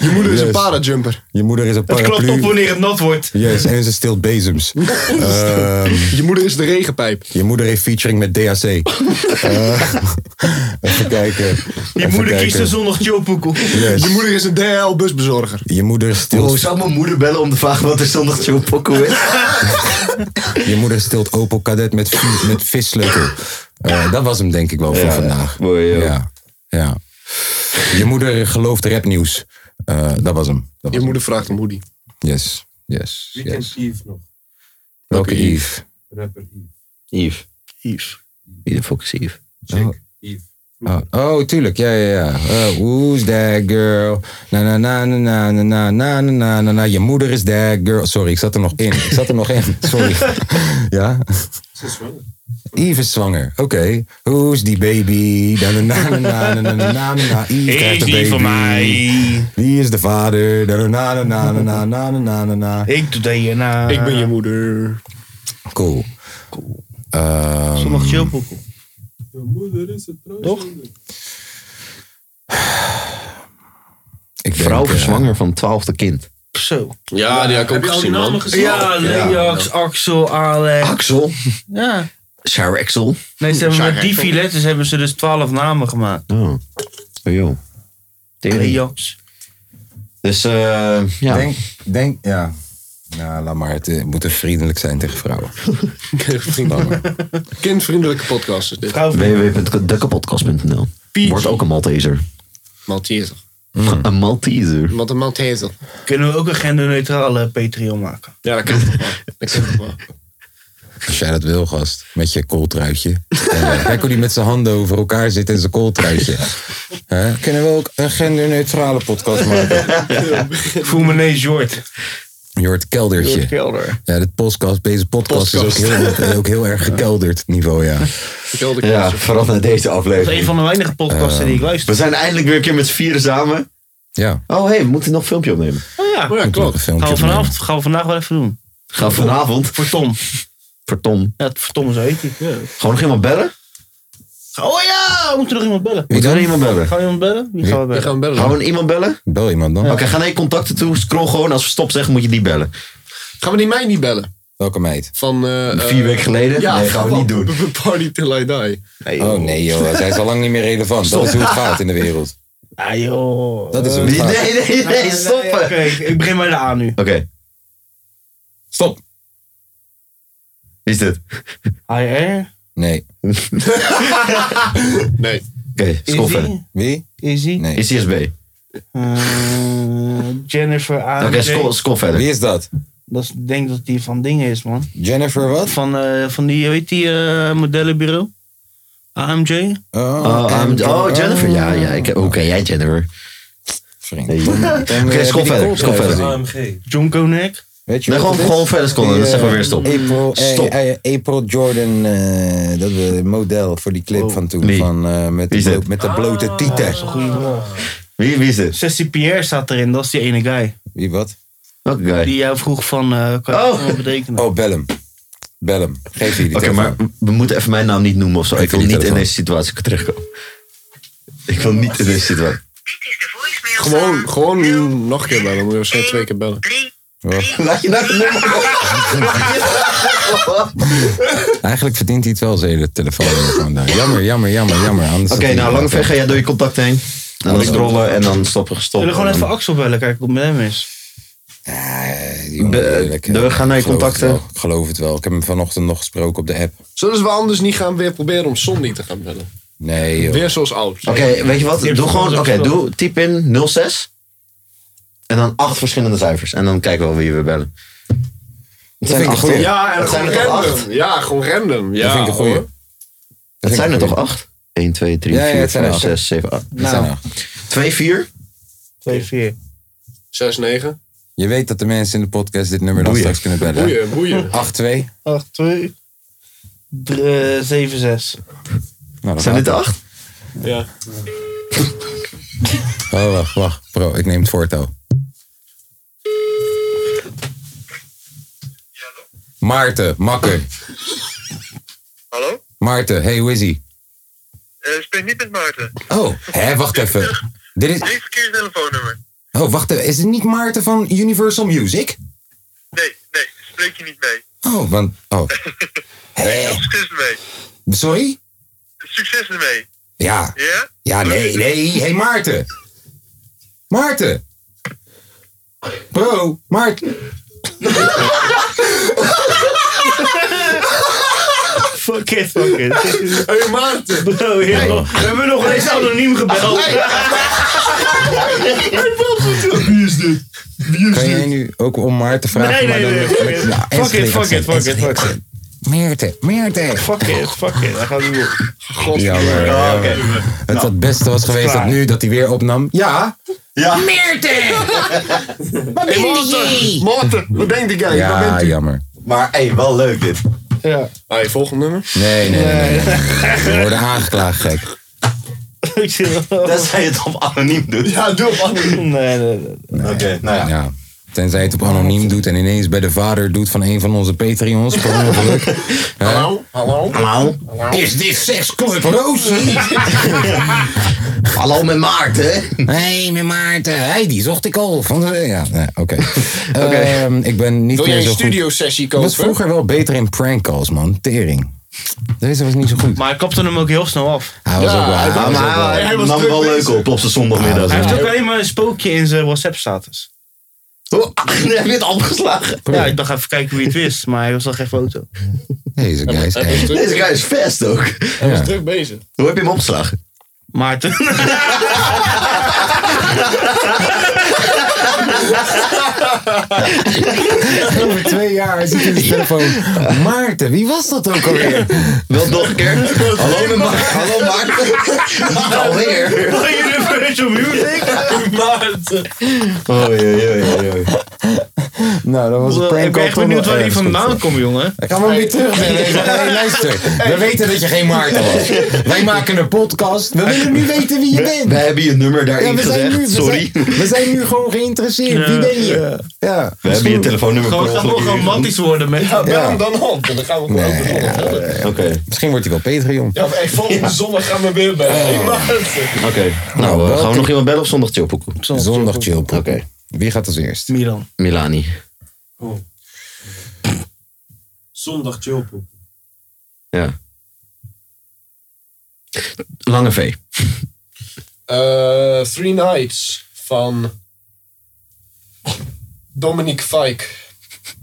Je moeder is
yes.
een parajumper.
Je moeder is een
Het
paraplu.
klopt op wanneer het nat wordt.
Yes, en ze steelt bezems. Ehm,
Je moeder is de regenpijp.
je moeder heeft featuring met DHC. Eh, even kijken.
Je moeder kiest een zondag Joe Poekel.
Yes.
Je moeder is een DHL-busbezorger.
Je moeder stilt...
Hoe Oh, zou mijn moeder bellen om te vragen wat er zondag Joe Poco is?
Je moeder stilt Opel Cadet met, vi- met vissleutel. Eh, dat was hem denk ik wel voor vandaag. ja. ja. Je moeder gelooft rapnieuws. Eh, dat was hem.
Je moeder vraagt om hoodie.
Yes, yes.
Wie kent Yves nog?
Welke Yves?
Rapper Yves.
Yves. Yves. Wie de fuck is Yves?
Oh, oh, tuurlijk, ja, ja, ja. Eh, who's that girl? Na, na, na, na, na, na, na, na, na, na, na. Je moeder is that girl. Sorry, ik zat er nog in. Ik zat er nog in, sorry. Ja?
Ze is zwanger.
Yves is zwanger, oké. Who's die baby? Na, na, na, na, na, na, na, na, na. Yves
Is
krijgt een
die
baby.
van mij?
Wie is de vader? Na, na, na, na, na, na, na, na, na, na.
Ik doe DNA.
Ik ben je
moeder.
Cool. Ehm,
Zondag Joe Poekel.
Je moeder is het trouwens.
Toch?
Ik
Vrouw verzwanger van twaalfde kind.
Zo.
Ja, die had ik ook gezien, man.
Ja, Ajax, Axel, Alex.
Axel?
Ja.
Sarah Axel.
Nee, ze hebben
Sarah
met die
Axel.
filettes hebben ze dus twaalf namen gemaakt.
Oh. Oh, joh.
Ajax.
Dus, eh ja.
Denk, denk, ja. Nou, laat maar. Het eh, moet vriendelijk zijn tegen vrouwen.
Kindvriendelijke podcast is dit.
www.dekkenpodcast.nl Wordt ook een Malteser.
Malteser.
Mm.
Een Malteser.
Wat een Malteser.
Kunnen we ook een genderneutrale Patreon maken? Oh
Ja, dat kan wel.
Als jij dat wil, gast. Met je kooltruitje. En, eh, Kijk hoe die met zijn handen over elkaar zit in zijn kooltruitje. Hè? Kunnen we ook een genderneutrale podcast maken?
Voel me nee, Jort.
Jort Keldertje.
Jort Kelder.
Ja, dit podcast, deze podcast, is ook
Podcast.
heel, ook heel erg gekelderd niveau, ja.
Ja, vooral naar deze aflevering. Ehm,
Dat is een van de weinige podcasten die ik luister.
We zijn eindelijk weer een keer met z'n vieren samen.
Ja.
Oh, hé, hey, we moeten nog een filmpje opnemen.
Oh ja,
Oh ja, klopt.
Gaan we, vanavond, gaan we vandaag wel even doen.
Gaan we vanavond.
Voor Tom.
Voor Tom.
Ja, voor Tom zo heet hij.
Gewoon nog iemand bellen?
Oh ja, we moeten nog iemand bellen.
Wie Moeten we dan? nog iemand bellen?
Gaan we iemand bellen? Wie gaan we bellen?
Gewoon iemand bellen?
Bel iemand dan.
Oké, ga naar je contacten toe. Scroll gewoon. Als we stop zeggen, moet je die bellen.
Gaan we die mij niet bellen?
Welke meid?
Van, eh,
Vier
eh,
weken geleden?
Ja,
Nee, gaan we niet doen.
Party till I die.
oh nee joh, zij is al lang niet meer relevant. Dat is hoe het gaat in de wereld.
Ah joh.
Dat is hoe het gaat.
nee, nee, stoppen.
Oké, ik begin bij de A nu.
Oké.
Stop.
Wie is dit?
HR?
Nee.
Nee.
Oké, scroll
Izzy?
verder.
Wie?
Izzy?
Nee.
Is CSB.
Ah, Eh, Jennifer A.
Oké, scroll, scroll verder.
Wie is dat?
Dat is, ik denk dat die van dingen is, man.
Jennifer wat?
Van, eh, van die, weet die, eh, modellenbureau? AMJ?
Oh,
Oh, um, oh, Jennifer. Ja, ja. Ik, hoe ken jij Jennifer? Nee.
eh,
Oké, scroll verder. Scroll verder.
Ehm,
AMG.
John Konek?
Weet
Nee,
wat
gewoon-
het is?
gewoon verder scrollen,
Die,
dan zeggen
eh,
we weer stop.
April, eh,
Stop.
eh, April Jordan, eh, dat eh, model voor die clip van toen.
Oh. Wie?
Van, eh, met, de
Wie is
blo-
dit?
met de blote
Ah.
tieten.
Wie, wie is dit?
Sessie Pierre staat erin, dat is die ene guy.
Wie wat?
Welke guy?
Die jou vroeg van, eh, kan je dat allemaal betekenen?
Oh, bel hem. Bel hem. Geef je die
Oké, maar we moeten even mijn naam niet noemen of zo. Ik
die
wil niet in
telefoon.
deze situatie terugkomen. Ik wil niet in deze situatie.
Gewoon, gewoon nog een keer bellen. Moet je waarschijnlijk twee keer bellen.
Laat je nou de
Eigenlijk verdient hij het wel, zijn hele telefoon. Gewoon daar. Jammer, jammer, jammer, jammer. Anders had
Oké,
hij
nou,
niet
lang
laten.
ver ga jij door je contact heen. En dan scrollen en dan stoppen
Zullen
gestopt.
we gewoon even Axel bellen, kijken hoe het met hem is?
Eh, die jongen,
De-
eerlijk, eh,
de- ga naar je
ik geloof het
contacten.
wel. Ik geloof het wel. Ik heb hem vanochtend nog gesproken op de app.
Zullen we anders niet gaan weer proberen om Sonny te gaan bellen?
Nee, joh.
Weer zoals oud.
Oké, weet je wat? Doe gewoon, oké, doe, typ in 06. En dan acht verschillende cijfers. En dan kijken we wie we bellen. Het
vind ik een goeie.
Ja, en
het zijn
gewoon
er toch acht?
random. Ja, gewoon random. Ja,
dat vind ik een goeie.
hoor.
Het zijn er
goeie.
toch acht? 1, 2, 3,
Ja, ja,
4,
het zijn er Nou.
5,
acht.
6, 7, 8.
Dat zijn er.
2, 4.
2-4.
6, 9.
Je weet dat de mensen in de podcast dit nummer dan
Boeien.
straks kunnen bellen.
Boeien, boeien.
8-2.
8, 2, 3, 7, 6.
Nou, dat
Zijn
gaat
dit de acht?
Ja.
Oh, wacht, wacht. Bro, ik neem het voortouw. Maarten, makker.
Hallo?
Maarten, hey, hoe is ie?
Eh, ik spreek niet met Maarten.
Oh, hè, wacht even. Dit is...
Dit verkeerde telefoonnummer.
Oh, wacht even. Is het niet Maarten van Universal Music?
Nee, nee, spreek je niet mee.
Oh, want... Oh. Hé.
Succes ermee.
Sorry?
Succes ermee.
Ja.
Ja?
Ja, nee, nee. Hé, hey, Maarten. Maarten. Bro, Maarten.
Fuck it, fuck it.
Hey Maarten.
Bro, hier, we hebben nog eens anoniem gebeld.
Wie is dit? Wie is kan jij nu ook om Maarten vragen?
Nee,
maar
nee,
dan met-
nee. fuck it.
Nou,
Fuck it,
Enschede
fuck it,
accent,
fuck it,
Enschede
fuck it.
accent. Meerte, Meerte.
Fuck it, fuck it. Hij gaat nu op.
Jammer,
Ah, oké.
jammer. eh, Het het beste was geweest dat nu dat hij weer opnam. Ja.
Ja.
Hey, Maarten. Maarten, wat denkt jij? Waar bent u?
jammer.
Maar hey, wel leuk dit.
Ja. Hey, Ah, volgende nummer.
Nee, nee, nee. nee, nee. We worden aangeklaagd, gek.
Dat zij het op anoniem dus? doet.
Ja, doe op anoniem.
Nee, nee, nee.
Oké, nou ja.
Tenzij je het op anoniem doet en ineens bij de vader doet van een van onze Patreons. per ongeluk. Hè?
Hallo? Hallo?
Hallo?
Is dit seksclub Roosje?
Hallo met Maarten.
Hé, hey, met Maarten. Hey, die zocht ik al. Van de- ja, nee, oké. Ehm, ik ben niet
Wil jij
meer
een
zo goed.
studiosessie
Ik was
kopen?
vroeger wel beter in prank calls, man. Tering. Deze was niet zo goed.
Maar hij kapte hem ook heel snel af.
Hij was ook wel- hij was ook wel-
hij nam Nou, wel leuk op op zijn zondagmiddag.
Hij heeft ook alleen maar een spookje in zijn WhatsApp-status.
Oh,
Heb je het opgeslagen?
Ja, ik dacht even kijken wie het wist, maar hij was al geen foto.
Deze guy is echt.
Deze guy is vast ook.
Hij was druk bezig.
Hoe heb je hem opgeslagen?
Maarten.
Over twee jaar zit in de telefoon. Maarten, wie was dat ook alweer?
Wel nog een keer. Hallo met Maarten. Hallo Maarten. Niet alweer.
Universal Music.
Maarten.
Oh, jee, jee, jee.
Nou, dat was een prank
Ik ben echt benieuwd waar die vandaan komt, jongen.
Ik ga maar weer terug. Hey, luister. We weten dat je geen Maarten was. Wij maken een podcast. We willen nu weten wie je bent.
We hebben je nummer daarin
Ja, we zijn
gezegd.
nu, we
Sorry.
Zijn, we zijn nu gewoon geïnteresseerd. Wie ben je? Ja.
We hebben je telefoonnummer
Gewoon
per
gewoon
ongeluk ingezet.
romantisch worden met
Ja, bel hem dan op. En dan gaan we gewoon op de volgende. verder.
Oké,
Misschien wordt hij wel Patreon.
Ja, maar hey, volgende zondag gaan we weer bij. Hey, Maarten.
oké. Nou, eh, gaan we nog iemand bellen of zondag Chilpokoe?
Zondag chill.
Oké,
Wie gaat als eerst?
Milan.
Milani.
Zondag chillpoep.
Ja. Lange V.
Eh, Three Nights van Dominique Fike.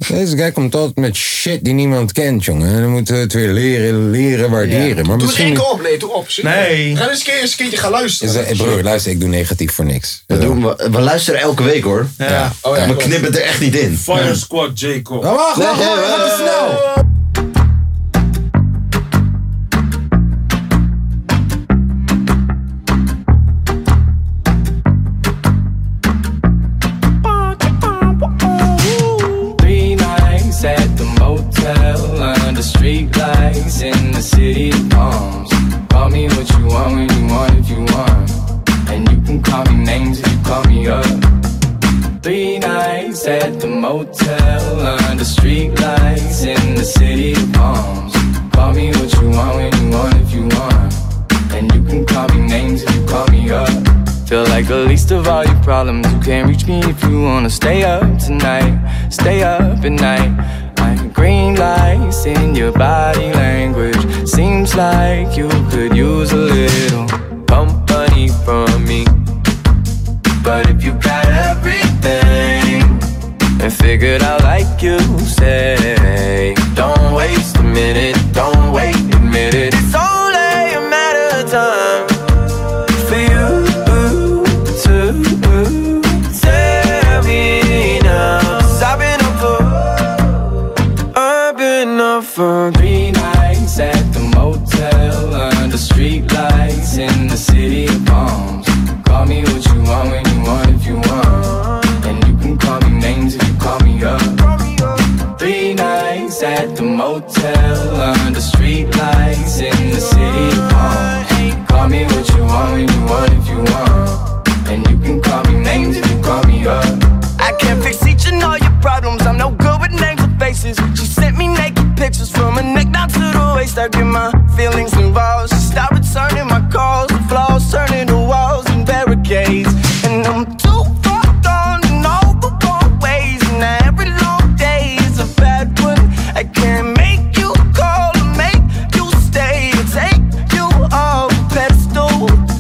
Deze guy komt altijd met shit die niemand kent, jongen. En dan moeten we het weer leren, leren, waarderen. Maar
Doe er
misschien...
één op. Nee, doe op. Zie je?
Nee.
Ga eens een keer- eens een keertje gaan
Is
luisteren.
dat- eh, Broer, luister, ik doe negatief voor niks.
We, doen, we, we luisteren elke week hoor.
Ja.
Oh ja,
We
klopt.
knippen het er echt niet in.
Fire Squad Jacob.
Oh, wacht, wacht, wacht, wacht, te snel.
Three nights at the motel under street lights in the city of palms. Call me what you want when you want if you want. And you can call me names if you call me up. Three nights at the motel under street lights in the city of palms. Call me what you want when you want if you want. And you can call me names if you call me up. Feel like the least of all your problems. You can't reach me if you wanna stay up tonight. Stay up at night. Like green lights in your body language. Seems like you could use a little company from me. But if you got everything and figured out like you say, don't waste a minute, don't wait a minute. It's only a matter of time for you to tell me now. 'Cause I've been up for, I've been up for three nights at the motel under street lights in the city of palms. Call me what you want when you want if you want. And you can call me names if you call me up. Three nights at the motel under street lights in the city of palms. Call me what you want when you want if you want. And you can
pictures from her neck down to the waist. I get my feelings involved. She stopped returning my calls. The flaws turning to walls and barricades. And I'm too far gone in all the wrong ways. And now every long day is a bad one. I can't make you call or make you stay or take you off the pedestal.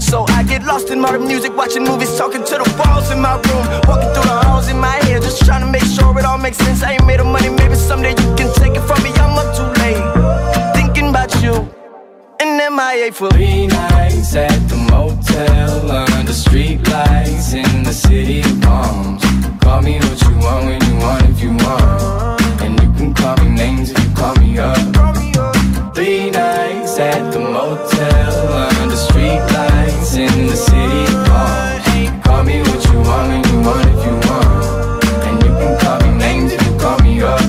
So I get lost in my music, watching movies, talking to the walls in my room, walking through the halls in my head, just trying to make sure it all makes sense. I ain't made of money, maybe someday you can take it from me. I'm up too late, thinking about you, and MIA for
three nights at the motel under street lights in the city of palms. Call me what you want when you want if you want. And you can call me names if you call me up. Three nights at the motel under street lights in the city of palms. Call me what you want when you want if you want. And you can call me names if you call me up.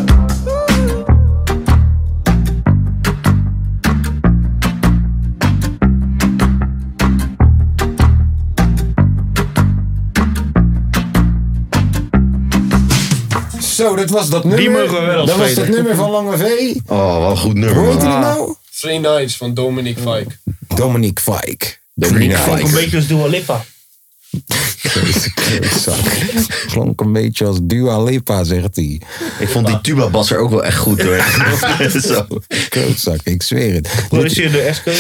Zo, dat was dat nummer.
mogen we wel
Dat was dat
spelen.
nummer van Lange V.
Oh, wat een goed nummer.
Hoe heet
man.
die nou?
Ah. Three Nights van Dominique Fike.
Dominique Fike.
Dominique
Fike.
Ook een beetje als Dua Lipa.
Klonk een beetje als Dua Lipa, zegt hij.
Ik vond die tuba-bas er ook wel echt goed door. Zo.
Klootzak, ik zweer het.
Corrigeer de Esco.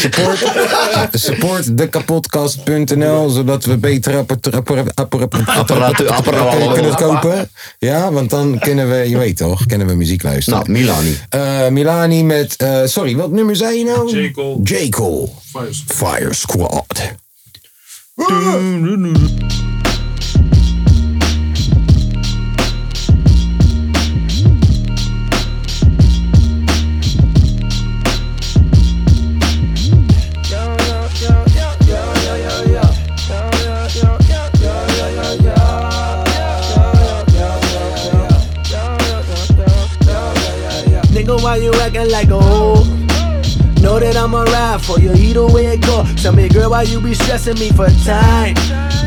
Support dekapodcast.nl, zodat we betere appar- appar- appar-
Apparatu-
apparaten kunnen kopen. Ja, want dan kunnen we, je weet toch, kunnen we muziek luisteren.
Nou, Milani.
Eh, Milani met, eh, sorry, wat nummer zei je nou? J. Cole. Fire Squad.
Nigga, why you acting like a hoe? Know that I'ma ride for you either way it go. Tell me, girl, why you be stressing me for time?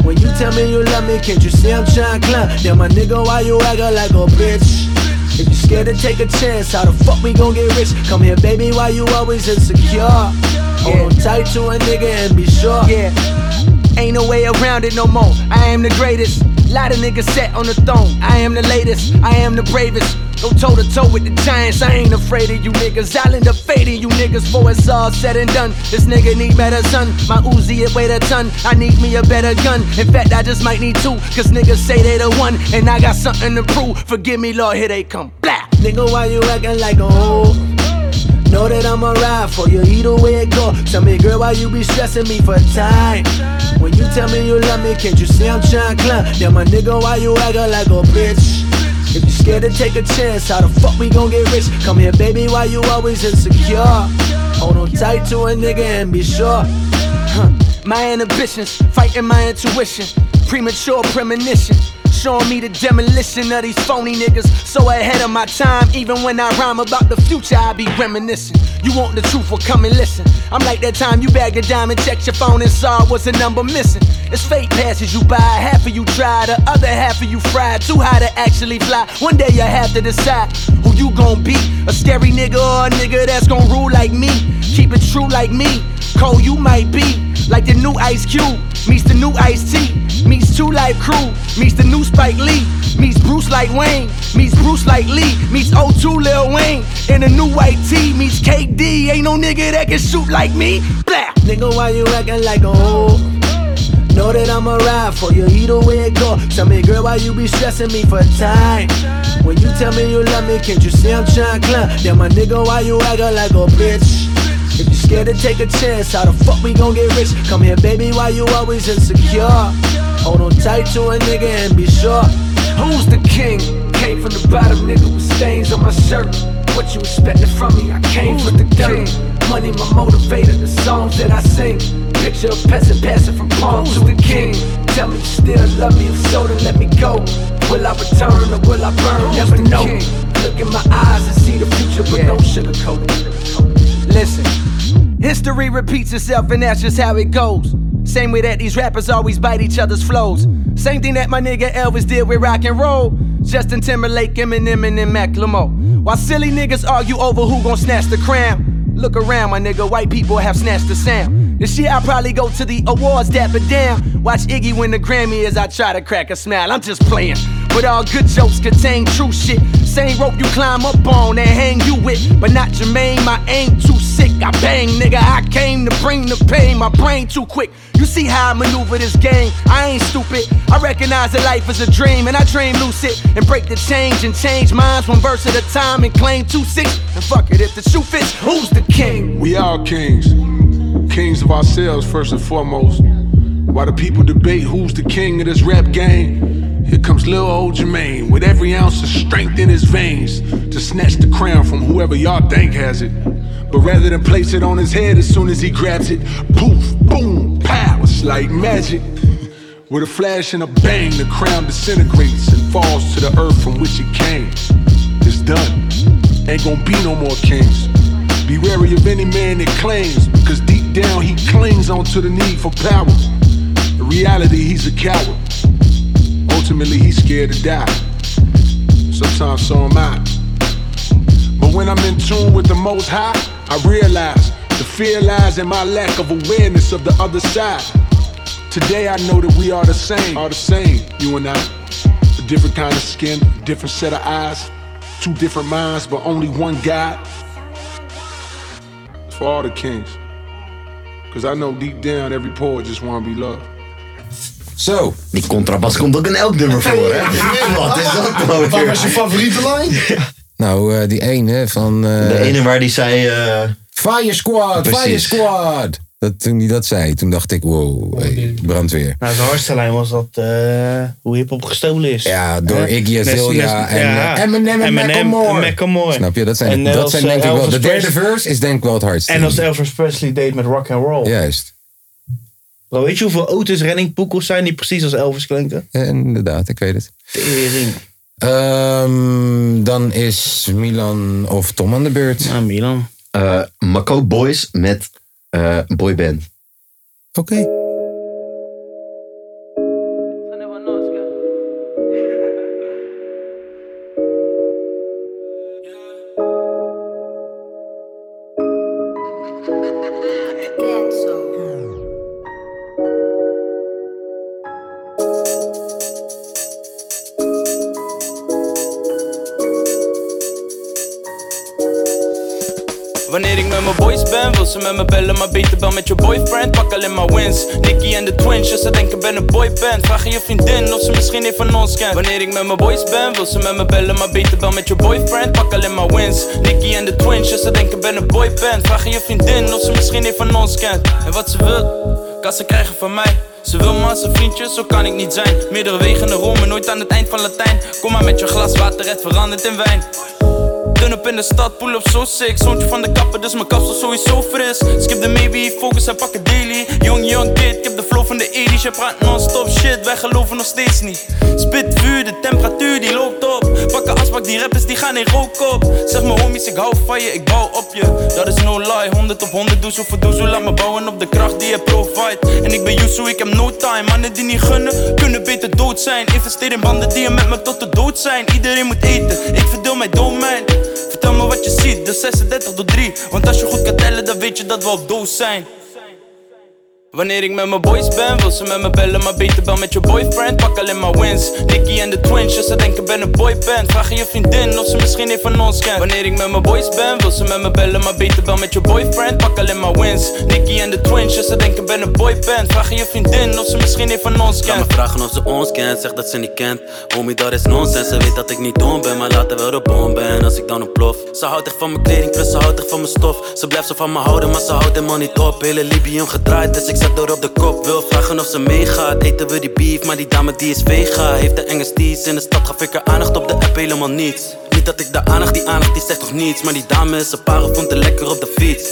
When you tell me you love me, can't you see I'm trying to climb? Now my nigga, why you acting like a bitch? If you scared to take a chance, how the fuck we gon' get rich? Come here, baby, why you always insecure? Hold on tight to a nigga and be sure. Yeah. Ain't no way around it no more. I am the greatest. Lot of niggas set on the throne. I am the latest. I am the bravest. Go toe to toe with the giants. I ain't afraid of you niggas. I'll end up fading you niggas for it's all said and done. This nigga need better son. My Uzi it weighed a ton. I need me a better gun. In fact, I just might need two. Cause niggas say they the one. And I got something to prove. Forgive me, Lord, here they come. Blah. Nigga, why you acting like a hoe? Know that I'ma ride for you either way it go. Tell me, girl, why you be stressing me for time? When you tell me you love me, can't you see I'm trying to climb? Yeah, my nigga, why you acting like a bitch? If you scared to take a chance, how the fuck we gon' get rich? Come here, baby, why you always insecure? Hold on tight to a nigga and be sure. Huh. My inhibitions, fighting my intuition. Premature premonition. Showing me the demolition of these phony niggas. So ahead of my time, even when I rhyme about the future, I be reminiscing. You want the truth, well, come and listen. I'm like that time you bagged a diamond, checked your phone, and saw what's a number missing. It's fate passes you by. Half of you try, the other half of you fried. Too high to actually fly. One day you'll have to decide who you gon' be. A scary nigga or a nigga that's gon' rule like me. Keep it true like me. Cold you might be. Like the new Ice Cube meets the new Ice T meets Two Life Crew meets the new Spike Lee meets Bruce like Wayne meets Bruce like Lee meets O2 Lil Wayne and the new white tee meets KD. Ain't no nigga that can shoot like me. Blah. Nigga, why you acting like a hoe? Know that I'ma ride for you either way it go. Tell me, girl, why you be stressing me for time? When you tell me you love me, can't you see I'm trying to climb? Then my nigga, why you acting like a bitch? If you scared to take a chance, how the fuck we gon' get rich? Come here, baby, why you always insecure? Hold on tight to a nigga and be sure. Who's the king? Came from the bottom, nigga, with stains on my shirt. What you expecting from me? I came from the dirt. Money, my motivator, the songs that I sing. Picture a peasant passing from palm to the king. Tell me you still love me, if so, then let me go. Will I return or will I burn? Never know. Look in my eyes and see the future, but no sugarcoat it. Listen, history repeats itself, and that's just how it goes. Same way that these rappers always bite each other's flows. Same thing that my nigga Elvis did with rock and roll. Justin Timberlake, Eminem, and then Macklemore. While silly niggas argue over who gon' snatch the crown. Look around, my nigga, white people have snatched the sound. This year I'll probably go to the awards, dapper down. Watch Iggy win the Grammy as I try to crack a smile. I'm just playing. But all good jokes contain true shit. Same rope you climb up on and hang you with. But not Jermaine, my aim too sick. I bang, nigga, I came to bring the pain. My brain too quick. You see how I maneuver this game. I ain't stupid. I recognize that life is a dream, and I dream lucid. And break the change and change minds one verse at a time and claim two six. And fuck it, if the shoe fits, who's the king?
We are kings. Kings of ourselves, first and foremost. While the people debate who's the king of this rap game, here comes little old Jermaine with every ounce of strength in his veins to snatch the crown from whoever y'all think has it. But rather than place it on his head as soon as he grabs it, poof, boom, pow, it's like magic. With a flash and a bang, the crown disintegrates and falls to the earth from which it came. It's done. Ain't gonna be no more kings. Be wary of any man that claims, because deep down he clings onto the need for power. In reality, he's a coward. Ultimately, he's scared to die. Sometimes so am I. But when I'm in tune with the most high, I realize the fear lies in my lack of awareness of the other side. Today I know that we are the same, are the same, you and I. A different kind of skin, different set of eyes, two different minds, but only one God. It's for all the kings. Cause I know deep down every poet just wanna be loved.
Zo.
Die contrabas komt ook in elk nummer voor, hè? Wat is dat nou weer?
Wat was je
favoriete line?
Nou, eh, die ene van... eh,
De ene waar die zei... eh,
Fire Squad,
Precies.
Fire Squad. Dat, toen hij dat zei, toen dacht ik,
Oh,
wow, hey, brandweer.
Nou, zijn hardste lijn was dat eh, hoe hip-hop gestolen is. Eh,
Ja, door Iggy Azalea en eh, Eminem en Macklemore. Snap je? Dat zijn,
En
dat
als,
zijn
eh,
denk ik wel...
Elvis
De derde
Presley-
verse is denk ik wel het hardste.
En als Elvis Presley deed met rock and roll.
Juist.
Bro, weet je hoeveel Otis Redding poekels zijn die precies als Elvis klinken?
Ja, Eh, inderdaad, ik weet het.
Tering.
Ehm, dan is Milan of Tom aan de beurt.
Ja, Milan.
eh Mako Boys met eh Boy Ben.
Oké.
Wanneer ik met mijn boys ben, wil ze met me bellen, maar beter bel met je boyfriend. Pak alleen maar wins. Nicky en de twins, ja, ze denken ben een boyband. Vraag aan je vriendin of ze misschien een van ons kent. Wanneer ik met mijn boys ben, wil ze met me bellen, maar beter bel met je boyfriend. Pak alleen maar wins. Nicky en de twins, ja, ze denken ben een boyband. Vraag aan je vriendin of ze misschien een van ons kent. En wat ze wil, kan ze krijgen van mij. Ze wil maar zijn vriendjes, zo kan ik niet zijn. Meerderwegende Rome, nooit aan het eind van Latijn. Kom maar met je glas water, het verandert in wijn. Dun up in de stad, pull up zo sick. Zoontje van de kapper, dus mijn kapsel sowieso fris. Skip de maybe, focus en pak het daily. Jong, jong, kid, ik heb de flow van de 80s. Je praat non-stop shit, wij geloven nog steeds niet. Spit vuur, de temperatuur die loopt op. Pakken asbak, die rappers die gaan in rook op. Zeg me homies, ik hou van je, ik bouw op je. Dat is no lie, 100 op 100 doezel voor doezel. Laat me bouwen op de kracht die je provide. En ik ben Yusu, ik heb no time. Mannen die niet gunnen, kunnen beter dood zijn. Investeer in banden die er met me tot de dood zijn. Iedereen moet eten, ik verdeel mijn domein. Vertel me wat je ziet, de 36 door 3. Want als je goed kan tellen, dan weet je dat we op doos zijn. Wanneer ik met mijn boys ben, wil ze met me bellen, maar beter bel met je boyfriend. Pak alleen maar wins. Nicky en de twins, ja, ze denken ben een boyband. Vraag aan je vriendin of ze misschien een van ons kent. Wanneer ik met mijn boys ben, wil ze met me bellen, maar beter bel met je boyfriend. Pak alleen maar wins. Nicky en de twins, ja, ze denken ben een boyband. Vraag aan je vriendin of ze misschien een van ons kent.
Laat me vragen of ze ons kent, zeg dat ze niet kent. Homie, dat is nonsens, ze weet dat ik niet dom ben, maar later wel de bom ben als ik dan ontplof. Ze houdt echt van mijn kleding, plus ze houdt echt van mijn stof. Ze blijft zo van me houden, maar ze houdt helemaal niet op. Hele Libium gedraaid, dus ik zet door op de kop. Wil vragen of ze meegaat, eten we die beef, maar die dame die is vega. Heeft de enge sties, in de stad gaf ik haar aandacht op de app helemaal niets. Niet dat ik de aandacht, die aandacht die zegt toch niets, maar die dame is een parel, vond het lekker op de fiets.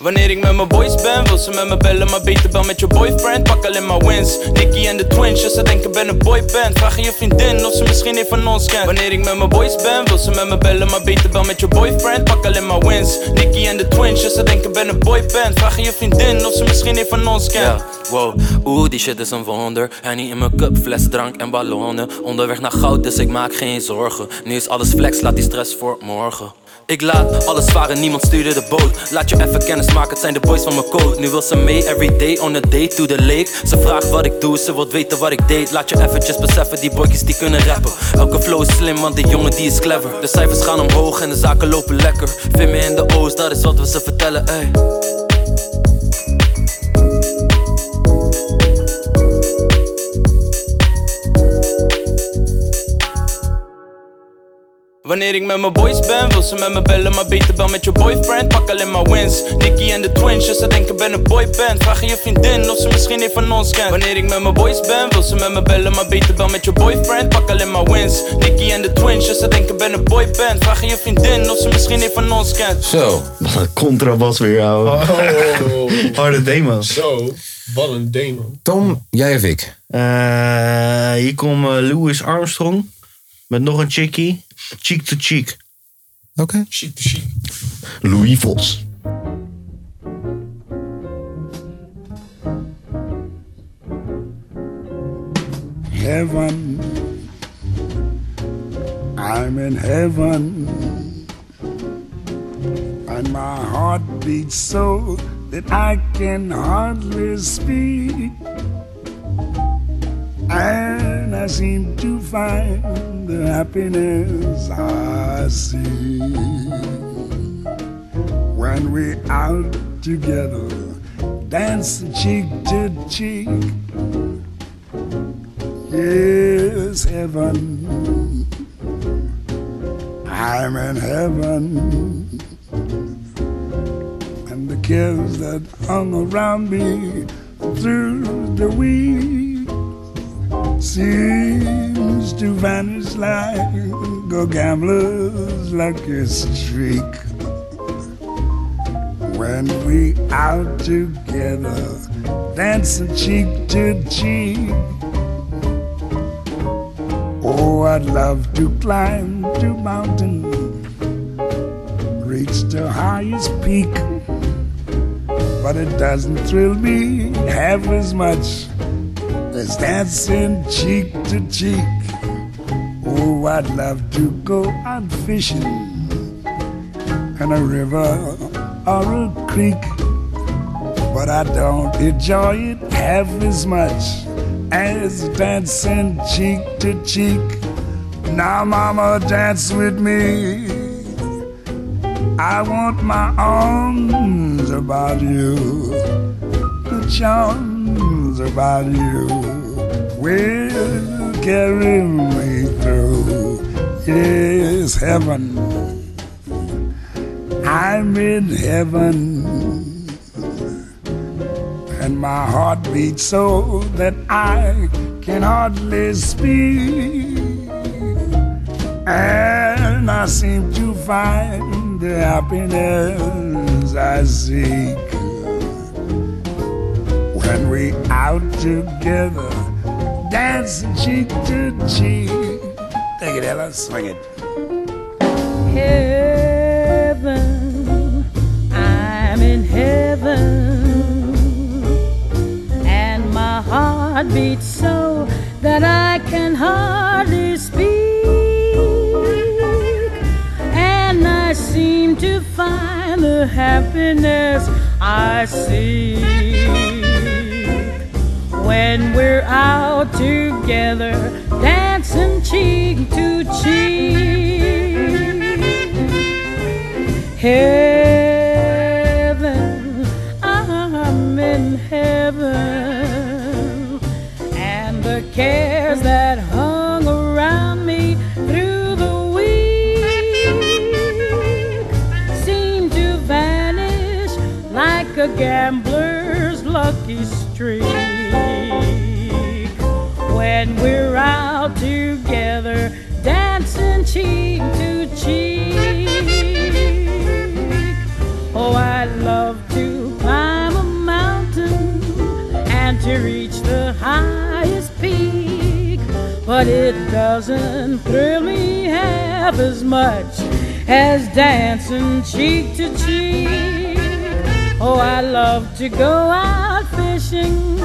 Wanneer ik met mijn boys ben, wil ze met me bellen, maar beter bel met je boyfriend. Pak alleen maar wins. Nicky en de twins, ja, ze denken ben een boyband. Vraag aan je vriendin of ze misschien een van ons kent. Wanneer ik met mijn boys ben, wil ze met me bellen, maar beter bel met je boyfriend. Pak alleen maar wins. Nicky en de twins, ja, ze denken ben een boyband. Vraag aan je vriendin of ze misschien een van ons kent.
Ja, wow, oeh, die shit is een wonder. Henny in mijn cup, fles drank en ballonnen. Onderweg naar goud, dus ik maak geen zorgen. Nu is alles flex, laat die stress voor morgen. Ik laat alles varen, niemand stuurde de boot. Laat je even kennis maken, het zijn de boys van mijn code. Nu wil ze mee, every day on a day to the lake. Ze vraagt wat ik doe, ze wil weten wat ik deed. Laat je eventjes beseffen, die boykies die kunnen rappen. Elke flow is slim, want die jongen die is clever. De cijfers gaan omhoog en de zaken lopen lekker. Vind me in de O's, dat is wat we ze vertellen, ey.
Wanneer ik met mijn boys ben, wil ze met me bellen, maar beter bel met je boyfriend. Pak alleen maar wins. Nicky en de twins, ja, ze denken ben een boyband. Vraag aan je vriendin of ze misschien een van ons kent. Wanneer ik met mijn boys ben, wil ze met me bellen, maar beter bel met je boyfriend. Pak alleen maar wins. Nicky en de twins, ja, ze denken ben een boyband. Vraag aan je vriendin of ze misschien een van ons kent.
Zo. Contrabas weer houden. Harde demo.
Zo, wat een demo.
Tom, jij of ik?
Eh, hier komt eh, Louis Armstrong met nog een chickie. Cheek to cheek.
Oké.
Cheek to cheek.
Louis Vos.
heaven. I'm in heaven. And my heart beats so that I can hardly speak. And I seem to find the happiness I see when we're out together, dancing cheek to cheek. Yes, heaven. I'm in heaven. And the kids that hung around me through the week seems to vanish like a gambler's lucky streak. When we out together, dancing cheek to cheek. Oh, I'd love to climb to mountain, reach the highest peak, but it doesn't thrill me half as much as dancing cheek to cheek. Oh, I'd love to go out fishing in a river or a creek, but I don't enjoy it half as much as dancing cheek to cheek. Now, mama, dance with me. I want my arms about you, the charms about you will carry me through. Yes, heaven. I'm in heaven and my heart beats so that I can hardly speak. And I seem to find the happiness I seek when we out together, dancing cheek to cheek. Take it, Ella, swing it.
heaven. I'm in heaven. And my heart beats so that I can hardly speak. And I seem to find the happiness I seek. When we're out together, dancing cheek to cheek. Heaven, I'm in heaven, and the cares that hung around me through the week seem to vanish like a gambler's lucky streak. When we're out together, dancing cheek to cheek. Oh, I love to but it doesn't thrill me half as much as dancing cheek to cheek. Oh, I love to go out fishing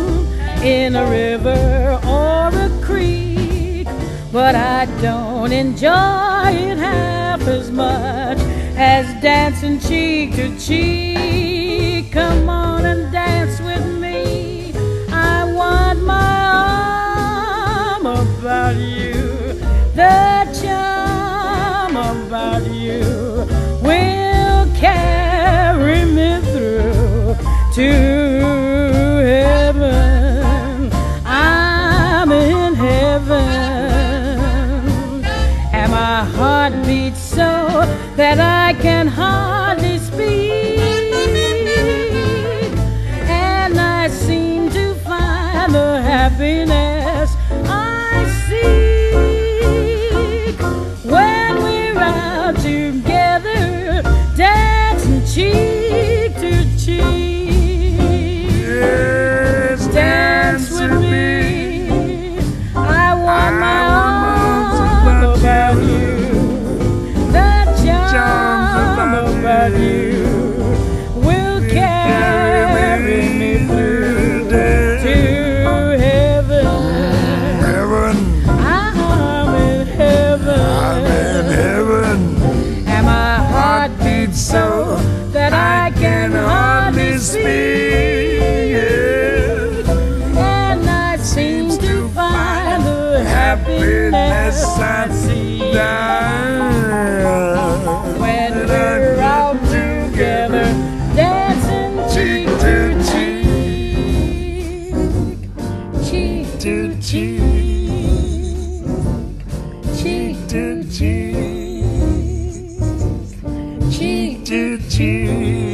in a river or a creek, but I don't enjoy it half as much as dancing cheek to cheek. Come on and dance with me. I want my arm about you, the charm about you will carry me through to heaven. I'm in heaven, and my heart beats so that I can hardly speak and I seem to find the happiness I seek when we're out together, dancing cheek to cheek. dance with me. I want my arms about you. The charm about you will carry me through to heaven. Heaven. I'm in heaven. I'm in heaven. And my heart beats so that I can hardly speak. And I seem to find the happiness I seek. When we're out together, dancing cheek to cheek, cheek to cheek, cheek to cheek, cheek to cheek.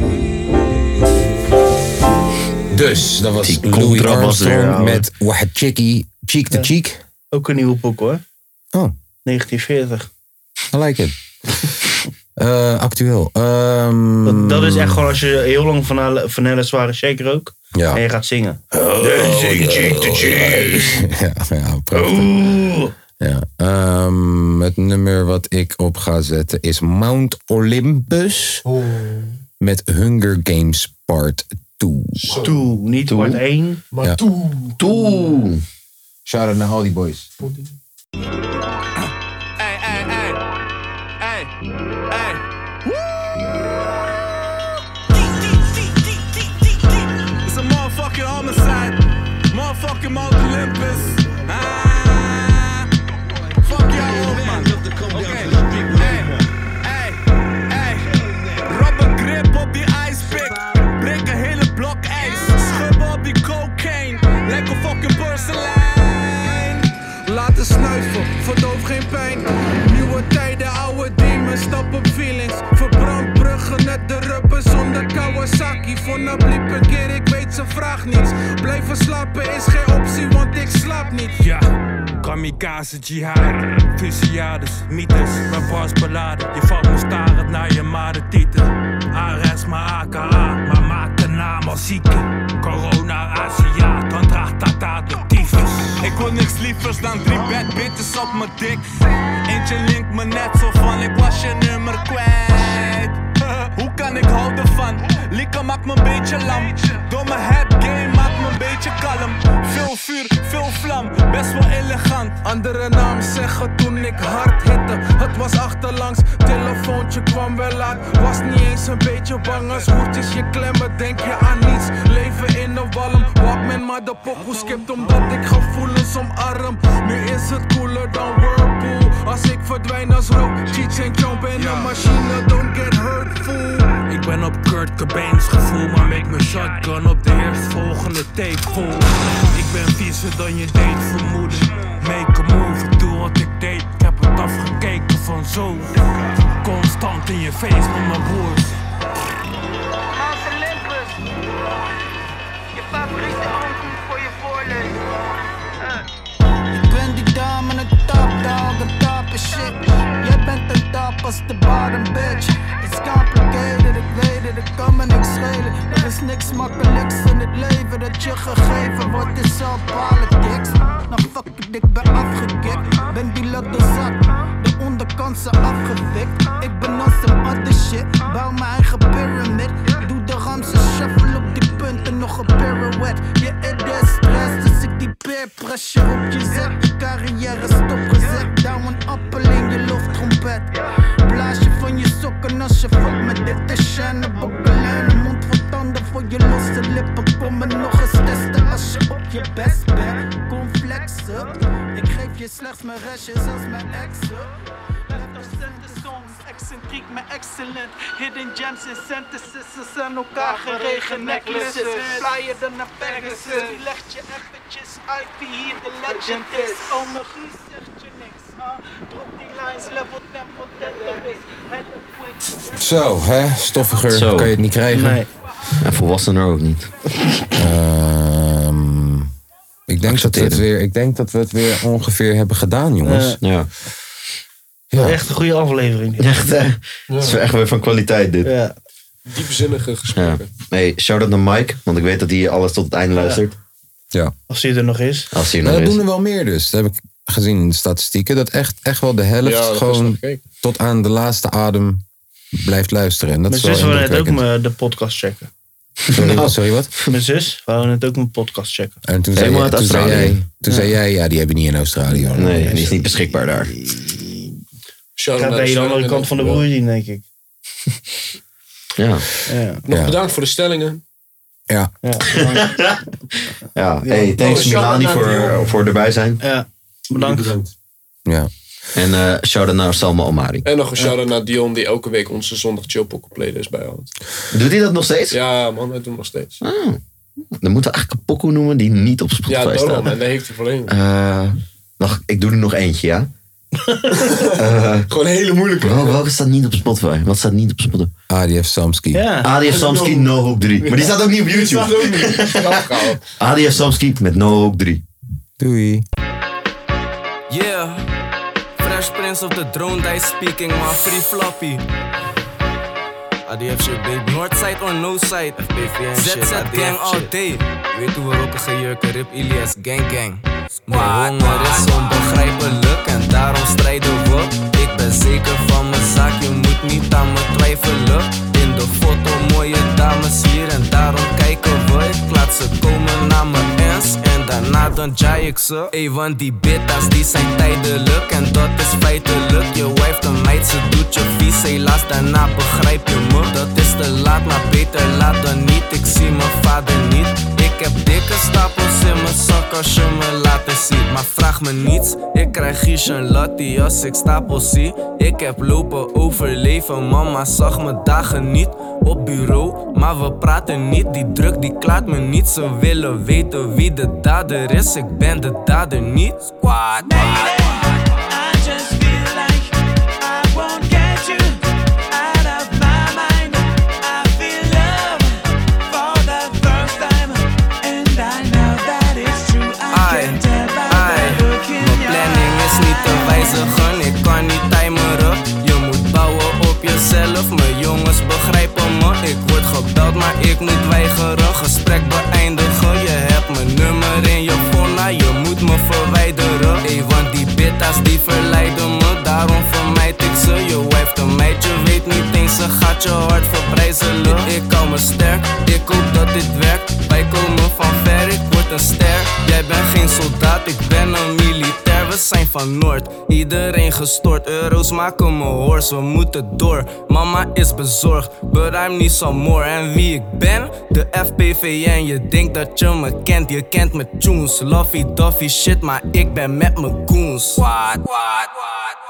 Dus, dat was
Die
Louis
contrabas weer,
Armstrong
ouwe.
met Wahachiki, Cheek to Cheek.
Ook een nieuwe boek hoor.
Oh.
1940.
I like it. Eh, actueel. Ehm,
Dat, dat is echt gewoon als je heel lang van Helle- van Helle Zware Shake rookt.
Ja. Oh,
En je gaat zingen.
ja, ja, prachtig. Ja. ehm, het nummer wat ik op ga zetten is Mount Olympus met Hunger Games Part 2.
Toe, niet part 1.
Maar toe. Toe. Shout out naar al die boys.
It's a motherfucking homicide. Motherfucking Mount Olympus. Ah. Fuck y'all, old man. Okay. Hey, hey, hey. Rubber grip op die ijspik. Breek een hele blok ijs. Schub op die cocaine. Lekker fucking porselein. Laten snuiven, verdoof geen pijn. Nieuwe tijden, oude demons, stap op feelings. Verbrand bruggen net de rubber zonder Kawasaki. Voor een bliepe keer, ik weet ze vraag niets. Blijven slapen is geen optie, want ik slaap niet.
Ja, kamikaze jihad, fusillades, mythes, mijn bars beladen. Je valt me starend naar je maden tieten. ARS, maar AKA, maar maak de naam als zieke. Corona, Asia, dan draagt Tata de tyfus.
Ik wil niks lievers dan drie bad bitches op mijn dik. Eentje linkt me net zo van, ik was je nummer kwijt. Hoe kan ik houden van? Lieke maakt me een beetje lam. Door mijn head game maakt me een beetje kalm. Veel vuur, veel vlam, best wel elegant. Andere naam zeggen toen ik hard hitte. Het was achterlangs, telefoontje kwam wel laat. Was niet eens een beetje bang als hoertjes je klemmen. Denk je aan niets, leven in de walm. Walkman maar de pokoe skipt omdat ik gevoelens omarm. Nu is het cooler dan Whirlpool. Als ik verdwijn als rook, cheats en chomp in een machine. Don't get hurtful.
Ik ben op Kurt Cobain's gevoel, maar make me shotgun op de eerstvolgende tape vol. Ik ben viezer dan je deed vermoeden. Make a move, doe wat ik deed. Ik heb het afgekeken van zo. Constant in je face met mijn broers.
Ik ben die dame aan het top dog, een top is shit. Jij bent een top als de bottom bitch. It's complicated, ik weet het, het kan me niks schelen. Er is niks makkelijks in het leven dat je gegeven wordt, is all politics. Nou fuck it, ik ben afgekikt. mensen afgewikt. Ik ben als een other shit, bouw mijn eigen pyramid. Doe de ramse shuffle op die punten, nog een pirouette. Je eet de stress, dus ik die peer pressure op je zet. Je carrière is opgezet, douw een appel in je loftrompet. Blaas je van je sokken als je fuck met dit te shine. Bokkelen en een mond vol tanden voor je losse lippen. Kom me nog eens testen als je op je best bent. Kom flexen, ik geef je slechts mijn restjes als mijn exen.
Representen songs, excentriek maar excellent. Hidden gems en sentences, ze zijn elkaar geregen necklaces. Flyer dan naar Pegasus, die legt je eventjes uit wie hier de legend is. Oh mijn guus zegt je niks, huh? Drop die lines, level tempo, tempo is.
Zo, hè? Stoffiger
Zo.
kan je het niet krijgen.
Nee. En volwassenen ook niet.
Ehm, ik, denk dat we het weer, ik denk dat we het weer ongeveer hebben gedaan, jongens.
Eh,
ja.
Echt een goede aflevering.
Echt, hè? Het is echt weer van kwaliteit, dit.
Ja.
Diepzinnige
Ja. Hey, shout-out naar Mike, want ik weet dat hij alles tot het einde luistert.
Ja.
Als hij er nog is.
Als hij er
Nou,
nog
dat
is.
doen er wel meer dus. Dat heb ik gezien in de statistieken. Dat echt, echt wel de
Ja, dat
helft
is wel
gewoon
gek.
tot aan de laatste adem blijft luisteren. En dat
Mijn
is wel
zus wil net ook
indrukwekkend.
me de podcast checken.
Sorry, sorry, wat?
Mijn zus wou net ook mijn podcast checken.
En toen zei, jij, toen, zei jij, toen zei jij, ja, die hebben we niet in Australië. hoor.
Nee, die is niet beschikbaar daar.
Gaat
naar de
bij de andere
stellingen
kant van de
dan.
broer zien, denk ik.
Ja.
Ja.
Nog
Ja.
bedankt voor de stellingen.
Ja.
Ja, hey,
Oh,
thanks
shout-out
Milani
naar
voor, eh,
Dion.
voor erbij zijn.
Ja, bedankt.
Ja.
En eh shout-out naar Salma Omari.
En nog een shout-out naar Dion, die elke week onze zondag chillpokken playlist bijhoudt.
Doet hij dat nog steeds? Oh,
Ja, man, hij doet nog steeds.
Dan moeten we eigenlijk een pokoe noemen die niet op
ja,
Spotify
Dolan,
staat.
en daar heeft hij volledig.
Eh, wacht, ik doe er nog eentje, ja? Eh, Gewoon
een hele moeilijke.
welke staat niet op Spotify? Wat staat niet op Spotify?
ADF Samski.
Ja. ADF Samski, No Hope 3. Maar die staat ook niet op YouTube. ADF Samski met No Hope 3.
Doei.
Yeah, Fresh Prince of the Drone Die speaking, my free floppy. ADF shit, baby. Northside or no side. FBVN
shit,
ZZ
ADF
gang all
shit.
day. Weet hoe we rocken, gejurken, rip Ilias, gang gang. Mijn honger is onbegrijpelijk en daarom strijden we. Ik ben zeker van mijn zaak, je moet niet aan me twijfelen. In de foto mooie dames hier en daarom kijken we. Ik laat ze komen naar mijn ends en daarna dan jaai ik ze. Ey, want die beta's die zijn tijdelijk en dat is feitelijk. Je wife de meid, ze doet je vies, helaas daarna begrijp je me. Dat is te laat, maar beter laat dan niet. Ik zie mijn vader niet. Ik heb dikke stapels in mijn zak als je me later ziet. Maar vraag me niets, ik krijg hier Charlotte als ik stapels zie. Ik heb lopen overleven, mama zag me dagen niet op bureau. Maar we praten niet, die druk die klaart me niet. Ze willen weten wie de dader is, ik ben de dader niet. Squad,
I just feel like I won't get you out of my mind. I feel love for the first time, and I know that it's true. I
Ai, ai, mijn planning is niet te wijzigen, ik kan niet timeren. Je moet bouwen op jezelf, mijn jongens begrijpen me. Ik word gebeld, maar ik moet weigeren. Gesprek beëindigen, je hebt mijn nummer in je phone, maar je moet me verwijderen. Ey, want die beta's die verleiden me, daarom vermijd ik ze. Je wife de meid, je weet niet eens, ze gaat je hart verbrijzelen. Ik hou me sterk, ik hoop dat dit werkt. Wij komen van ver, ik word een ster. Jij bent geen soldaat, ik ben een militair. We zijn van Noord, iedereen gestort. Euro's maken me hoors, we moeten door. Mama is bezorgd, but I'm niet zo more. En wie ik ben? De FPVN, je denkt dat je me kent. Je kent me tunes, lovey-dovey shit, maar ik ben met mijn goons. What, what, what?